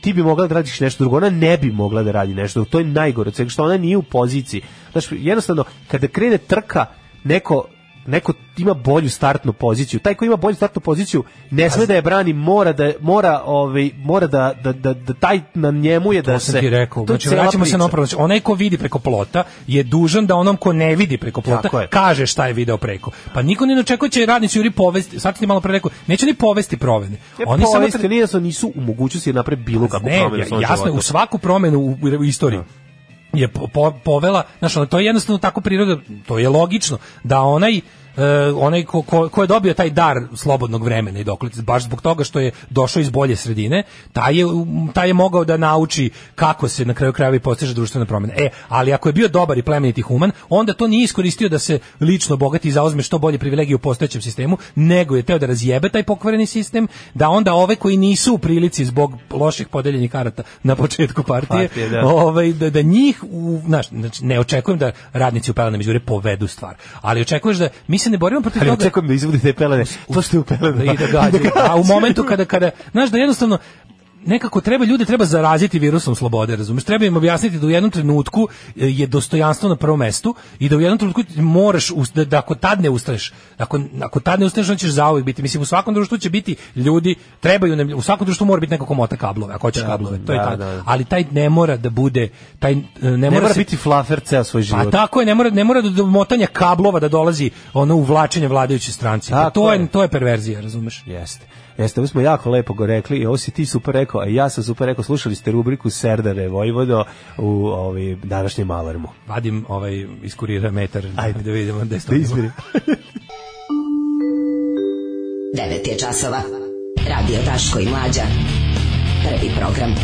ti bi mogla da radiš nešto drugo, ona ne bi mogla da radi nešto drugo, to je najgore, od svega što ona nije u poziciji. Znaš, jednostavno, kada krene trka, neko neko ima bolju startnu poziciju. Taj koji ima bolju startnu poziciju ne sme da je brani, mora da mora ovaj mora da da da, da taj na njemu je da to sam se ti rekao. to je Znači, cela vraćamo se priča. na opravo. Znači, onaj ko vidi preko plota je dužan da onom ko ne vidi preko Tako plota je. kaže šta je video preko. Pa niko ne očekuje će radnici juri povesti, sad ti malo pre rekao, neće ni povesti provene. Ne, Oni samo E, povesti, nije da su- nisu u mogućnosti da naprave bilo kakvu ne, promenu u svom jasno, je, životu. u svaku promenu u, u istoriji je po, po, povela, znaš, ono, to je jednostavno tako priroda, to je logično, da onaj e, onaj ko, ko, ko je dobio taj dar slobodnog vremena i dokle baš zbog toga što je došao iz bolje sredine taj je, um, taj je mogao da nauči kako se na kraju krajeva i postiže društvena promena e, ali ako je bio dobar i plemeniti human onda to nije iskoristio da se lično bogati i zauzme što bolje privilegije u postojećem sistemu nego je teo da razjebe taj pokvareni sistem da onda ove koji nisu u prilici zbog loših podeljenih karata na početku partije, Partije, da. ovaj da, da njih u, znaš, znači ne očekujem da radnici u pelenama đure povedu stvar, ali očekuješ da mi se ne borimo protiv Ali toga očekujem da izvodi te pelene. To što je u pelenama. i da gađaju. A u momentu kada kada znaš da jednostavno nekako treba ljude treba zaraziti virusom slobode, razumeš? Treba im objasniti da u jednom trenutku e, je dostojanstvo na prvom mestu i da u jednom trenutku ti moraš ust- da, da ako tad ne ustaješ, ako ako tad ne ustaješ, on ćeš zauvek biti. Mislim u svakom društvu će biti ljudi, trebaju nam- u svakom društvu mora biti neko ko mota kablove, ako hoćeš kablove. To je da, tako. da, da. Ali taj ne mora da bude taj e, ne, Ne, mora se- biti flafer ceo svoj život. pa tako je, ne mora, ne mora do, do motanja kablova da dolazi ono uvlačenje vladajuće stranci. Pa Tako to je, je. to je perverzija, razumeš? Jeste. Jeste, ovo smo jako lepo go rekli i ovo si ti super rekao, a ja sam super rekao, slušali ste rubriku Serdare Vojvodo u ovaj, današnjem alarmu. Vadim ovaj iz kurira metar Ajde. da vidimo gde Da izmeri. 9 je časova. Radio Daško i Mlađa. Prvi program.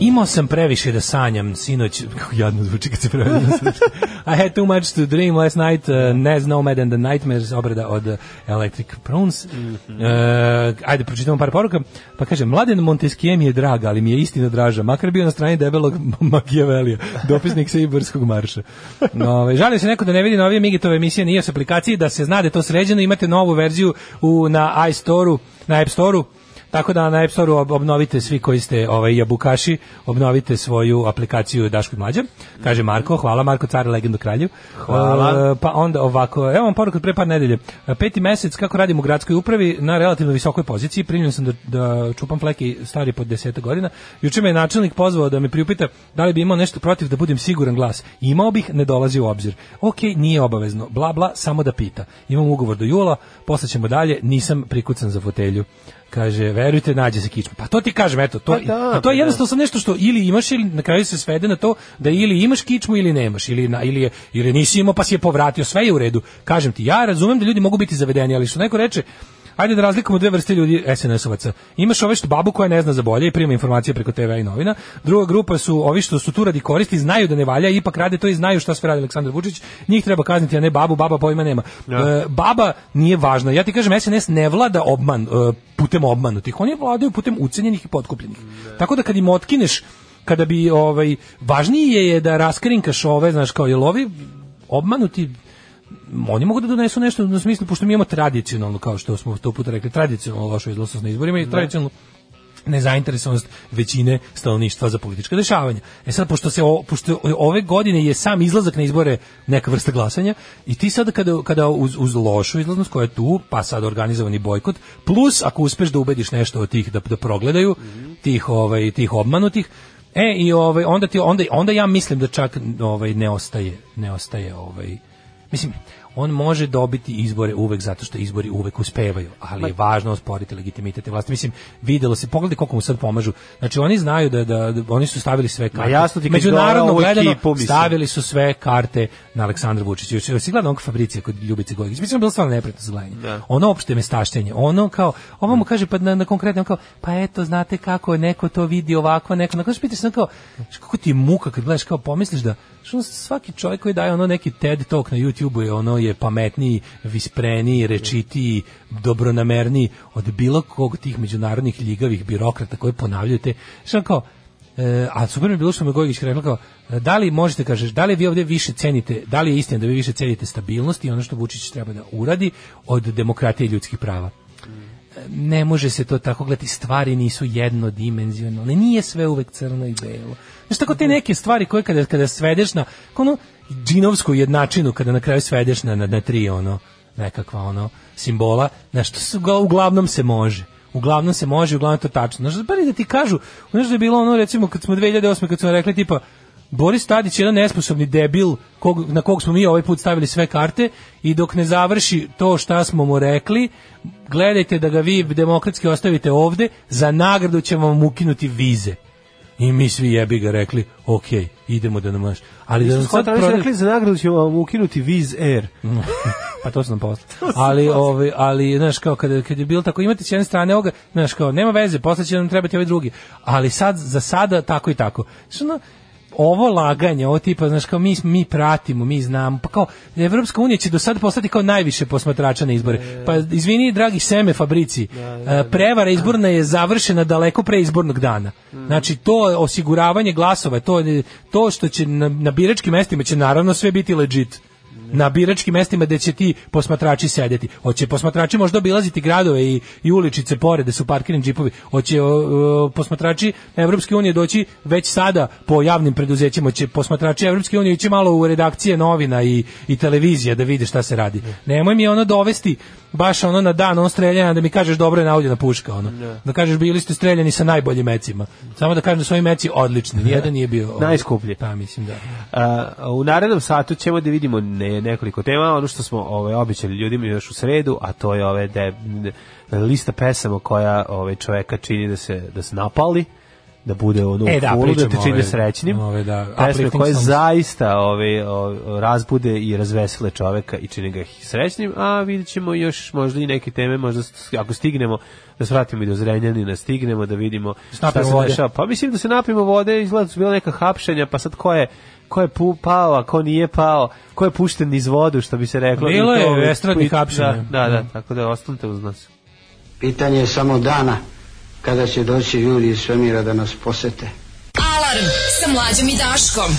Imao sam previše da sanjam sinoć, kako jadno zvuči kad se prevede na srpski. I had too much to dream last night, uh, Nez Nomad and the Nightmares, obrada od uh, Electric Prunes. Uh, ajde, pročitamo par poruka. Pa kaže, mladen Montesquieu mi je draga, ali mi je istina draža, makar bio na strani debelog Machiavellija, dopisnik Sibirskog marša. Ove, žalio se neko da ne vidi novije Migitove emisije na iOS aplikaciji, da se zna da je to sređeno, imate novu verziju u, na iStore-u, na App Store-u, Tako da na App Store obnovite svi koji ste ovaj jabukaši, obnovite svoju aplikaciju Daško i Mlađa. Kaže Marko, hvala Marko Car legendu kralju. Hvala. E, pa onda ovako, evo vam poruku od pre par nedelje. E, Peti mesec kako radim u gradskoj upravi na relativno visokoj poziciji, primljen sam da, da čupam fleki stari pod 10 godina. Juče me je načelnik pozvao da me priupita da li bi imao nešto protiv da budem siguran glas. Imao bih, ne dolazi u obzir. Ok, nije obavezno, bla bla, samo da pita. Imam ugovor do jula, poslaćemo dalje, nisam prikucan za fotelju. Kaže, verujte, nađe se kičma. Pa to ti kažem, eto, to, Pa da, a to pa je da. jednostavno sam nešto što ili imaš ili na kraju se svede na to da ili imaš kičmu ili nemaš ili na, ili je, ili nisi imao pa si je povratio sve je u redu kažem ti ja razumem da ljudi mogu biti zavedeni ali što neko reče Ajde da razlikujemo dve vrste ljudi SNS-ovaca. Imaš ove što babu koja ne zna za bolje i prima informacije preko TV i novina. Druga grupa su ovi što su tu radi koristi, znaju da ne valja, ipak rade to i znaju šta sve radi Aleksandar Vučić. Njih treba kazniti, a ne babu, baba pojma nema. E, baba nije važna. Ja ti kažem, SNS ne vlada obman, e, putem obmanutih. Oni vladaju putem ucenjenih i potkupljenih. Tako da kad im otkineš, kada bi, ovaj, važnije je da raskrinkaš ove, znaš, kao, jel ovi obmanuti, oni mogu da donesu nešto na smislu, pošto mi imamo tradicionalno, kao što smo to puta rekli, tradicionalno lošu izlosnost na izborima i tradicionalno nezainteresovanost većine stanovništva za politička dešavanja. E sad, pošto, se o- pošto ove godine je sam izlazak na izbore neka vrsta glasanja i ti sada kada, kada uz, uz lošu izlaznost koja je tu, pa sad organizovani bojkot, plus ako uspeš da ubediš nešto od tih da, da progledaju, tih, ovaj, tih obmanutih, e i ovaj, onda, ti, onda, onda ja mislim da čak ovaj, ne ostaje, ne ostaje ovaj, mislim, on može dobiti izbore uvek zato što izbori uvek uspevaju, ali je važno osporiti legitimitet te vlasti. Mislim, videlo se, pogledaj koliko mu sad pomažu. Znači, oni znaju da, da, da- oni su stavili sve karte. jasno ti kad doveo Međunarodno ovu gledano, ekipu, mislim. stavili su sve karte na Aleksandra Vučića. Juče si gledao onog Fabricija kod Ljubice Gojgić. Mislim, da je bilo stvarno neprijatno za gledanje. Ono opšte mestaštenje, ono kao, ovo mu kaže, pa na, na konkretno, on kao, pa eto, znate kako, neko to vidi ovako, neko, na kao, pitaš se, ono kao, znaš, kako ti je muka kad gledaš, kao pomisliš da, što svaki čovjek koji daje ono neki TED Talk na YouTubeu je ono je pametniji, vispreniji, rečitiji, dobronamerniji od bilo kog tih međunarodnih ljigavih birokrata koji ponavljaju te, što ono kao, E, a super mi je bilo što me Gojgić rekao kao, e, da li možete, kažeš, da li vi ovdje više cenite, da li je istina da vi više cenite stabilnost i ono što Vučić treba da uradi od demokratije i ljudskih prava? E, Ne može se to tako gledati, stvari nisu jednodimenzionalne, nije sve uvek crno i belo. Znaš, tako te neke stvari koje kada, kada svedeš na, kao ono, džinovsku jednačinu, kada na kraju svedeš na, na, na tri, ono, nekakva, ono, simbola, znaš, to su, uglavnom se može. Uglavnom se može, uglavnom je to tačno. Znaš, bar i da ti kažu, znaš da je bilo ono, recimo, kad smo 2008. kad smo rekli, tipa, Boris Tadić je jedan nesposobni debil kog, na kog smo mi ovaj put stavili sve karte i dok ne završi to šta smo mu rekli, gledajte da ga vi demokratski ostavite ovde, za nagradu ćemo vam ukinuti vize. I mi svi jebi ga rekli, ok, idemo da nam maš. Ali da nam Pa sad Sada prodaju- rekli za nagradu ćemo vam ukinuti Viz Air. pa to sam posle. Ali ovaj ali znaš kao kada kad je bilo tako imate s jedne strane ovoga, znaš kao nema veze, posle će nam trebati ovaj drugi. Ali sad za sada tako i tako. Znaš, ono, ovo laganje, ovo tipa, znaš, kao mi, smo- mi pratimo, mi znamo, pa kao, Evropska unija će do sad postati kao najviše posmatrača na izbore. Pa, izvini, dragi Seme Fabrici, e, prevara izborna je završena daleko pre izbornog dana. Znači, to osiguravanje glasova, to, to što će na, na biračkim mestima će naravno sve biti legit na biračkim mestima gde će ti posmatrači sedeti. Hoće posmatrači možda obilaziti gradove i, i uličice pored da su parkirani džipovi. Hoće o, o, posmatrači Evropske unije doći već sada po javnim preduzećima. Hoće posmatrači Evropske unije ići malo u redakcije novina i, i televizija da vide šta se radi. Nemoj mi ono dovesti baš ono na dan on streljanja da mi kažeš dobro je navoljena puška ono. Da kažeš bili ste streljani sa najboljim mecima. Samo da kažem da su ovi meci odlični. Nijedan nije bio ovaj, Najskuplji. Pa mislim da. A, u narednom satu ćemo da vidimo ne, nekoliko tema, ono što smo ovaj, običali ljudima još u sredu, a to je ove de, de- lista pesama koja ovaj, čoveka čini da se, da se napali, da bude ono E, da, u fulu, da te pričamo čini ove- srećnim. ove, da, pesme uplifting koje songs. zaista ove, o- razbude i razvesele čoveka i čini ga srećnim, a vidjet ćemo još možda i neke teme, možda s- ako stignemo da svratimo i do Zrenjanina, stignemo da vidimo šta napijemo se vode. dešava. Pa mislim da se napijemo vode, izgleda da su bila neka hapšenja, pa sad ko je ko je pu, pao, a ko nije pao, ko je pušten iz vodu, što bi se reklo. Bilo I to je uvek- estradnih da, hapšenja. Da, da, tako da ostanite uz nas. Pitanje je samo dana kada će doći ljudi iz svemira da nas posete. Alarm sa mlađom i Daškom.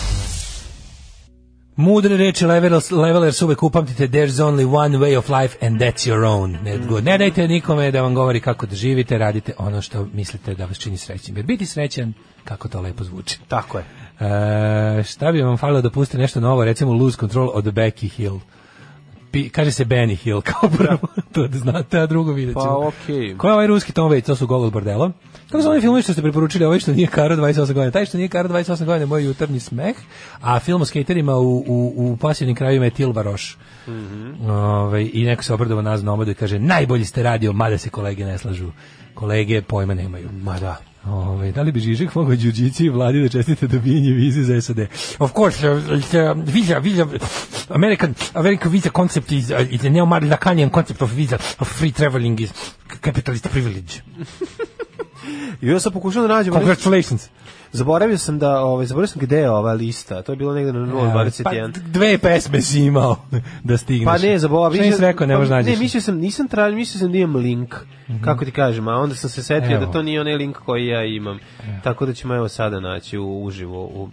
Mudre reči levelers, levelers uvek upamtite There's only one way of life and that's your own ne, god- ne dajte nikome da vam govori kako da živite Radite ono što mislite da vas čini srećnim Jer biti srećan, kako to lepo zvuči Tako je e, Šta bi vam falilo da pustite nešto novo Recimo Lose Control od Becky Hill Pi- Kaže se Benny Hill kao prvo To da znate, a drugo vidjet ćemo Pa okej. Ko je ovaj ruski Tom Waits, to su Gogol Bordelo Kako su oni filmovi što ste preporučili Ovaj što nije Karo 28 godina Taj što nije Karo 28 godina je moj jutarnji smeh A film o skaterima u, u, u pasivnim krajevima je Tilvaroš Ovaj, I neko se obradova nas na omadu i kaže Najbolji ste radio, mada se kolege ne slažu Kolege pojma nemaju Ma da Ove, da li bi Žižek mogao Đuđici i vladi da čestite dobijanje vize za SAD? Of course, uh, it's, uh, visa, visa, American, American visa concept is, uh, is a neo-Lacanian concept of visa, of free traveling is capitalist privilege. I ja sam pokušao da nađem... ono- Congratulations. Zaboravio sam da, ovaj, zaboravio sam gde je ova lista, to je bilo negde na 021. Pa, dve pesme si imao da stigneš. Pa ne, zaboravio. Šta nisi rekao, ne pa, možeš nađeš? Mhm. Ne, mislio sam, nisam tražio, mislio sam da imam link. Kako ti kažem, a onda sam se setio Evo. da to nije onaj link koji ja imam. Tako da ćemo evo sada naći u, uživo. U,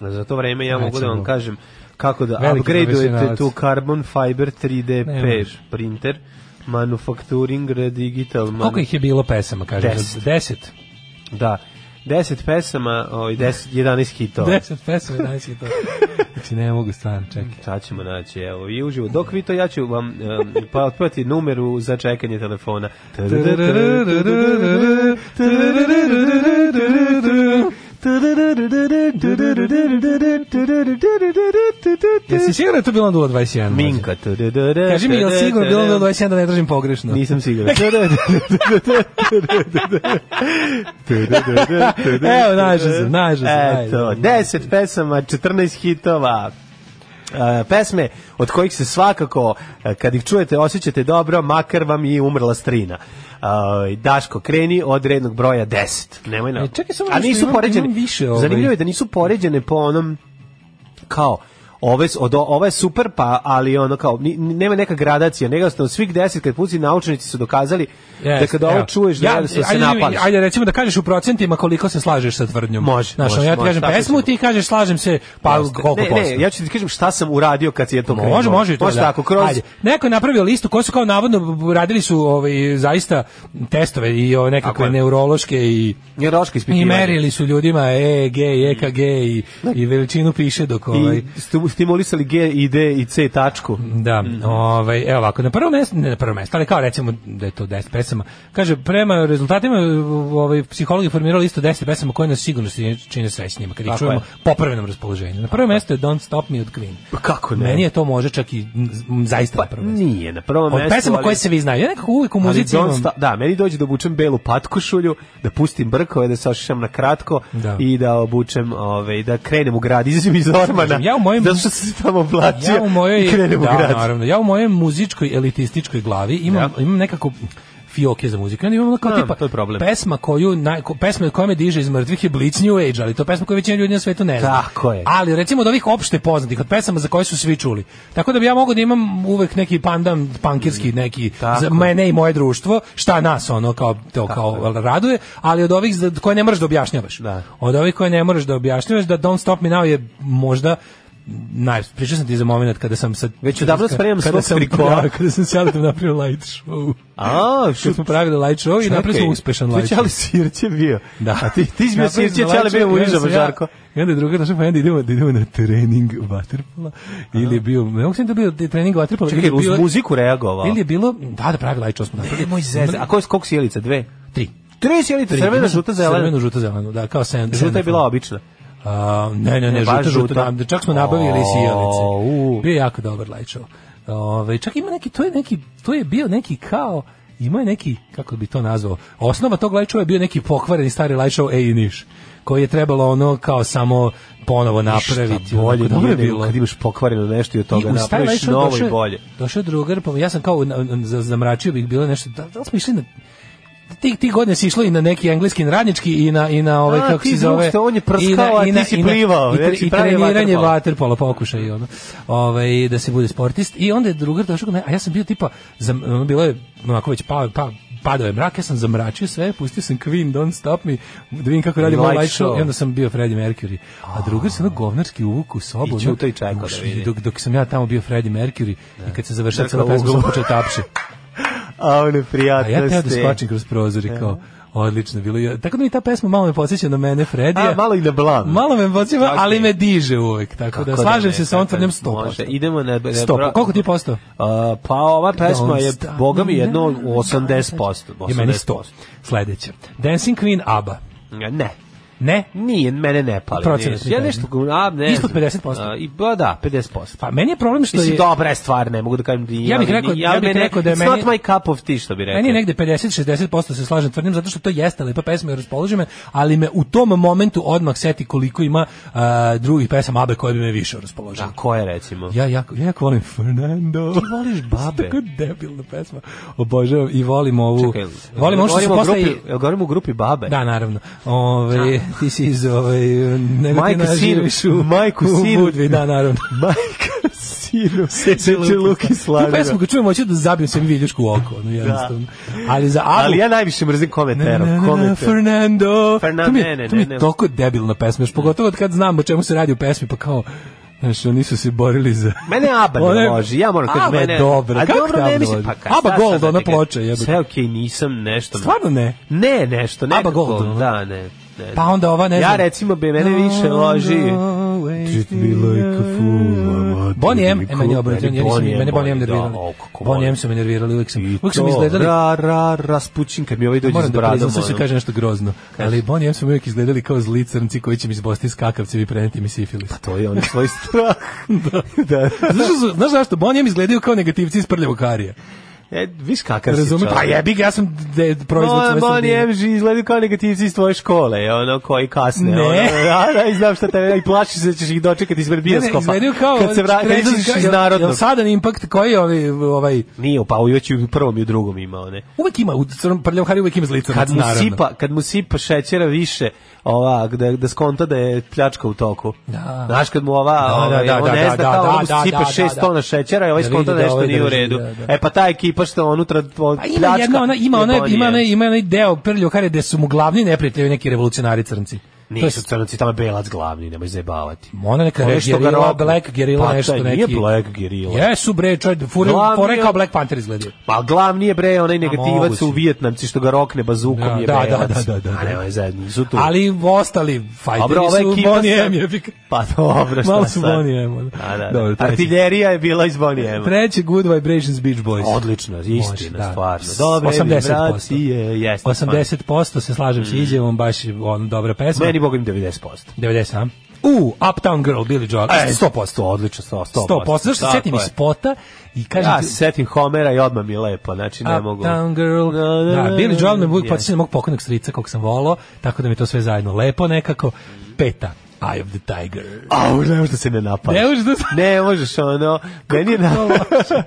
za to vreme ja mogu da vam Nećemo. kažem kako da Veliki upgradeujete profesionalac. tu Carbon Fiber 3D Ne P možeš. printer manufacturing digital man, Koliko ih je bilo pesama, kažeš? Deset. Deset. da 10 pesama ovaj 10 11 hitova Deset pesama, danas je to. Znači, ne mogu stvarno, čekaj. Sad ćemo naći, evo, i uživo. Dok vi to, ja ću vam um, pa otpati numeru za čekanje telefona. Jesi sigurno da je to bilo 021? Minka. Kaži mi, jel sigurno bilo 021 da ne držim pogrešno? Nisam siguran. Evo, našao sam, našao Е, sam, ajde. Eto, 10 pesama, 14 hitova. E, pesme od kojih se svakako, e, kad ih čujete, osjećate dobro, makar vam i umrla strina. E, Daško, kreni od rednog broja 10. Nemoj na... E, čekaj samo A nešto, nisu imam- poređene. imam više, ovaj. Zanimljivo je da nisu poređene po onom kao ove s- od o- ova je super pa ali ono kao ni, ni- nema neka gradacija nego od svih 10 kad puci naučnici su dokazali da Jeste, kad ovo evo. čuješ da ja, se ajde, napališ Ajde, recimo da kažeš u procentima koliko se slažeš sa tvrdnjom. Može, Znaš, može, ono, ja ti može, kažem tako pesmu, ćemo. ti kažeš slažem se, pa Jeste. koliko ne, posto. ne, ja ću ti kažem šta sam uradio kad je to krenulo. Može, može i to. Može da. tako, kroz... Ajde. Neko je napravio listu koji su kao navodno radili su ovaj zaista testove i Tako ove nekakve je. neurološke i Njeraška i ispitivanja. merili su ljudima e, EEG, i EKG i, i veličinu piše dok ovaj I stu- stimulisali G i D i C tačku. Da, Mm. ovaj, evo ovako, na prvo mesto, ne na prvo mesto, ali kao recimo da je to 10 pesama. Kaže, prema rezultatima ovaj, psihologi formirali listu 10 pesama koje nas sigurno se čine srećnima, kad ih Tako čujemo je. po prvenom raspoloženju. Na prvo mesto je Don't Stop Me od Queen. Pa kako ne? Meni je to može čak i m, zaista Pa, na prvo mesto. Nije, na prvom Od mestu. pesama ali- koje se vi znaju. Ja nekako uvijek u ali muzici don't imam... sta- da, meni dođe da obučem belu patkošulju, da pustim brkove, da se ošišam na kratko Da. i da obučem, ovaj, da krenem u grad, izađem iz ormana. Ja u mojem- Zato što sam se tamo oblačio ja u mojoj i krenem u da, grad. naravno, ja u mojoj muzičkoj elitističkoj glavi imam imam nekako fioke za muziku. Ja imam ono kao Znam, tipa to je problem. pesma koju naj, ko- pesma koja me diže iz mrtvih je Blitz New Age, ali to je pesma koju većina ljudi na svetu ne zna. Tako je. Ali recimo od ovih opšte poznatih, od pesama za koje su svi čuli. Tako da bi ja mogao da imam uvek neki pandam pankirski neki Mm, Tako za je. mene i moje društvo, šta nas ono kao to kao raduje, ali od ovih za koje ne moraš da objašnjavaš. Da. Od ovih koje ne moraš da objašnjavaš da Don't Stop Me Now je možda naj, pričao sam ti za moment kada sam sad... Već odavno spremam kada svog prikola. Da, kada sam s Aletom napravio light show. A, što smo pravili light show i napravili smo uspešan light show. ali Sirće bio. Da. A ti, ti si bio Napravili Sirće, smo ali light bio show u i onda sam ja- Žarko. I onda je druga naša pa onda idemo, da idemo na trening vaterpola. Ili je bio, ne mogu sam da bio trening vaterpola. Čekaj, uz muziku reagovao. Ili je bilo, da, da pravi light show smo napravili. Nemoj zezati. A koje, koliko sjelica? Dve? Tri. Tri sjelice, crvena, žuta, zelena. Crveno, žuto, zeleno, da, kao sen. Žuta je semafor. bila obična. A, ne, ne, Ne, ne, baš žuta, žuta, žuta. da, čak smo nabavili O, u. sijalice. Bio je jako dobar light show. Ove, čak ima neki, to je neki, to je bio neki kao, imao je neki, kako bi to nazvao, osnova tog light showa je bio neki pokvareni stari light show Ej i Niš, koji je trebalo ono kao samo ponovo napraviti. Šta bolje onako, dobro nije je nego bilo. kad imaš pokvareno nešto i od toga I uz taj napraviš lešar novo došao i je- bolje. Došao je drugar, pa ja sam kao na- na- za- zamračio bih bilo nešto, da, da li smo išli na ti ti godine si išlo i na neki engleski na radnički i na i na ovaj A, kako ti se drug zove ste, on je prskao, a ti si plivao, i, tre- jer si i pravio treniranje vaterpolo. vaterpolo pokušaj i ono ovaj da se bude sportist i onda je drugar došao kod mene, a ja sam bio tipa zam, ono, bilo je onako već pa pa padao je mrak, ja sam zamračio sve, pustio sam Queen, Don't Stop Me, da vidim kako radi moj Light light show, show. i onda sam bio Freddie Mercury. A drugar se ono govnarski uvuk u sobu. ono, ćutao i čekao da uš, vidi. Dok, dok sam ja tamo bio Freddie Mercury i kad se završila Dakle, cela pesma, sam uglavnom. počeo tapše. A one A prijatnosti. ja teo da skočim kroz prozor i kao, odlično bilo. je. Tako da mi ta pesma malo me podsjeća na mene, Fredija. A, malo i na blam. Malo me podsjeća, Čak ali i- me diže uvek. Tako Kako da, slažem ne, se sa ovom kako tvrdnjom ne, 100%. može. Idemo na... na- 100%. Koliko ti je postao? A, pa ova pesma je, Don't stop boga mi, jedno me now. 80%. Je meni 100. 80%. Sledeće. Dancing Queen ABBA. Ne. Ne? Nije, mene ne pali. Procenat Nije. Ja mi nešto... A, ne, Ispod znam. 50%. A, i, ba, da, 50%. Pa meni je problem što Mislim, je... dobra je stvar, ne mogu da kažem da nije, Ja bih ali rekao- ni- ja bih mene- rekao da je it's meni- not my cup of tea, što bi rekao. Meni je negde 50-60% se slažem tvrdim zato što to jeste lepa pesma i raspoloži me, ali me u tom momentu odmah seti koliko ima a, drugih pesama Abe koje bi me više raspoložile. A ko je, recimo? Ja jako, ja jako volim Fernando. Ti voliš babe? Tako debilna pesma. Obožavam i volim ovu. Čekaj, volim ovo što se govorimo o posle... i- grupi- jel govorimo o grupi babe? Da, naravno. Ove, ti si iz ovaj, ove, Majka negotina Sinu- živiš u, Majku u Sinu- Budvi, da, naravno. Majka sinu Seče seče luki Tu slavira. pesmu kad čujem, hoću da zabijem sebi viljušku u oko, ono, jednostavno. Ali za Abu... Ali ja najviše mrzim komentero. Na, na, na, Komentero. Fernando. Fernan- to mi, ne, ne, je, to mi je ne, ne. toliko debilna pesma, još pogotovo od kad znam o čemu se radi u pesmi, pa kao, znaš, oni su se borili za... Mene Aba ne One- može, ja moram kažem Aba mene... je dobra, A kako ja dobro, te ne Aba mislim, voli? pa kaj, Aba sad sam Gold, da ona ti ga- ploča, jebote. Sve okej, nisam nešto... Stvarno ne? Ne, nešto, Aba nekako. Gold, Da, ne. ne. Pa onda ova, ne znam. Ja recimo, bi mene više loži... Treat me like a fool. Bonnie M, e, meni obrati, meni, meni, meni Bonnie M nervirali. Da, o, kako Bonnie volim. M su me nervirali, uvijek sam, I uvijek sam to, izgledali Ra, ra, raspućin, kad mi ovaj dođe s Moram da bradom. priznam, sad se ono. kaže nešto grozno. Ali Bonnie M su mi uvijek izgledali kao zli crnci koji će mi iz Bosne skakavce i preneti mi sifilis. To je on svoj strah. da. znaš, zašto- znaš zašto? Bonnie M izgledaju kao negativci iz prljavog karija. E, viš kakav si Razumem? Pa čovjek. jebi ga, ja sam de, proizvod Moja svoje Bonnie sredine. M izgledaju kao negativci iz tvoje škole, ono, koji kasne. Ne. Ono, da, da, i znam šta te, i plaši se da ćeš ih dočekati ispred Ne, ne, bioskopa. izgledaju kao... kad se vra, kad kreću- izađeš iz jel- narodnog. jel Sadan Impact, koji je ovaj, ovaj, Nije, pa uvijek i u prvom i u drugom imao, ne. uvek ima, u crnom prljavom kariju uvek ima zli crnac, Kad mu, naravno. sipa, kad mu sipa šećera više, ova, da, da skonta da je pljačka u toku. Da. Znaš, kad mu ova, Da, ovaj, da, da, on da, ne zna da, kao, da, ono mu da, sipa da, šest da. tona šećera i ovaj Da skonta vidi da nešto ovaj nije u drži, redu. da, da. E pa ta ekipa što unutra on, Pa ima jedna, ona, ima, ona, je ima, Bonnie ona, M. ima onaj deo prljavog karija gde su mu glavni neprijatelji neki revolucionari crnci. To je Nisu crnci, tamo je belac glavni, nemoj zajebavati. Ona neka Ono je što ga gerila, robi. Black gerila Pa nešto taj neki. nije Black gerila. Jesu bre, čoj, fure, Glavni fore je- kao Black Panther izgledaju. Pa glavni je bre onaj moguće. negativac u Vijetnamci što ga rokne bazukom Da, je da, belac. da, da, da, da. A nemoj zajebati, nisu tu. Ali ostali fajteri Dobro, ova su ekipa Bonnie sad- M jebik. Pa dobro, šta Malo su sad? Bonnie M, ono. A, da, da. Dobro, treći. Artiljerija je bila iz Bonnie M. Treći Good Vibrations Beach Boys. Odlično, istina, Može, da. stvarno. Dobre 80%. vibracije, jeste. Mm. 80% se slažem sa izjavom, baš je on dobra pesma. Meni bogim 90%. 90, a? U, Uptown Girl, Billy Joel. E, 100%, odlično, 100%. 100%. Zašto se pa, Tako setim je. iz spota i kažem Ja ti- se setim Homera i odmah mi je lepo, znači ne mogu. Uptown Girl. Da, da, Da, Billy Joel me uvijek Yes. potiče na mog pokojnog strica kog sam volao, tako da mi je to sve zajedno lepo nekako. Peta, Eye of the Tiger. Au, ne možeš da se ne napadaš. Ne možeš da se- Ne možeš, ono, meni je... na- To loše.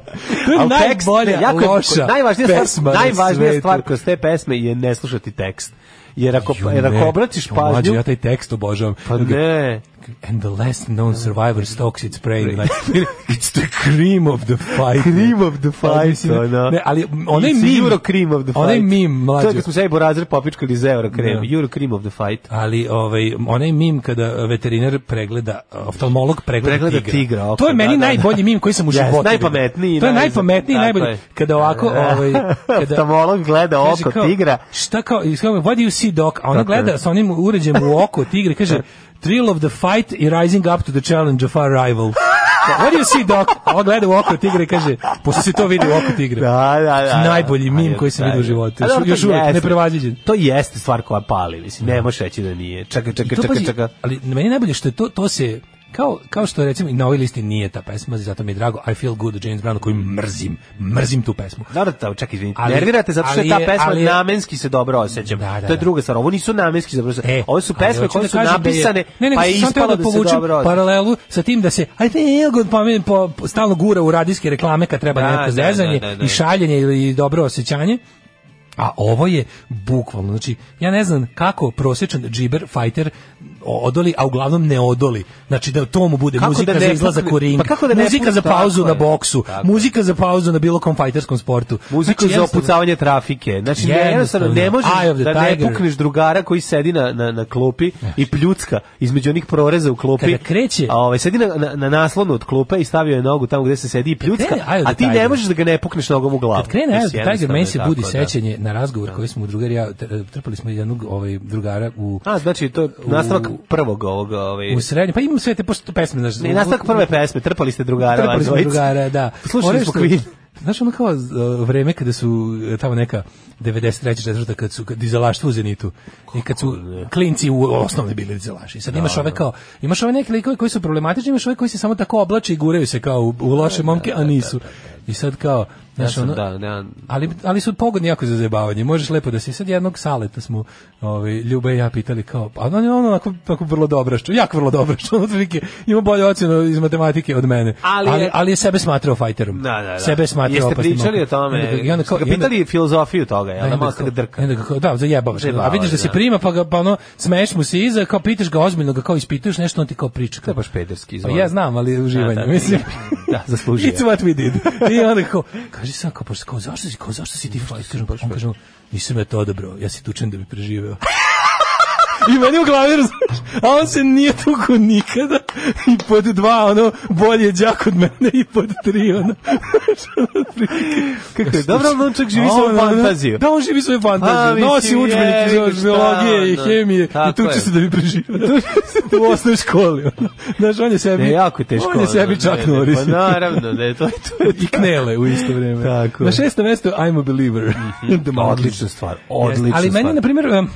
To je Al tekst, najbolja, ne, jako je- loša najvažnija pesma stvar, na najvažnija svetu. stvar kroz te pesme je ne slušati tekst. Jer ako, Ju, jer ne. ako obratiš Mlađe, pažnju, ja taj tekst obožavam. pa ne, and the last known survivor stalks its prey like it's the cream of the fight cream of the fight ona ne ali onaj It's meme euro cream of the fight onaj meme mlađe to je kad smo sebi borazir popičkali iz euro cream Da. euro cream of the fight ali ovaj onaj mim kada veterinar pregleda oftalmolog pregleda, Pregleda tigra, oko, to je da, meni da, da. najbolji mim koji sam u Yes, životu. vidio. najpametniji, To je naj- najpametniji, i tako najbolji. je. Kada ovako Da, da. ovaj kada Oftalmolog gleda kaže oko kao, tigra. Šta kao, i kao, what do you see doc? A ona Tako je. gleda sa onim uređajem u oko tigra i kaže thrill of the fight i rising up to the challenge of our rival. What do you see doc? A ona gleda u oko tigra i kaže, pošto se to vidi u oko tigra. Da, da, da. Najbolji mim koji sam vidio u životu. Još, još uvek, neprevaziđen. To jeste stvar koja pali, mislim, ne možeš reći da nije. Čekaj, I čekaj, to, čekaj, pazi, čekaj. Ali meni je najbolje što je to, to se kao, kao što recimo i na ovoj listi nije ta pesma, zato mi je drago I Feel Good od James Brown koju mrzim, mrzim tu pesmu. Dobro, da, čekaj, izvinite. Ali- Nervirate zato što ali je ta je- pesma ali je- namenski se dobro osjećam. Da, da, to je da. druga stvar. Ovo nisu namenski se dobro osjećam. E, Ovo su ali pesme hoću koje da su kažem da je- napisane, ne, nego pa sam je samo teo ispalo da da se povučem dobro osjećam. paralelu sa tim da se I Feel Good pa, meni po, po- stalno gura u radijske reklame kad treba Da, da, neko zezanje da, da, da. i šaljenje ili dobro osjećanje. A ovo je bukvalno, znači, ja ne znam kako prosječan džiber fighter o- odoli, a uglavnom ne odoli. Znači da to mu bude Kako muzika da ne za izlazak pukne? u ring, Pa kako da ne muzika pukne? za pauzu Tako na je. boksu, Tako je. muzika za pauzu na bilo kom fajterskom sportu. Muzika Znači, za jednostavno- opucavanje trafike. Znači, ne, Jednostavno. jednostavno, ne možeš Eye of the da ne tiger. Znači. pukneš drugara koji sedi na, na, na klupi i pljucka između onih proreza u klupi. Kada kreće- A, ovaj, sedi na, na, na naslonu od klupe i stavio je nogu tamo gde se sedi i pljucka, krene Eye of the a ti ne tiger. možeš da ga ne pukneš nogom u glavu. Kad krene Mislim, Eye of the Tiger, jednostavno meni je se tako, budi da. sećanje na razgovor koji smo u drugar i ja tr- trpali smo jednog ovaj drugara u A, znači, to je nastavak prvog ovog... Ovaj, u srednje, pa imam sve te pošto pesme, znaš. Ne, nastavak prve pesme, trpali ste drugara. Trpali vas smo dvojica. drugara, da. Slušali Ono smo što- Queen. Znaš ono kao uh, vreme kada su uh, tamo neka 93. četvrta kad su kad dizelaštvo u Zenitu i kad su klinci u osnovne bili dizelaši. Sad imaš ove kao imaš ove neke likove koji su problematični, imaš ove koji se samo tako oblače i guraju se kao u, u loše momke, a nisu. I sad kao Ja znaš sam, ono, da, da, ali, ali su pogodni jako za zajebavanje. Možeš lepo da se sad jednog saleta smo ovaj Ljuba i ja pitali kao, a on je ono onako, onako vrlo dobro što, jako vrlo dobro što, otprilike ima bolju ocjenu iz matematike od mene. Ali je- ali, ali je sebe smatrao fajterom. Da, da, da. Sebe je smatrao Jeste opasnim pričali o momkom. I onda tome? ga- I onda kao, Ste i ga onda- pitali filozofiju toga, da, ja, i da onda malo kao- se ga drka. i onda ga kao- da, zajebavaš. ga. A Zajebavaš, vidiš da se da. prima, pa, ga, pa ono, smeješ mu se iza, kao pitaš ga ozbiljno, ga kao ispituješ nešto, on ti kao priča. To Kao, je baš pederski, Pa izvoli. ja znam, ali uživanje, Da, da. mislim. Da, zaslužio je. It's what we did. I onda kao, kaže sam kao, pošto kao, zašto si, kao, zašto si ti fajter? On kaže, nisam ja to odabrao, ja se tučem da bi preživeo. I meni u glavi, razumeš, a on se nije tuko nikada i pod dva, ono, bolje je đak od mene i pod tri, ono. Kako je, dobro, ali on čak živi svoju Ono, ono, fantaziju. Da, on živi svoju A, fantaziju. mislim, Nosi jebi učbenike ga, iz biologije i šta, ono. hemije i Tako tuče je. se da bi preživeo. u osnovnoj školi. Ono. Znaš, on je sebi... Ne, E, jako je teško. On je ono, sebi ne, čak ne, Norris. Pa naravno, ne, to je to. je to. I knele u isto vrijeme. Tako je. Mhm. Pa Na šestom mestu I'm a believer. The Monkees. Odlična stvar, odlična Jeste, Ali meni, stvar. na primjer, em,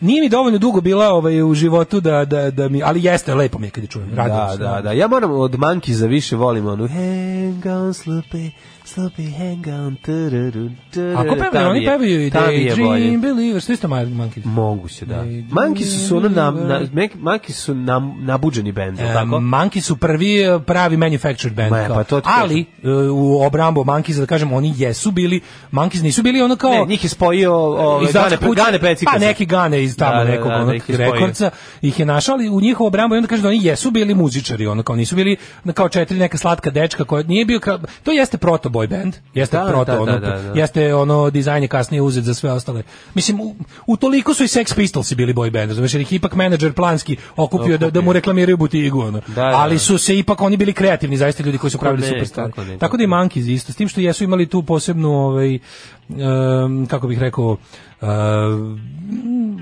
nije mi dovoljno dugo bila ovaj, u životu da, da, da mi... Ali jeste, lepo mi je kad je čujem. radujem Da, se. da, da. Ja moram od Monkeys za više volim onu Hang on, sloopy, sloopy, hang on, tururu, tururu. A ko pevaju? Tam Oni je- pevaju i tam je bolje. Daydream Believer, što isto Monkeys. Moguće, da. Daydream Monkeys su ono na, na, Believer. Mek- Monkeys su nam, nabuđeni bend, jel E, tako? Monkeys su prvi e, pravi manufactured band. Ma, kao. pa to ti ali e, u obrambu Monkeys da kažem oni jesu bili Monkeys nisu bili ono kao Ne, njih je spojio ove, iz Zače Gane, kuće, Gane Pecika. Pa neki Gane iz tamo Da, da, nekog da, onog neki spojio. rekordca ih je našao, ali u njihovu obrambu i onda kaže da oni jesu bili muzičari, ono kao nisu bili na- kao četiri neka slatka dečka koja nije bio kra- to jeste proto boy band, jeste Da, proto, da, da, ono, da, da. jeste ono dizajn je kasnije uzet za sve ostale. Mislim u, u toliko su i Sex Pistols bili boy band, razumeš, jer ih ipak menadžer planski okupio, Da, da mu reklamiraju butigu, ono. Da, da, ali da. Pa su se ipak oni bili kreativni, zaista ljudi koji su pravili ne, superstare. kako ne, Tako da i kako ne. Monkeys isto, s tim što jesu imali tu posebnu ovaj em, kako bih rekao em,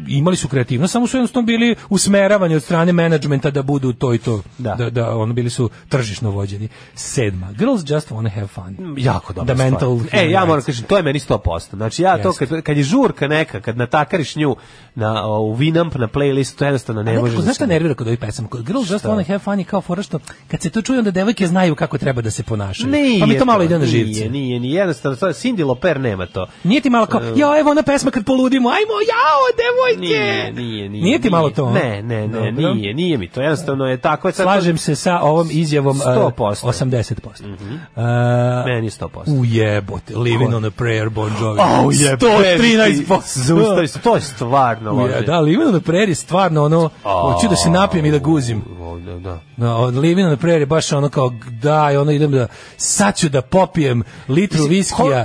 imali su kreativnost, samo su jednostavno bili usmeravani od strane menadžmenta da budu to i to. Da. da, ono, bili su tržišno vođeni. Sedma, girls just wanna have fun. Mm, jako dobro. The mental E, human ja moram rights. kažem, to je meni 100%. Znači ja to kad, kad je žurka neka, kad natakariš nju na o, u Winamp na playlistu, to jednostavno ne Nekako, možeš. znaš da šta se- nervira kod ovih pesama? Kod Girls Just Wanna Have Fun je kao fora što kad se to čuje onda devojke znaju kako treba da se ponašaju. Nije pa mi to malo ide na nije, živce. Nije, nije, nije, jednostavno, to je Cindy Loper nema to. Nije ti malo kao, ja evo ona pesma kad poludimo, ajmo, jao, devojke! Nije, nije, nije. Nije ti malo to? a? Ne, ne, ne, Dobro. nije, nije mi to. Jednostavno je tako. sad to- Slažem se sa ovom izjavom eh, 100%. 80%. Mhm. Eh, Meni je 100%. Ujebote, Living on a Prayer, Bon Jovi. Au, jebote, 113%. Zaustavi se, to je stvarno Uje, loše. Da, Living on a Prayer je stvarno ono, A, hoću da se napijem i da guzim. o, da, da. No, od Livina na prerije baš ono kao da, i ono idem da sad ću da popijem litru Mislim, viskija,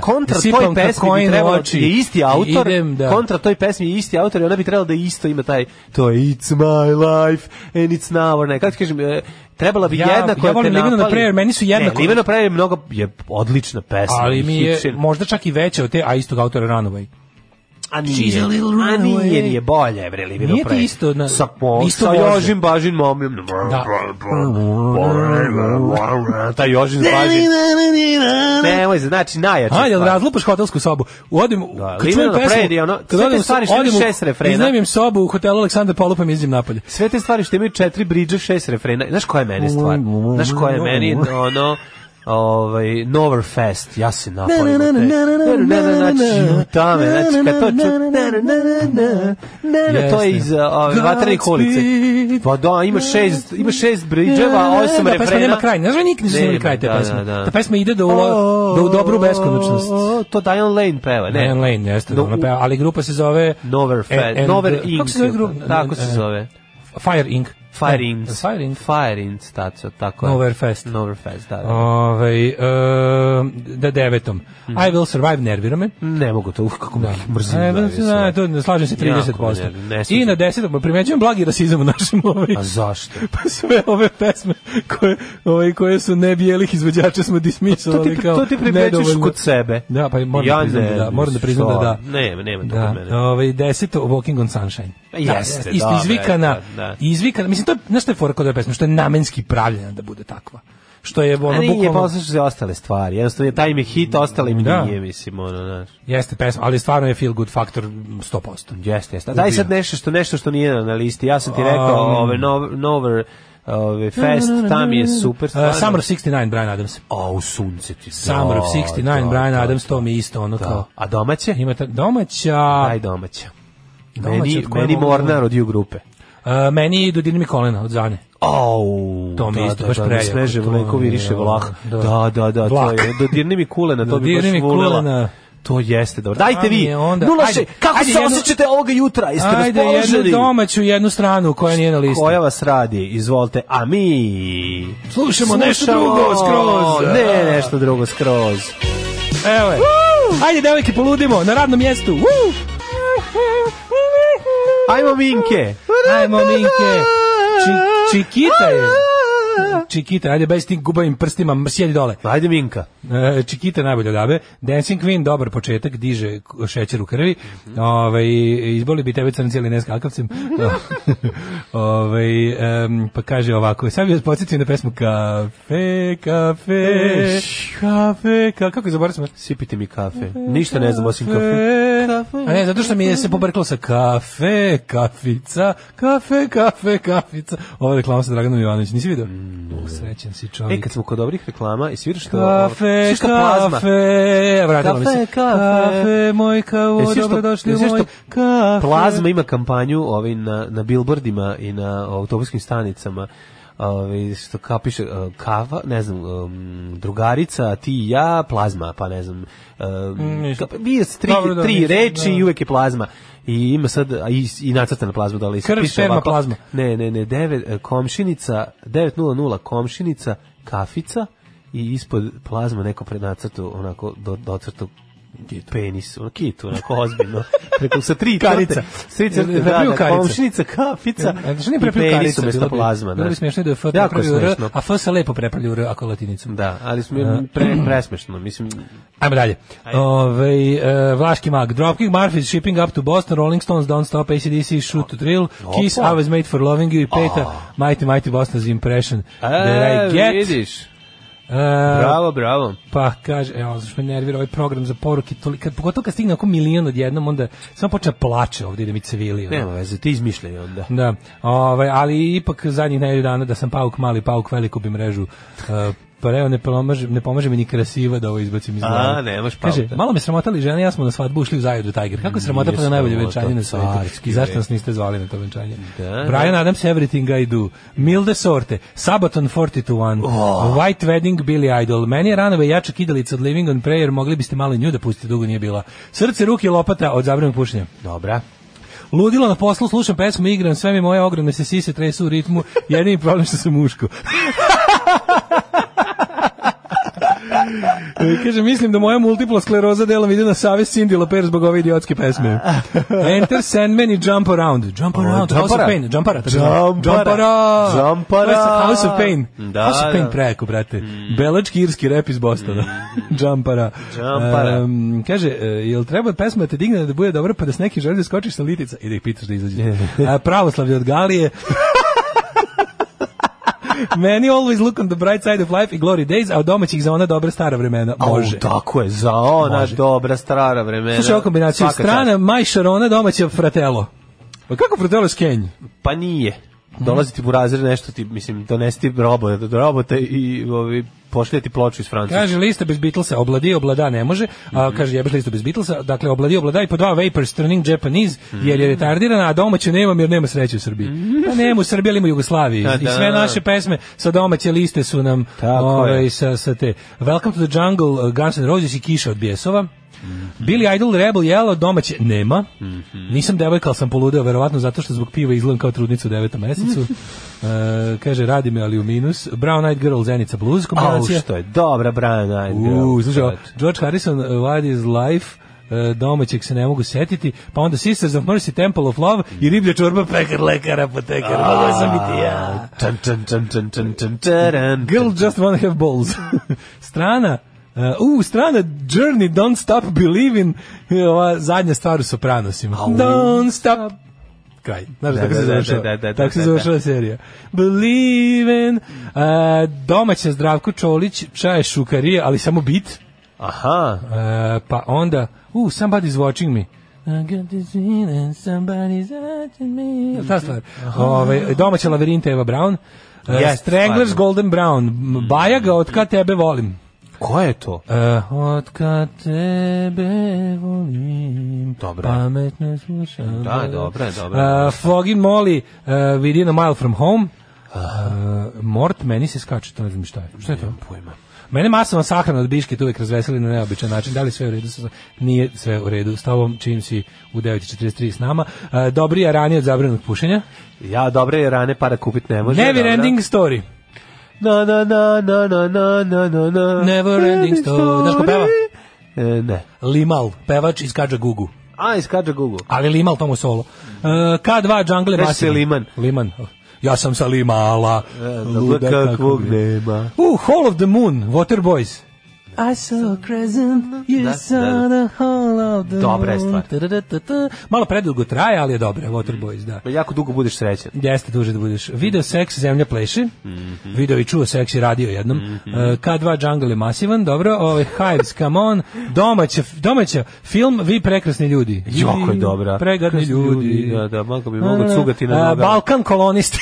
kon- kontra sipam toj pesmi bi kokain u trebalo oči je isti i autor, idem da... kontra toj pesmi je isti autor i ona bi trebala da isto ima taj to je it's my life and it's now or ne, kako ti kažem, e, trebala bi Ja- jedna ja koja volim te Livinu na napali. prayer, meni su jednako- Ne, Livinu na prayer je mnogo, je odlična pesma. ali i mi je hit, možda čak i veća od te, a istog autora Runaway. A She's nije, a little a nije, runaway. nije bolje, bre, Livinu Nije ti prayer. isto, na- sa, po, isto sa može. Jožim Bažin momljom. Da. Taj Jožin Bažin. Nemoj se, znači najjače. A, Pa, jel stvari. razlupaš hotelsku sobu? Odim, da, kad Living čujem on a pesmu, Prayer je ono- sve kad te odem, u- stvari što odem u- imaju šest refrena. Iznajmim sobu u hotelu Aleksandar Polupam izđem napolje. sve te stvari što imaju četiri bridža, šest refrena. Znaš koja je meni stvar? Znaš koja je meni ono ovaj Noverfest, ja se napalim. od te. Znači, ljuta me, znači, kad to ču... Ne, to je iz ove, vatrenih ulice. Pa da, ima šest, ima šest bridževa, osam Da, refrena. pesma nema kraj. Ne znam, nikad nisam Nema, imali kraj te da, da, pesme. da. Ta pesma ide do, u lo- do u dobru beskonačnost. To Diane Lane peva, ne? Diane Lane, jeste, No, ona peva, ali grupa se zove... Noverfest, E- and- Nover Inc. Kako se zove grupa? Tako se E, zove. Fire Inc. Fire Ne, Inc. E, Fire Inc. Fire Inc. Taco, tako je. Noverfest. Noverfest, da. da. Ovaj e, da devetom. Mhm. I will survive nervira me. Ne mogu to, uf, kako me mrzim. E, da, da, mislim. da, to ne slažem se Jako 30%. ne, ne I sviđa. na 10. primećujem blagi rasizam u našem ovaj. A zašto? Pa sve ove pesme koje, ovaj, koje su nebijelih izvođača smo To dismisovali ti, kao to ti primećeš nedovoljno. kod sebe. Da, pa moram da priznam da da, moram da priznam da što? da. Ne, nema to kod mene. Da, ovaj 10. Walking on Sunshine. Pa jeste, isto da, izvikana, bre, da, da. izvikana, mislim, to je, znaš što je fora kod ove pesme, što je namenski pravljena da bude takva. Što je, A ono, nije, bukvalno... poslušaj se ostale stvari. Jednostavno, je taj im je hit, ostale im Da. nije, mislim, ono, znaš. Jeste pesma, ali stvarno je feel good faktor 100%. Jeste, jeste. A Daj sad nešto što, nešto što nije na listi. Ja sam ti rekao, Um, ove, Nov- Nover, ove, Fest, tam je super. Uh, stvarno. Summer of 69, Brian Adams. Au, sunce ti. Summer of Da, 69, da, Brian da, Adams, da. to mi je isto ono Da. kao... A domaće? Ima ta domaća... Daj domaća. Domaća Meni, od koje meni mogu- Mornar od U-grupe. Uh, meni idu Dini mi kolena od Zane. Au, To mi je isto da, baš da, da, prejako, Sneže to mleko mi je, viriše ono, vlah. da. Da, da, da, to Vlak. je. Dodirni mi kulena, to bi baš Dodirni mi volela. kulena. To jeste dobro. Dajte mi vi. je onda- 06. Ajde, Kako ajde se jednu- osjećate ovoga jutra? Jeste Ajde, jednu raspoloženi? domaću, jednu stranu koja nije na listi. Koja vas radi? Izvolite. A mi... Slušamo nešto drugo skroz. Ne, nešto drugo skroz. Evo je. Ajde, devojke, poludimo na radnom mjestu. Woo! Ajmo Minke. Ajmo, Minke. Či, čikita je. Čikita, ajde, bez tim gubavim prstima, m- sjedi dole. Ajde Minka. E, Čikita najbolje odabe. Dancing Queen, dobar početak, diže k- šećer u krvi. Ove, izboli bi tebe crnci ili ne skakavcem. Ove, em, pa kaže ovako, sad bi vas podsjetio na pesmu Kafe, kafe, kafe, ka, kako je zaboravio sam? Sipite mi kafe. Ništa ne znam osim kafe. A ne, zato što mi je se pobrklo sa kafe, kafica, kafe, kafe, kafica. Ova reklama sa Draganom Jovanović, nisi vidio? Mm. Srećan si čovjek. E, kad smo kod dobrih reklama, i sviraš to... Kafe, Sviška plazma. ono, kafe, vratila mi se. Kafe, kafe. kafe moj Jesi kao, još to- dobrodošli u jesi još moj to- kafe. Plazma ima kampanju ovaj, na, na billboardima i na autobuskim stanicama ovaj, što kao piše uh, kava, ne znam, um, drugarica, ti i ja, plazma, pa ne znam, um, Mm, ništa. ka- bio s tri, Dobro, da, tri ništa, reči da. i uvek je plazma. I ima sad, a i, i nacrtana plazma dole. I sad Krv, piše sperma, ovako- plazma. Ne, ne, ne, devet, e, komšinica, 900 komšinica, kafica i ispod plazma neko prenacrtu, onako, do, docrtu penis, ono kitu, onako ozbiljno. Preko sa tri Karica. crte. S tri crte, Jel da, prepio da, karica? komšinica, kafica E, Znaš, nije i prepravio penis karicu, bilo umesto bi, plazma. bilo bi znaš. smiješno da je F Jako Mm. prepravio R, smešno. a F se lepo prepravlja u R ako latinicom. Da, ali smo pre, presmešno, mislim, Ajmo dalje. Ove, e, Vlaški mag, Dropkick Murphys, Shipping Up to Boston, Rolling Stones, Don't Stop, ACDC, Shoot to Thrill, Kiss, I Was Made for Loving You i peta, Mighty Mighty Boston's Impression Ah. e, That I Get. vidiš, E, bravo, bravo. Pa kaže, evo, znaš me nervira ovaj program za poruke, toliko, kad, pogotovo kad stigne oko milion odjednom, onda samo počne plače ovdje da mi cevili. ono. Nema veze, ti izmišljaj onda. Da, ovaj, ali ipak zadnjih nedelju dana da sam pauk mali, pauk veliku bi mrežu uh, pa evo ne pomaže, ne pomaže mi ni krasiva da ovo izbacim iz A, glave. nemaš pauta. Kaže, malo me sramotali žena, ja smo na svadbu ušli u Zajudu Tiger. Kako je sramota Nije pa na najbolje sramota, venčanje na svetu? carski I zašto vek. nas niste zvali na to venčanje? Da, Brian Adams, Everything I Do, Milde Sorte, Sabaton 421, Oh. White Wedding, Billy Idol, meni je ranove jača kidalica od Living on Prayer, mogli biste malo i nju da pustite, dugo nije bila. Srce, ruke, lopata od zabranog pušenja. Dobra. Ludilo na poslu, slušam pesmu, igram, sve mi moje ogromne se sise tresu u ritmu, jedini problem što sam muško. Kaže, mislim da moja multipla skleroza delom ide na savest Cindy Loper zbog ove idiotske pesme. Enter Sandman i Jump Around. Jump Around, House of Jumpara. Pain. Jumpara. tako Jumpara. zove. Jumpara. Jumpara. To je House of Pain. Da, House of Pain da. preko, brate. Mm. Belački irski rep iz Bostona. Jumpara. Jumpara. Em, kaže, e, jel treba pesma da te digne da bude dobra pa da s nekim želiš da skočiš sa litica i da ih pitaš da izađe. A, Pravoslavlje od Galije. Meni always look on the bright side of life i glory days, a od domaćih za ona dobra stara vremena. Može. Može. tako je, za ona Može. dobra strara vremena. Slušaj ovu kombinaciju. Svaka Strana, čast. majšarona, domaća fratelo. Pa kako fratelo je skenj? Pa nije. Dolazi ti u razred nešto ti, mislim, donesti robota, do robota i ovi, pošlje ti ploču iz Francuske. Kaže lista bez Beatlesa, obladi, oblada ne može. A, Mhm. kaže jebeš listu bez Beatlesa, dakle obladi, oblada i po dva Vapors Turning Japanese, Mhm. jer je retardirana, a domaću nemam jer nema sreće u Srbiji. Pa nema u Srbiji, ali ima u Jugoslaviji. Da, I sve da. naše pesme sa domaće liste su nam Tako ovaj, je. sa, sa te. Welcome to the Jungle, uh, Guns N' Roses i Kiša od Bijesova. Mhm. Billy Idol, Rebel Yellow, domaće nema. Nisam devojka, ali sam poludeo, verovatno zato što zbog piva izgledam kao trudnicu u devetom mesecu. E, kaže, radi me, ali u minus. Brown Eyed Girl, Zenica Blues, kombinacija. Au, što je dobra Brian Idol. U, slušaj, ovo, George Harrison, uh, What is Life, uh, domaćeg se ne mogu setiti, pa onda Sisters of Mercy, Temple of Love i riblja čorba, pekar, lekar, apotekar, mogu sam biti ja. Čan, čan, čan, čan, čan, čan, čan. Girl just wanna have balls. strana, uh, u, strana Journey, Don't Stop Believing, i ova zadnja stvar u Sopranosima. Don't stop kraj. Znaš, Da, tako da, da, se završava. da, da, da, tako se da, završava serija. Believe in, uh, domaća Zdravko Čolić, čaje šukarije, ali samo bit. Aha. E, pa onda, uh, somebody's watching me. I got this feeling somebody's watching me. Jel Ta stvar. Ove, domaća laverinta Eva Brown. E, Jest, Stranglers stvarno. Golden Brown. M, Baja ga, od kad tebe volim. Ko je to? E, od kad tebe volim. Dobro. Pametno slušam. Da, dobro, dobro. E, Foggy Molly, e, Within a Mile from Home. E, Mort, meni se skače, to ne znam šta je. Šta je to? Pojma. Mene masovna sahrana od Biškita uvijek razveseli na neobičan način. Da li sve u redu? sa- Nije sve u redu. S tobom čim si u 9.43 s nama. E, Dobri je ranije od zabranog pušenja. Ja dobre rane para kupit ne može. Never dobra. ending story. Na, na, na, na, na, na, na, na, na. Never ending story. Znaš ko peva? E, ne. Limal, pevač iz Kadža Gugu. A, iskađa Google. Ali Limal tomu solo. E, K2 Jungle Kaže se Basina. Liman. Liman. Ja sam sa Limala. Luda E, kakvog nema. U, Hall of the Moon, Waterboys. I saw a crescent, you Da, saw da, da. the hall of the Dobra je moon. stvar. Ta-da-da-da-da. Malo predugo traje, ali je dobra, Waterboys, da. Pa Jako dugo budeš srećan. Jeste duže da budeš. Video seks, zemlja pleše. Mhm. Video i čuo seks i radio jednom. E, K2 Jungle je masivan, dobro. Ove, Hives, come on. Domaća, domaća film Vi prekrasni ljudi. Jako je dobra. Pregadni Krasni ljudi. Da, da, malo bi mogao Da, da, da. cugati na A, nogama. Balkan kolonisti.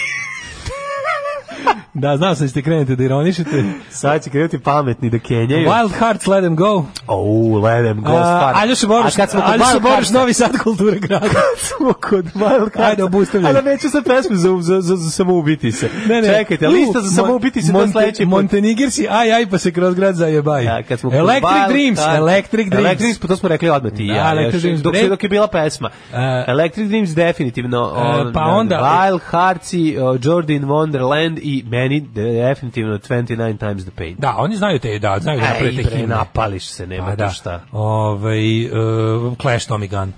da, znao sam da ste krenete da ironišete. Sad će krenuti pametni da kenjaju. Wild Hearts, Let Them Go. E, Oh, let them go, stvar. Aljoša Boruš, A kad smo kod Aljoša Wild Boruš, Heartsa- Novi Sad kulture grada. smo kod Wild Hearts. Ajde, obustavljaj. Ali neću sad pesmu za, za, za, za samoubiti se. Ne, ne. Čekajte, U, lista za Mon- samoubiti se do Monte- sledeći put. Montenegirci, aj, aj, pa se kroz grad zajebaj. Ja, kad smo kod Electric Wild Dreams, Hearts- Electric Dreams. E, Electric Dreams, pa to smo rekli odmah ti i Da, ja. Electric još, Dreams, dok, se, Break- dok je bila pesma. E, Electric Dreams definitivno. on- pa onda- Wild Hearts i uh, Jordan Wonderland i meni definitivno 29 times the pain. Da, oni znaju te, da, znaju da naprave te himne. napališ se, nema Pa da. da. tu šta. Ovaj, uh, Clash Tommy Gun.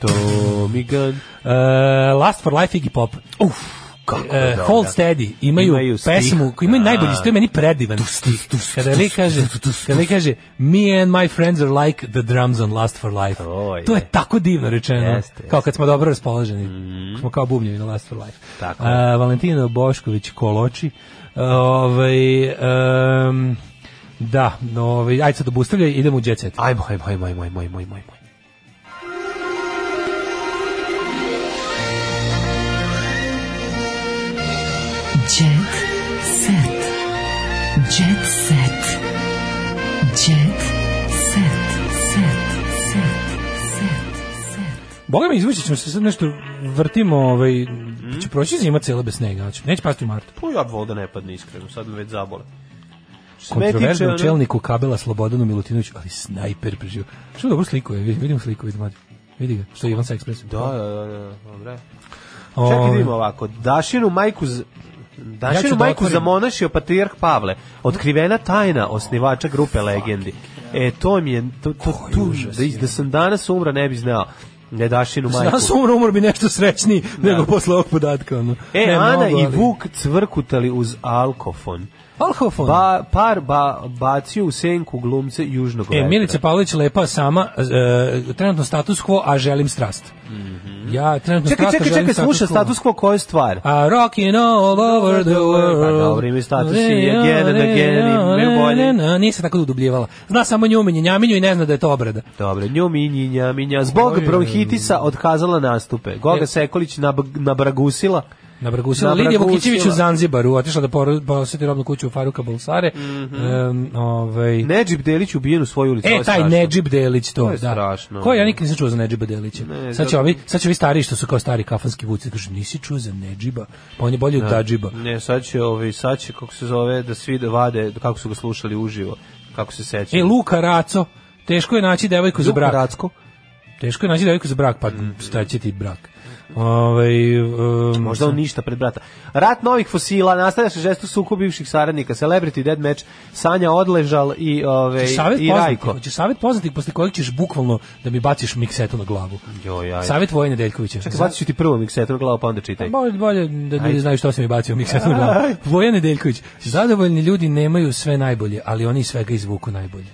Tommy Gun. Uh, Last for Life Iggy Pop. Uf, kako E, dobro. Hold Steady imaju, Imaju stih. pesmu koji imaju najbolji Da. stih, to je meni predivan stih. Kada li kaže, kada li kaže Me and my friends are like the drums on Last for Life. To je. To je tako divno rečeno. Jeste, jeste. Mhm. Kao kad smo dobro raspoloženi. Smo kao bubnjevi na Last for Life. Tako E, Valentino Bošković Koloči. E, ovaj, em, da, ovaj, ajde sad obustavljaj, idemo u Jet Set. Ajmo, ajmo, ajmo, ajmo, ajmo, ajmo, ajmo. ajmo. Jet set. Jet set. Jet set. Set. Set. Set. Set. Boga mi izvući ćemo se sad nešto vrtimo, ovaj, Mm. će proći zima cijela bez snega, znači, neće pasti u martu. Pa ja bi volio da ne padne iskreno, sad me već zabole. Što se mene tiče, Kontroverznom ono- čelniku kabela Slobodanu Milutinoviću, ali snajper preživio. Što dobro sliku je, vidim sliku, vidim. mlađe. Vidi ga, što je Ivan sa Ekspresom. Ovaj, Da, da, da, da, dobre. O- Čekaj, vidimo ovako. Dašinu majku z... Ja Dašinu ću da majku otvorim. zamonašio patrijarh Pavle. Otkrivena tajna osnivača grupe Legendi. E, to mi je... To, to, tu, da, iz- da sam danas umra ne bi znao. Ne Dašinu majku. Danas umro, umro bi nešto srećniji nego posle ovog podatka. Ono. E, Ne, Ana mnogo, i ali- Vuk cvrkutali uz alkofon. Alkofon? Ba, par ba, bacio u senku glumce južnog E, vetra. Milica Pavlović lepa sama, e, trenutno status quo, a želim strast. Ja trenutno Mhm. Čekaj, strast, a čekaj, želim čekaj, sluša quo. status quo koju stvar? A rockin' Pa all over the world. Pa dobro, imaju statusi i again and again i imaju bolje. Nije se tako udubljivala. Zna samo njuminje, njaminju i ne zna da je to obrada. Dobro, nju minjinja, minja. Zbog Oj, bronhitisa otkazala nastupe. Goga E. Sekolić nab- nabragusila. Nabragusila Lidija Vukićević u Zanzibaru, otišla da poru- poseti robnu kuću u Faruka Balsare. Em, ovaj... Nedžib Delić ubijen u svoju ulicu. ovo E, Mhm. je taj strašno. Nedžib Delić to, To je da. strašno. Ko ja nikad nisam čuo za Nedžiba Delića. Ne, sad, će zato- ovi, sad će ovi stariji što su kao stari kafanski vuci, kažu nisi čuo za Nedžiba, pa on je bolji od Da. Dadžiba. Ne, sad će, ovi, sad će, kako se zove, da svi da vade kako su ga slušali uživo, kako se sećaju. E, Luka Raco, teško je naći devojku za Luka brak. Racko? Teško je naći devojku za brak, pa Mm. šta će ti brak? Ovaj, um, Možda on ništa pred brata. Rat novih fosila, nastavlja se žestu suku bivših saradnika, Celebrity Deathmatch, Sanja Odležal i, ove, Savet i poznatih, Rajko. hoćeš savjet poznatih posle kojeg ćeš bukvalno da mi baciš miksetu na glavu. Joj, aj. Savjet Vojne Deljkovića. Čekaj, bacit ću ti prvo miksetu na glavu, pa onda čitaj. Bolje, bolje da ljudi Ajde. znaju što sam mi bacio miksetu na glavu. Vojan Nedeljković, zadovoljni ljudi nemaju sve najbolje, ali oni iz svega izvuku najbolje.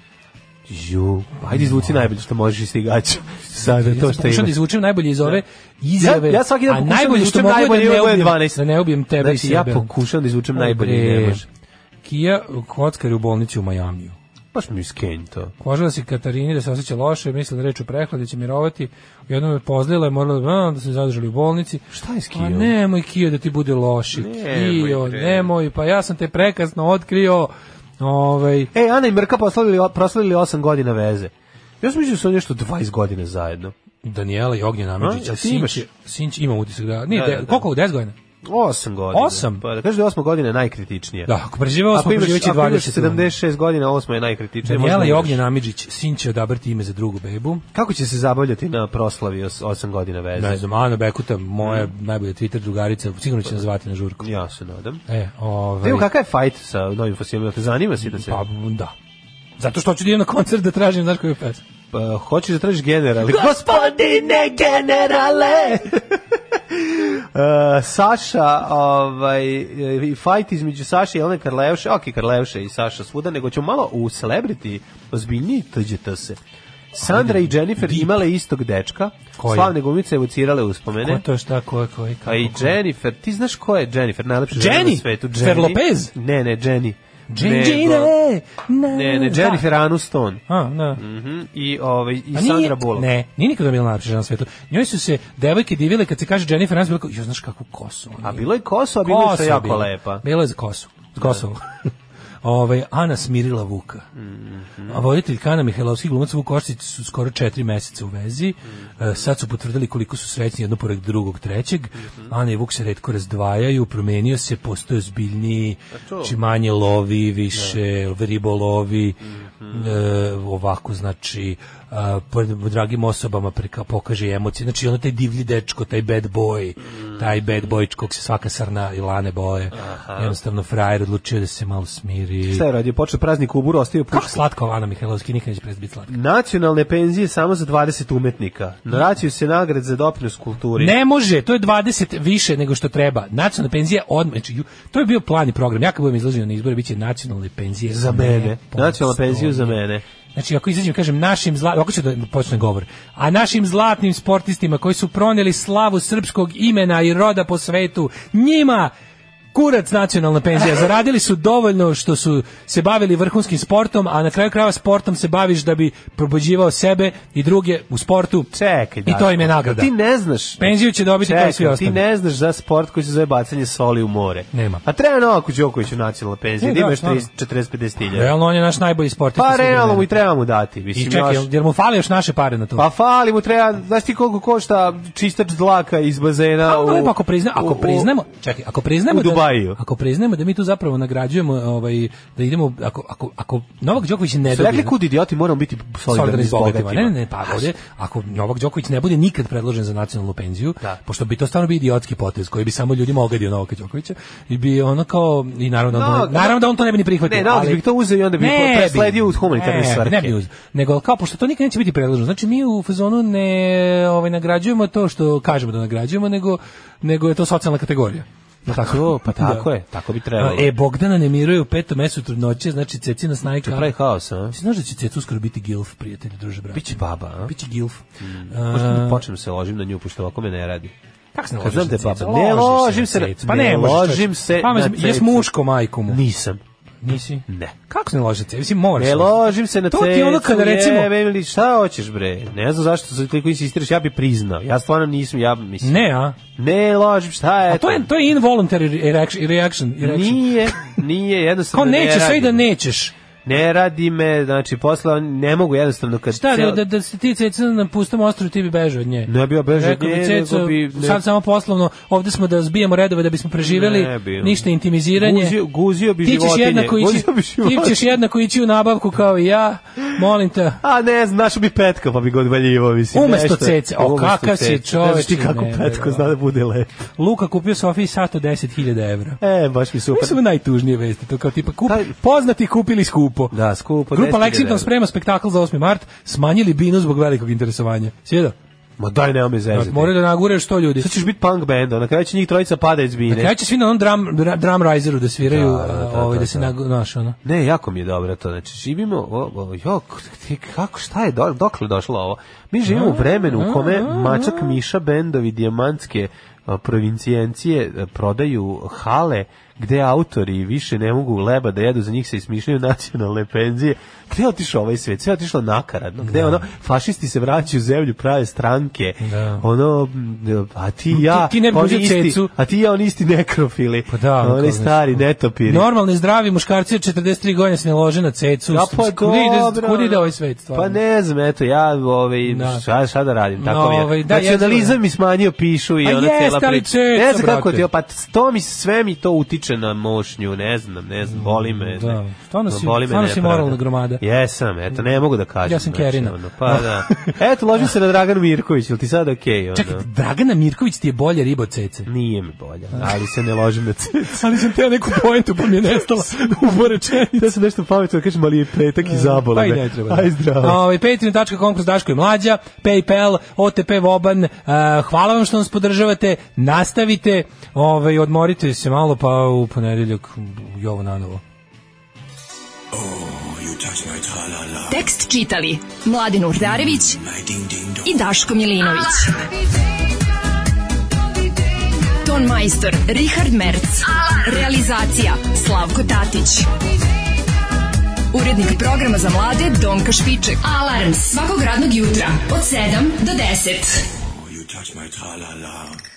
Ju, ajde izvuci najbolje što možeš iz tih gaća. Sada Ja to sam što pokušao da imaš. izvučem najbolje iz ove izjave. Ja- ja svaki dan a pokušavam da najbolje što izvučem mogu je najbolje i da ne ovo je ubijem, 12. da ne ubijem tebe i Znači, ja sebe. pokušavam da izvučem O, najbolje i ne bre. može. Kija kockar je u bolnici u Majamiju. Baš mi skenj to. Požela se Katarini da se osjeća loše, mislila da je reč o prehladi, će mirovati. Jednom je pozlila i morala da, a, da se zadržali u bolnici. Šta je s A Kijom? nemoj Kio da ti bude loši. Nemoj, Kio, bre. nemoj, pa ja sam te prekasno otkrio. Ovaj, E, Ana i Mrka proslavili, proslavili 8 godina veze. Ja sam mislio da su oni nešto 20 godina zajedno. Daniela i Ognjen Amidžić. A, jel ti Sinć- imaš? Sinć ima utisak da... Nije, Da, da, de- da. koliko u 10 godina? 8 godina. Osam? Pa da kaže da 8 godina je najkritičnije. Da, ako prežive osmo, Ako imaš- preživeći ako imaš 20 godina. 76 godina, 8 je najkritičnije. Daniela možda i umreš. Ognjen Amidžić, sin će odabrati ime za drugu bebu. Kako će se zabavljati na proslavi 8 godina veze? Ne znam, Ana Bekuta, Mm. moja najbolja Twitter drugarica, sigurno će nazvati na žurku. Ja se nadam. E, ovaj, Pa Evo, kakav je fajt sa novim fosilima? Te zanima si da se... pa, da. Zato što hoću da idem na koncert da tražim, znaš koju pesmu. Pa, hoćeš da tražiš generale. Gospodine generale! Uh, Saša, ovaj, i fight između Saše i Jelene Karlevše, ok, Karlevše i Saša svuda, nego ćemo malo u celebrity ozbiljniji tuđete se. Sandra i Jennifer imale istog dečka, Koji? slavne gumice evocirale uspomene. Ko to šta, ko je, ko je, kako, A i ko je. Jennifer, ti znaš ko je Jennifer, najlepša žena na Jenny? svetu? Jennifer Lopez? Ne, ne, Jenny. Jane, Nego- Jane, na- Ne, ne, da. Jennifer Aniston. A, da. Mhm, I, ovaj, i A nije- Sandra Bullock. Ne, nije nikada bila najlepša žena na svetu. Njoj su se devojke divile kad se kaže Jennifer Aniston, bilo kao, jo, znaš kakvu kosu. ona A ima." bilo je koso, a bilo je što Pa Kosa jako bila. lepa. Bila je za kosu. Za Kosovo. Ovaj, Ana smirila Vuka. A voditelj Kana Mihajlovski glumac Vuk Orsić su skoro četiri meseca u vezi. E, sad su potvrdili koliko su srećni jedno pored drugog, trećeg. Ana i Vuk se redko razdvajaju, promenio se, postoje zbiljniji, či manje lovi, više ribolovi, e, ovako znači a, pored- dragim osobama preka, pokaže emocije. Znači ono taj divlji dečko, taj bad boy, taj bad boy kog se svaka sarna i lane boje. Jednostavno frajer odlučio da se malo smiri. Šta je radio? Počeo praznik u buru, ostavio Kako pušku. slatko Ana Mihajlovski, nikad neće prestati biti slatka. Nacionalne penzije samo za 20 umetnika. Vraćaju se nagrad za doprinos kulturi. Ne može, to je 20 više nego što treba. Nacionalna penzija odmah, znači, ju- to je bio plan i program. Ja kad budem izlazio na izbore, bit će nacionalne penzije. Za Ne pa mene. postoje. Nacionalna penzija za mene. Znači, ako izađem, i kažem, našim zlatnim, ako ću da počne govor, a našim zlatnim sportistima koji su proneli slavu srpskog imena i roda po svetu, njima kurac nacionalna penzija. Zaradili su dovoljno što su se bavili vrhunskim sportom, a na kraju krajeva sportom se baviš da bi probuđivao sebe i druge u sportu. Čekaj, I to im je Daško, nagrada. Ti ne znaš. Penziju će dobiti kao i svi Čekaj, ti ostali. ne znaš za sport koji se zove bacanje soli u more. Nema. A treba Novaku Đokoviću nacionalna penzija, Ne, da da, imaš stvarno. 40-50 hiljada. Realno on je naš najbolji sportista. Pa svih realno vremena. mu i treba mu dati. Mislim, I čekaj, još- jel- jel mu fali još naše pare na to? Pa fali mu treba, znaš ti koliko košta čistač dlaka iz bazena A u... lepo Pa, ako prizna, ako u- u- priznamo, čekaj, ako priznamo u da Dubaju. Ako priznajemo da mi tu zapravo nagrađujemo, ovaj, da idemo, ako, ako, ako Novak Đoković Su ne dobije... rekli kud idioti, moramo biti solidarni s bogatima. Ne, ne, ne, pa ovdje, ako Novak Đoković ne bude nikad predložen za nacionalnu penziju, pošto bi to stvarno bio idiotski potez koji bi samo ljudima ogadio Novaka Đokovića, i bi ono kao, i naravno, da on- Novak- naravno da on to ne bi ni prihvatio. Ne, Novak ali- bi to uzeo i onda bi Ne presledio u humanitarne ne, svrhe. Ne bi uzeo. Nego, kao, pošto to nikad neće biti predloženo. Znači, mi u fazonu ne ovaj, nagrađujemo to što kažemo da nagrađujemo, nego, nego je to socijalna kategorija. Pa tako, pa tako je, tako bi trebalo. E, Bogdana ne miruje u petom mesu trudnoće, znači Cecina snajka. Će E, pravi haos, a? Ti znaš da će Cecu uskoro biti gilf, prijatelji, druže, brate? Biće baba, a? Hmm. Biće gilf. Možda da A, počnem se ložim na nju, pošto ovako me ne radi. Kako se ne Kad ložiš znam da je na baba- Cecu? Ne Ložiš ložim na se na- Cecu. Pa ne, ne možeš, ložim čovječe. se Pa, na mislim, jes Cecu. muško, majku mu? Nisam. Nisi? Ne. Kako se ne ložiš na Cecu? Mislim, moraš. Ne se- ložim se na To cecu, ti je ono kada, recimo- jebe ili šta hoćeš bre, ne znam zašto se toliko insistiraš, ja bi priznao, ja stvarno nisam, ja mislim. Ne, a? Ne ložim, šta je A to je, to je involuntary reaction. reaction, reaction. Nije, nije, jednostavno Kao ne nećeš, sve radi i da me. nećeš. Ne radi me, znači posle ne mogu jednostavno kad Šta, ceo- da, da se ti ceca na pustom ostrovu ti bi bežao od nje? Ne bi ja bežao od Rekao bi, nje, "Ceco, nego bi- ne." Sad samo poslovno, ovdje smo da zbijemo redove da bismo preživjeli, Ne bi. ništa intimiziranje. Guzio- guzio bi ti ćeš životinje, jednako ići, guzio bi Ti ćeš životinje. jednako ići u nabavku kao i ja, molim te. A ne, znam, našo bi petka, pa bi god valjivo, mislim. Umesto nešto. cece, o, Umesto kakav si cece. Znaš ti čoveče, kako ne, petko ne, zna da bude lep. Luka kupio Sofiji sat od 10.000 evra. E, baš mi super. To su najtužnije vesti, to kao tipa kup, poznati kupili skupo. Da, skupo. Grupa 10.000 evra. Lexington sprema spektakl za 8. mart, smanjili binu zbog velikog interesovanja. Sjedo? Ma daj, nema me zezati. Moraju da nagure što ljudi. Sad ćeš biti punk band, a na kraju će njih trojica pada iz bine. Na kraju će svi na onom drum, dra- drum riseru da sviraju, Da, da, da, a, ovaj, da, da, se da. nag- znaš, ono. Ne, jako mi je dobro to. Znači, živimo, o, o, jo, k- ti, kako, šta je, do, dokle došlo ovo? Mi živimo u vremenu u kome Mačak Miša bendovi dijamantske a, provincijencije a, prodaju hale gde autori više ne mogu leba da jedu, za njih se ismišljaju nacionalne penzije. Gde je otišao ovaj svet? Sve je otišlo nakaradno. Gde ono, fašisti se vraćaju u zemlju, prave stranke. Da. Ono, m, a ti i ja, Ti- ti ne bi oni uzeo isti- cecu. a ti i ja, oni isti nekrofili. Pa da, ono kao, oni znaš, stari netopiri. Normalni zdravi muškarci od 43 godine se ne lože na cecu. Ja pa Kud ide, dobro, kud ide ovaj svet? Stvarno? Pa ne znam, eto, ja ovaj, Da. šta, šta da radim, tako No, mi je. ovaj, da, znači, jezivo analizam je. mi smanjio pišu i A ona jeste, cela ali priča. čeca, Ne znam kako brate. ti, pa to mi, sve mi to utiče na mošnju, ne znam, ne znam, boli me. Da, ne, stvarno si- boli me stvarno si nepravda. moralna gromada. Jesam, eto, ne mogu da kažem. Ja sam znači, Kerina. ono, pa da. Eto, ložim se na Dragan Mirković, ili ti sad okej? ono? Čekaj, Dragana Mirković ti je bolje riba od cece. Nije mi bolja, ali se ne ložim na cecu. Ali sam teo Pa neku poentu pa mi je nestala u porečenju. Da sam nešto pametno da kažem, ali je petak i zabole. Pa i me. ne treba. da. Aj, zdravo. Ovaj, Patreon.com kroz Daško i Mlađa, Paypal, OTP Voban, eh, hvala vam što nas podržavate, nastavite, ovaj, odmorite se malo, pa u ponedeljak Jovo nanovo. Tekst čitali Mladin Urdarević i Daško Milinović. Ton majstor Richard Merc. Realizacija Slavko Tatić. Urednik programa za mlade Donka Špiček. Alarms svakog radnog jutra od 7 do 10. You touch my tra-la-la.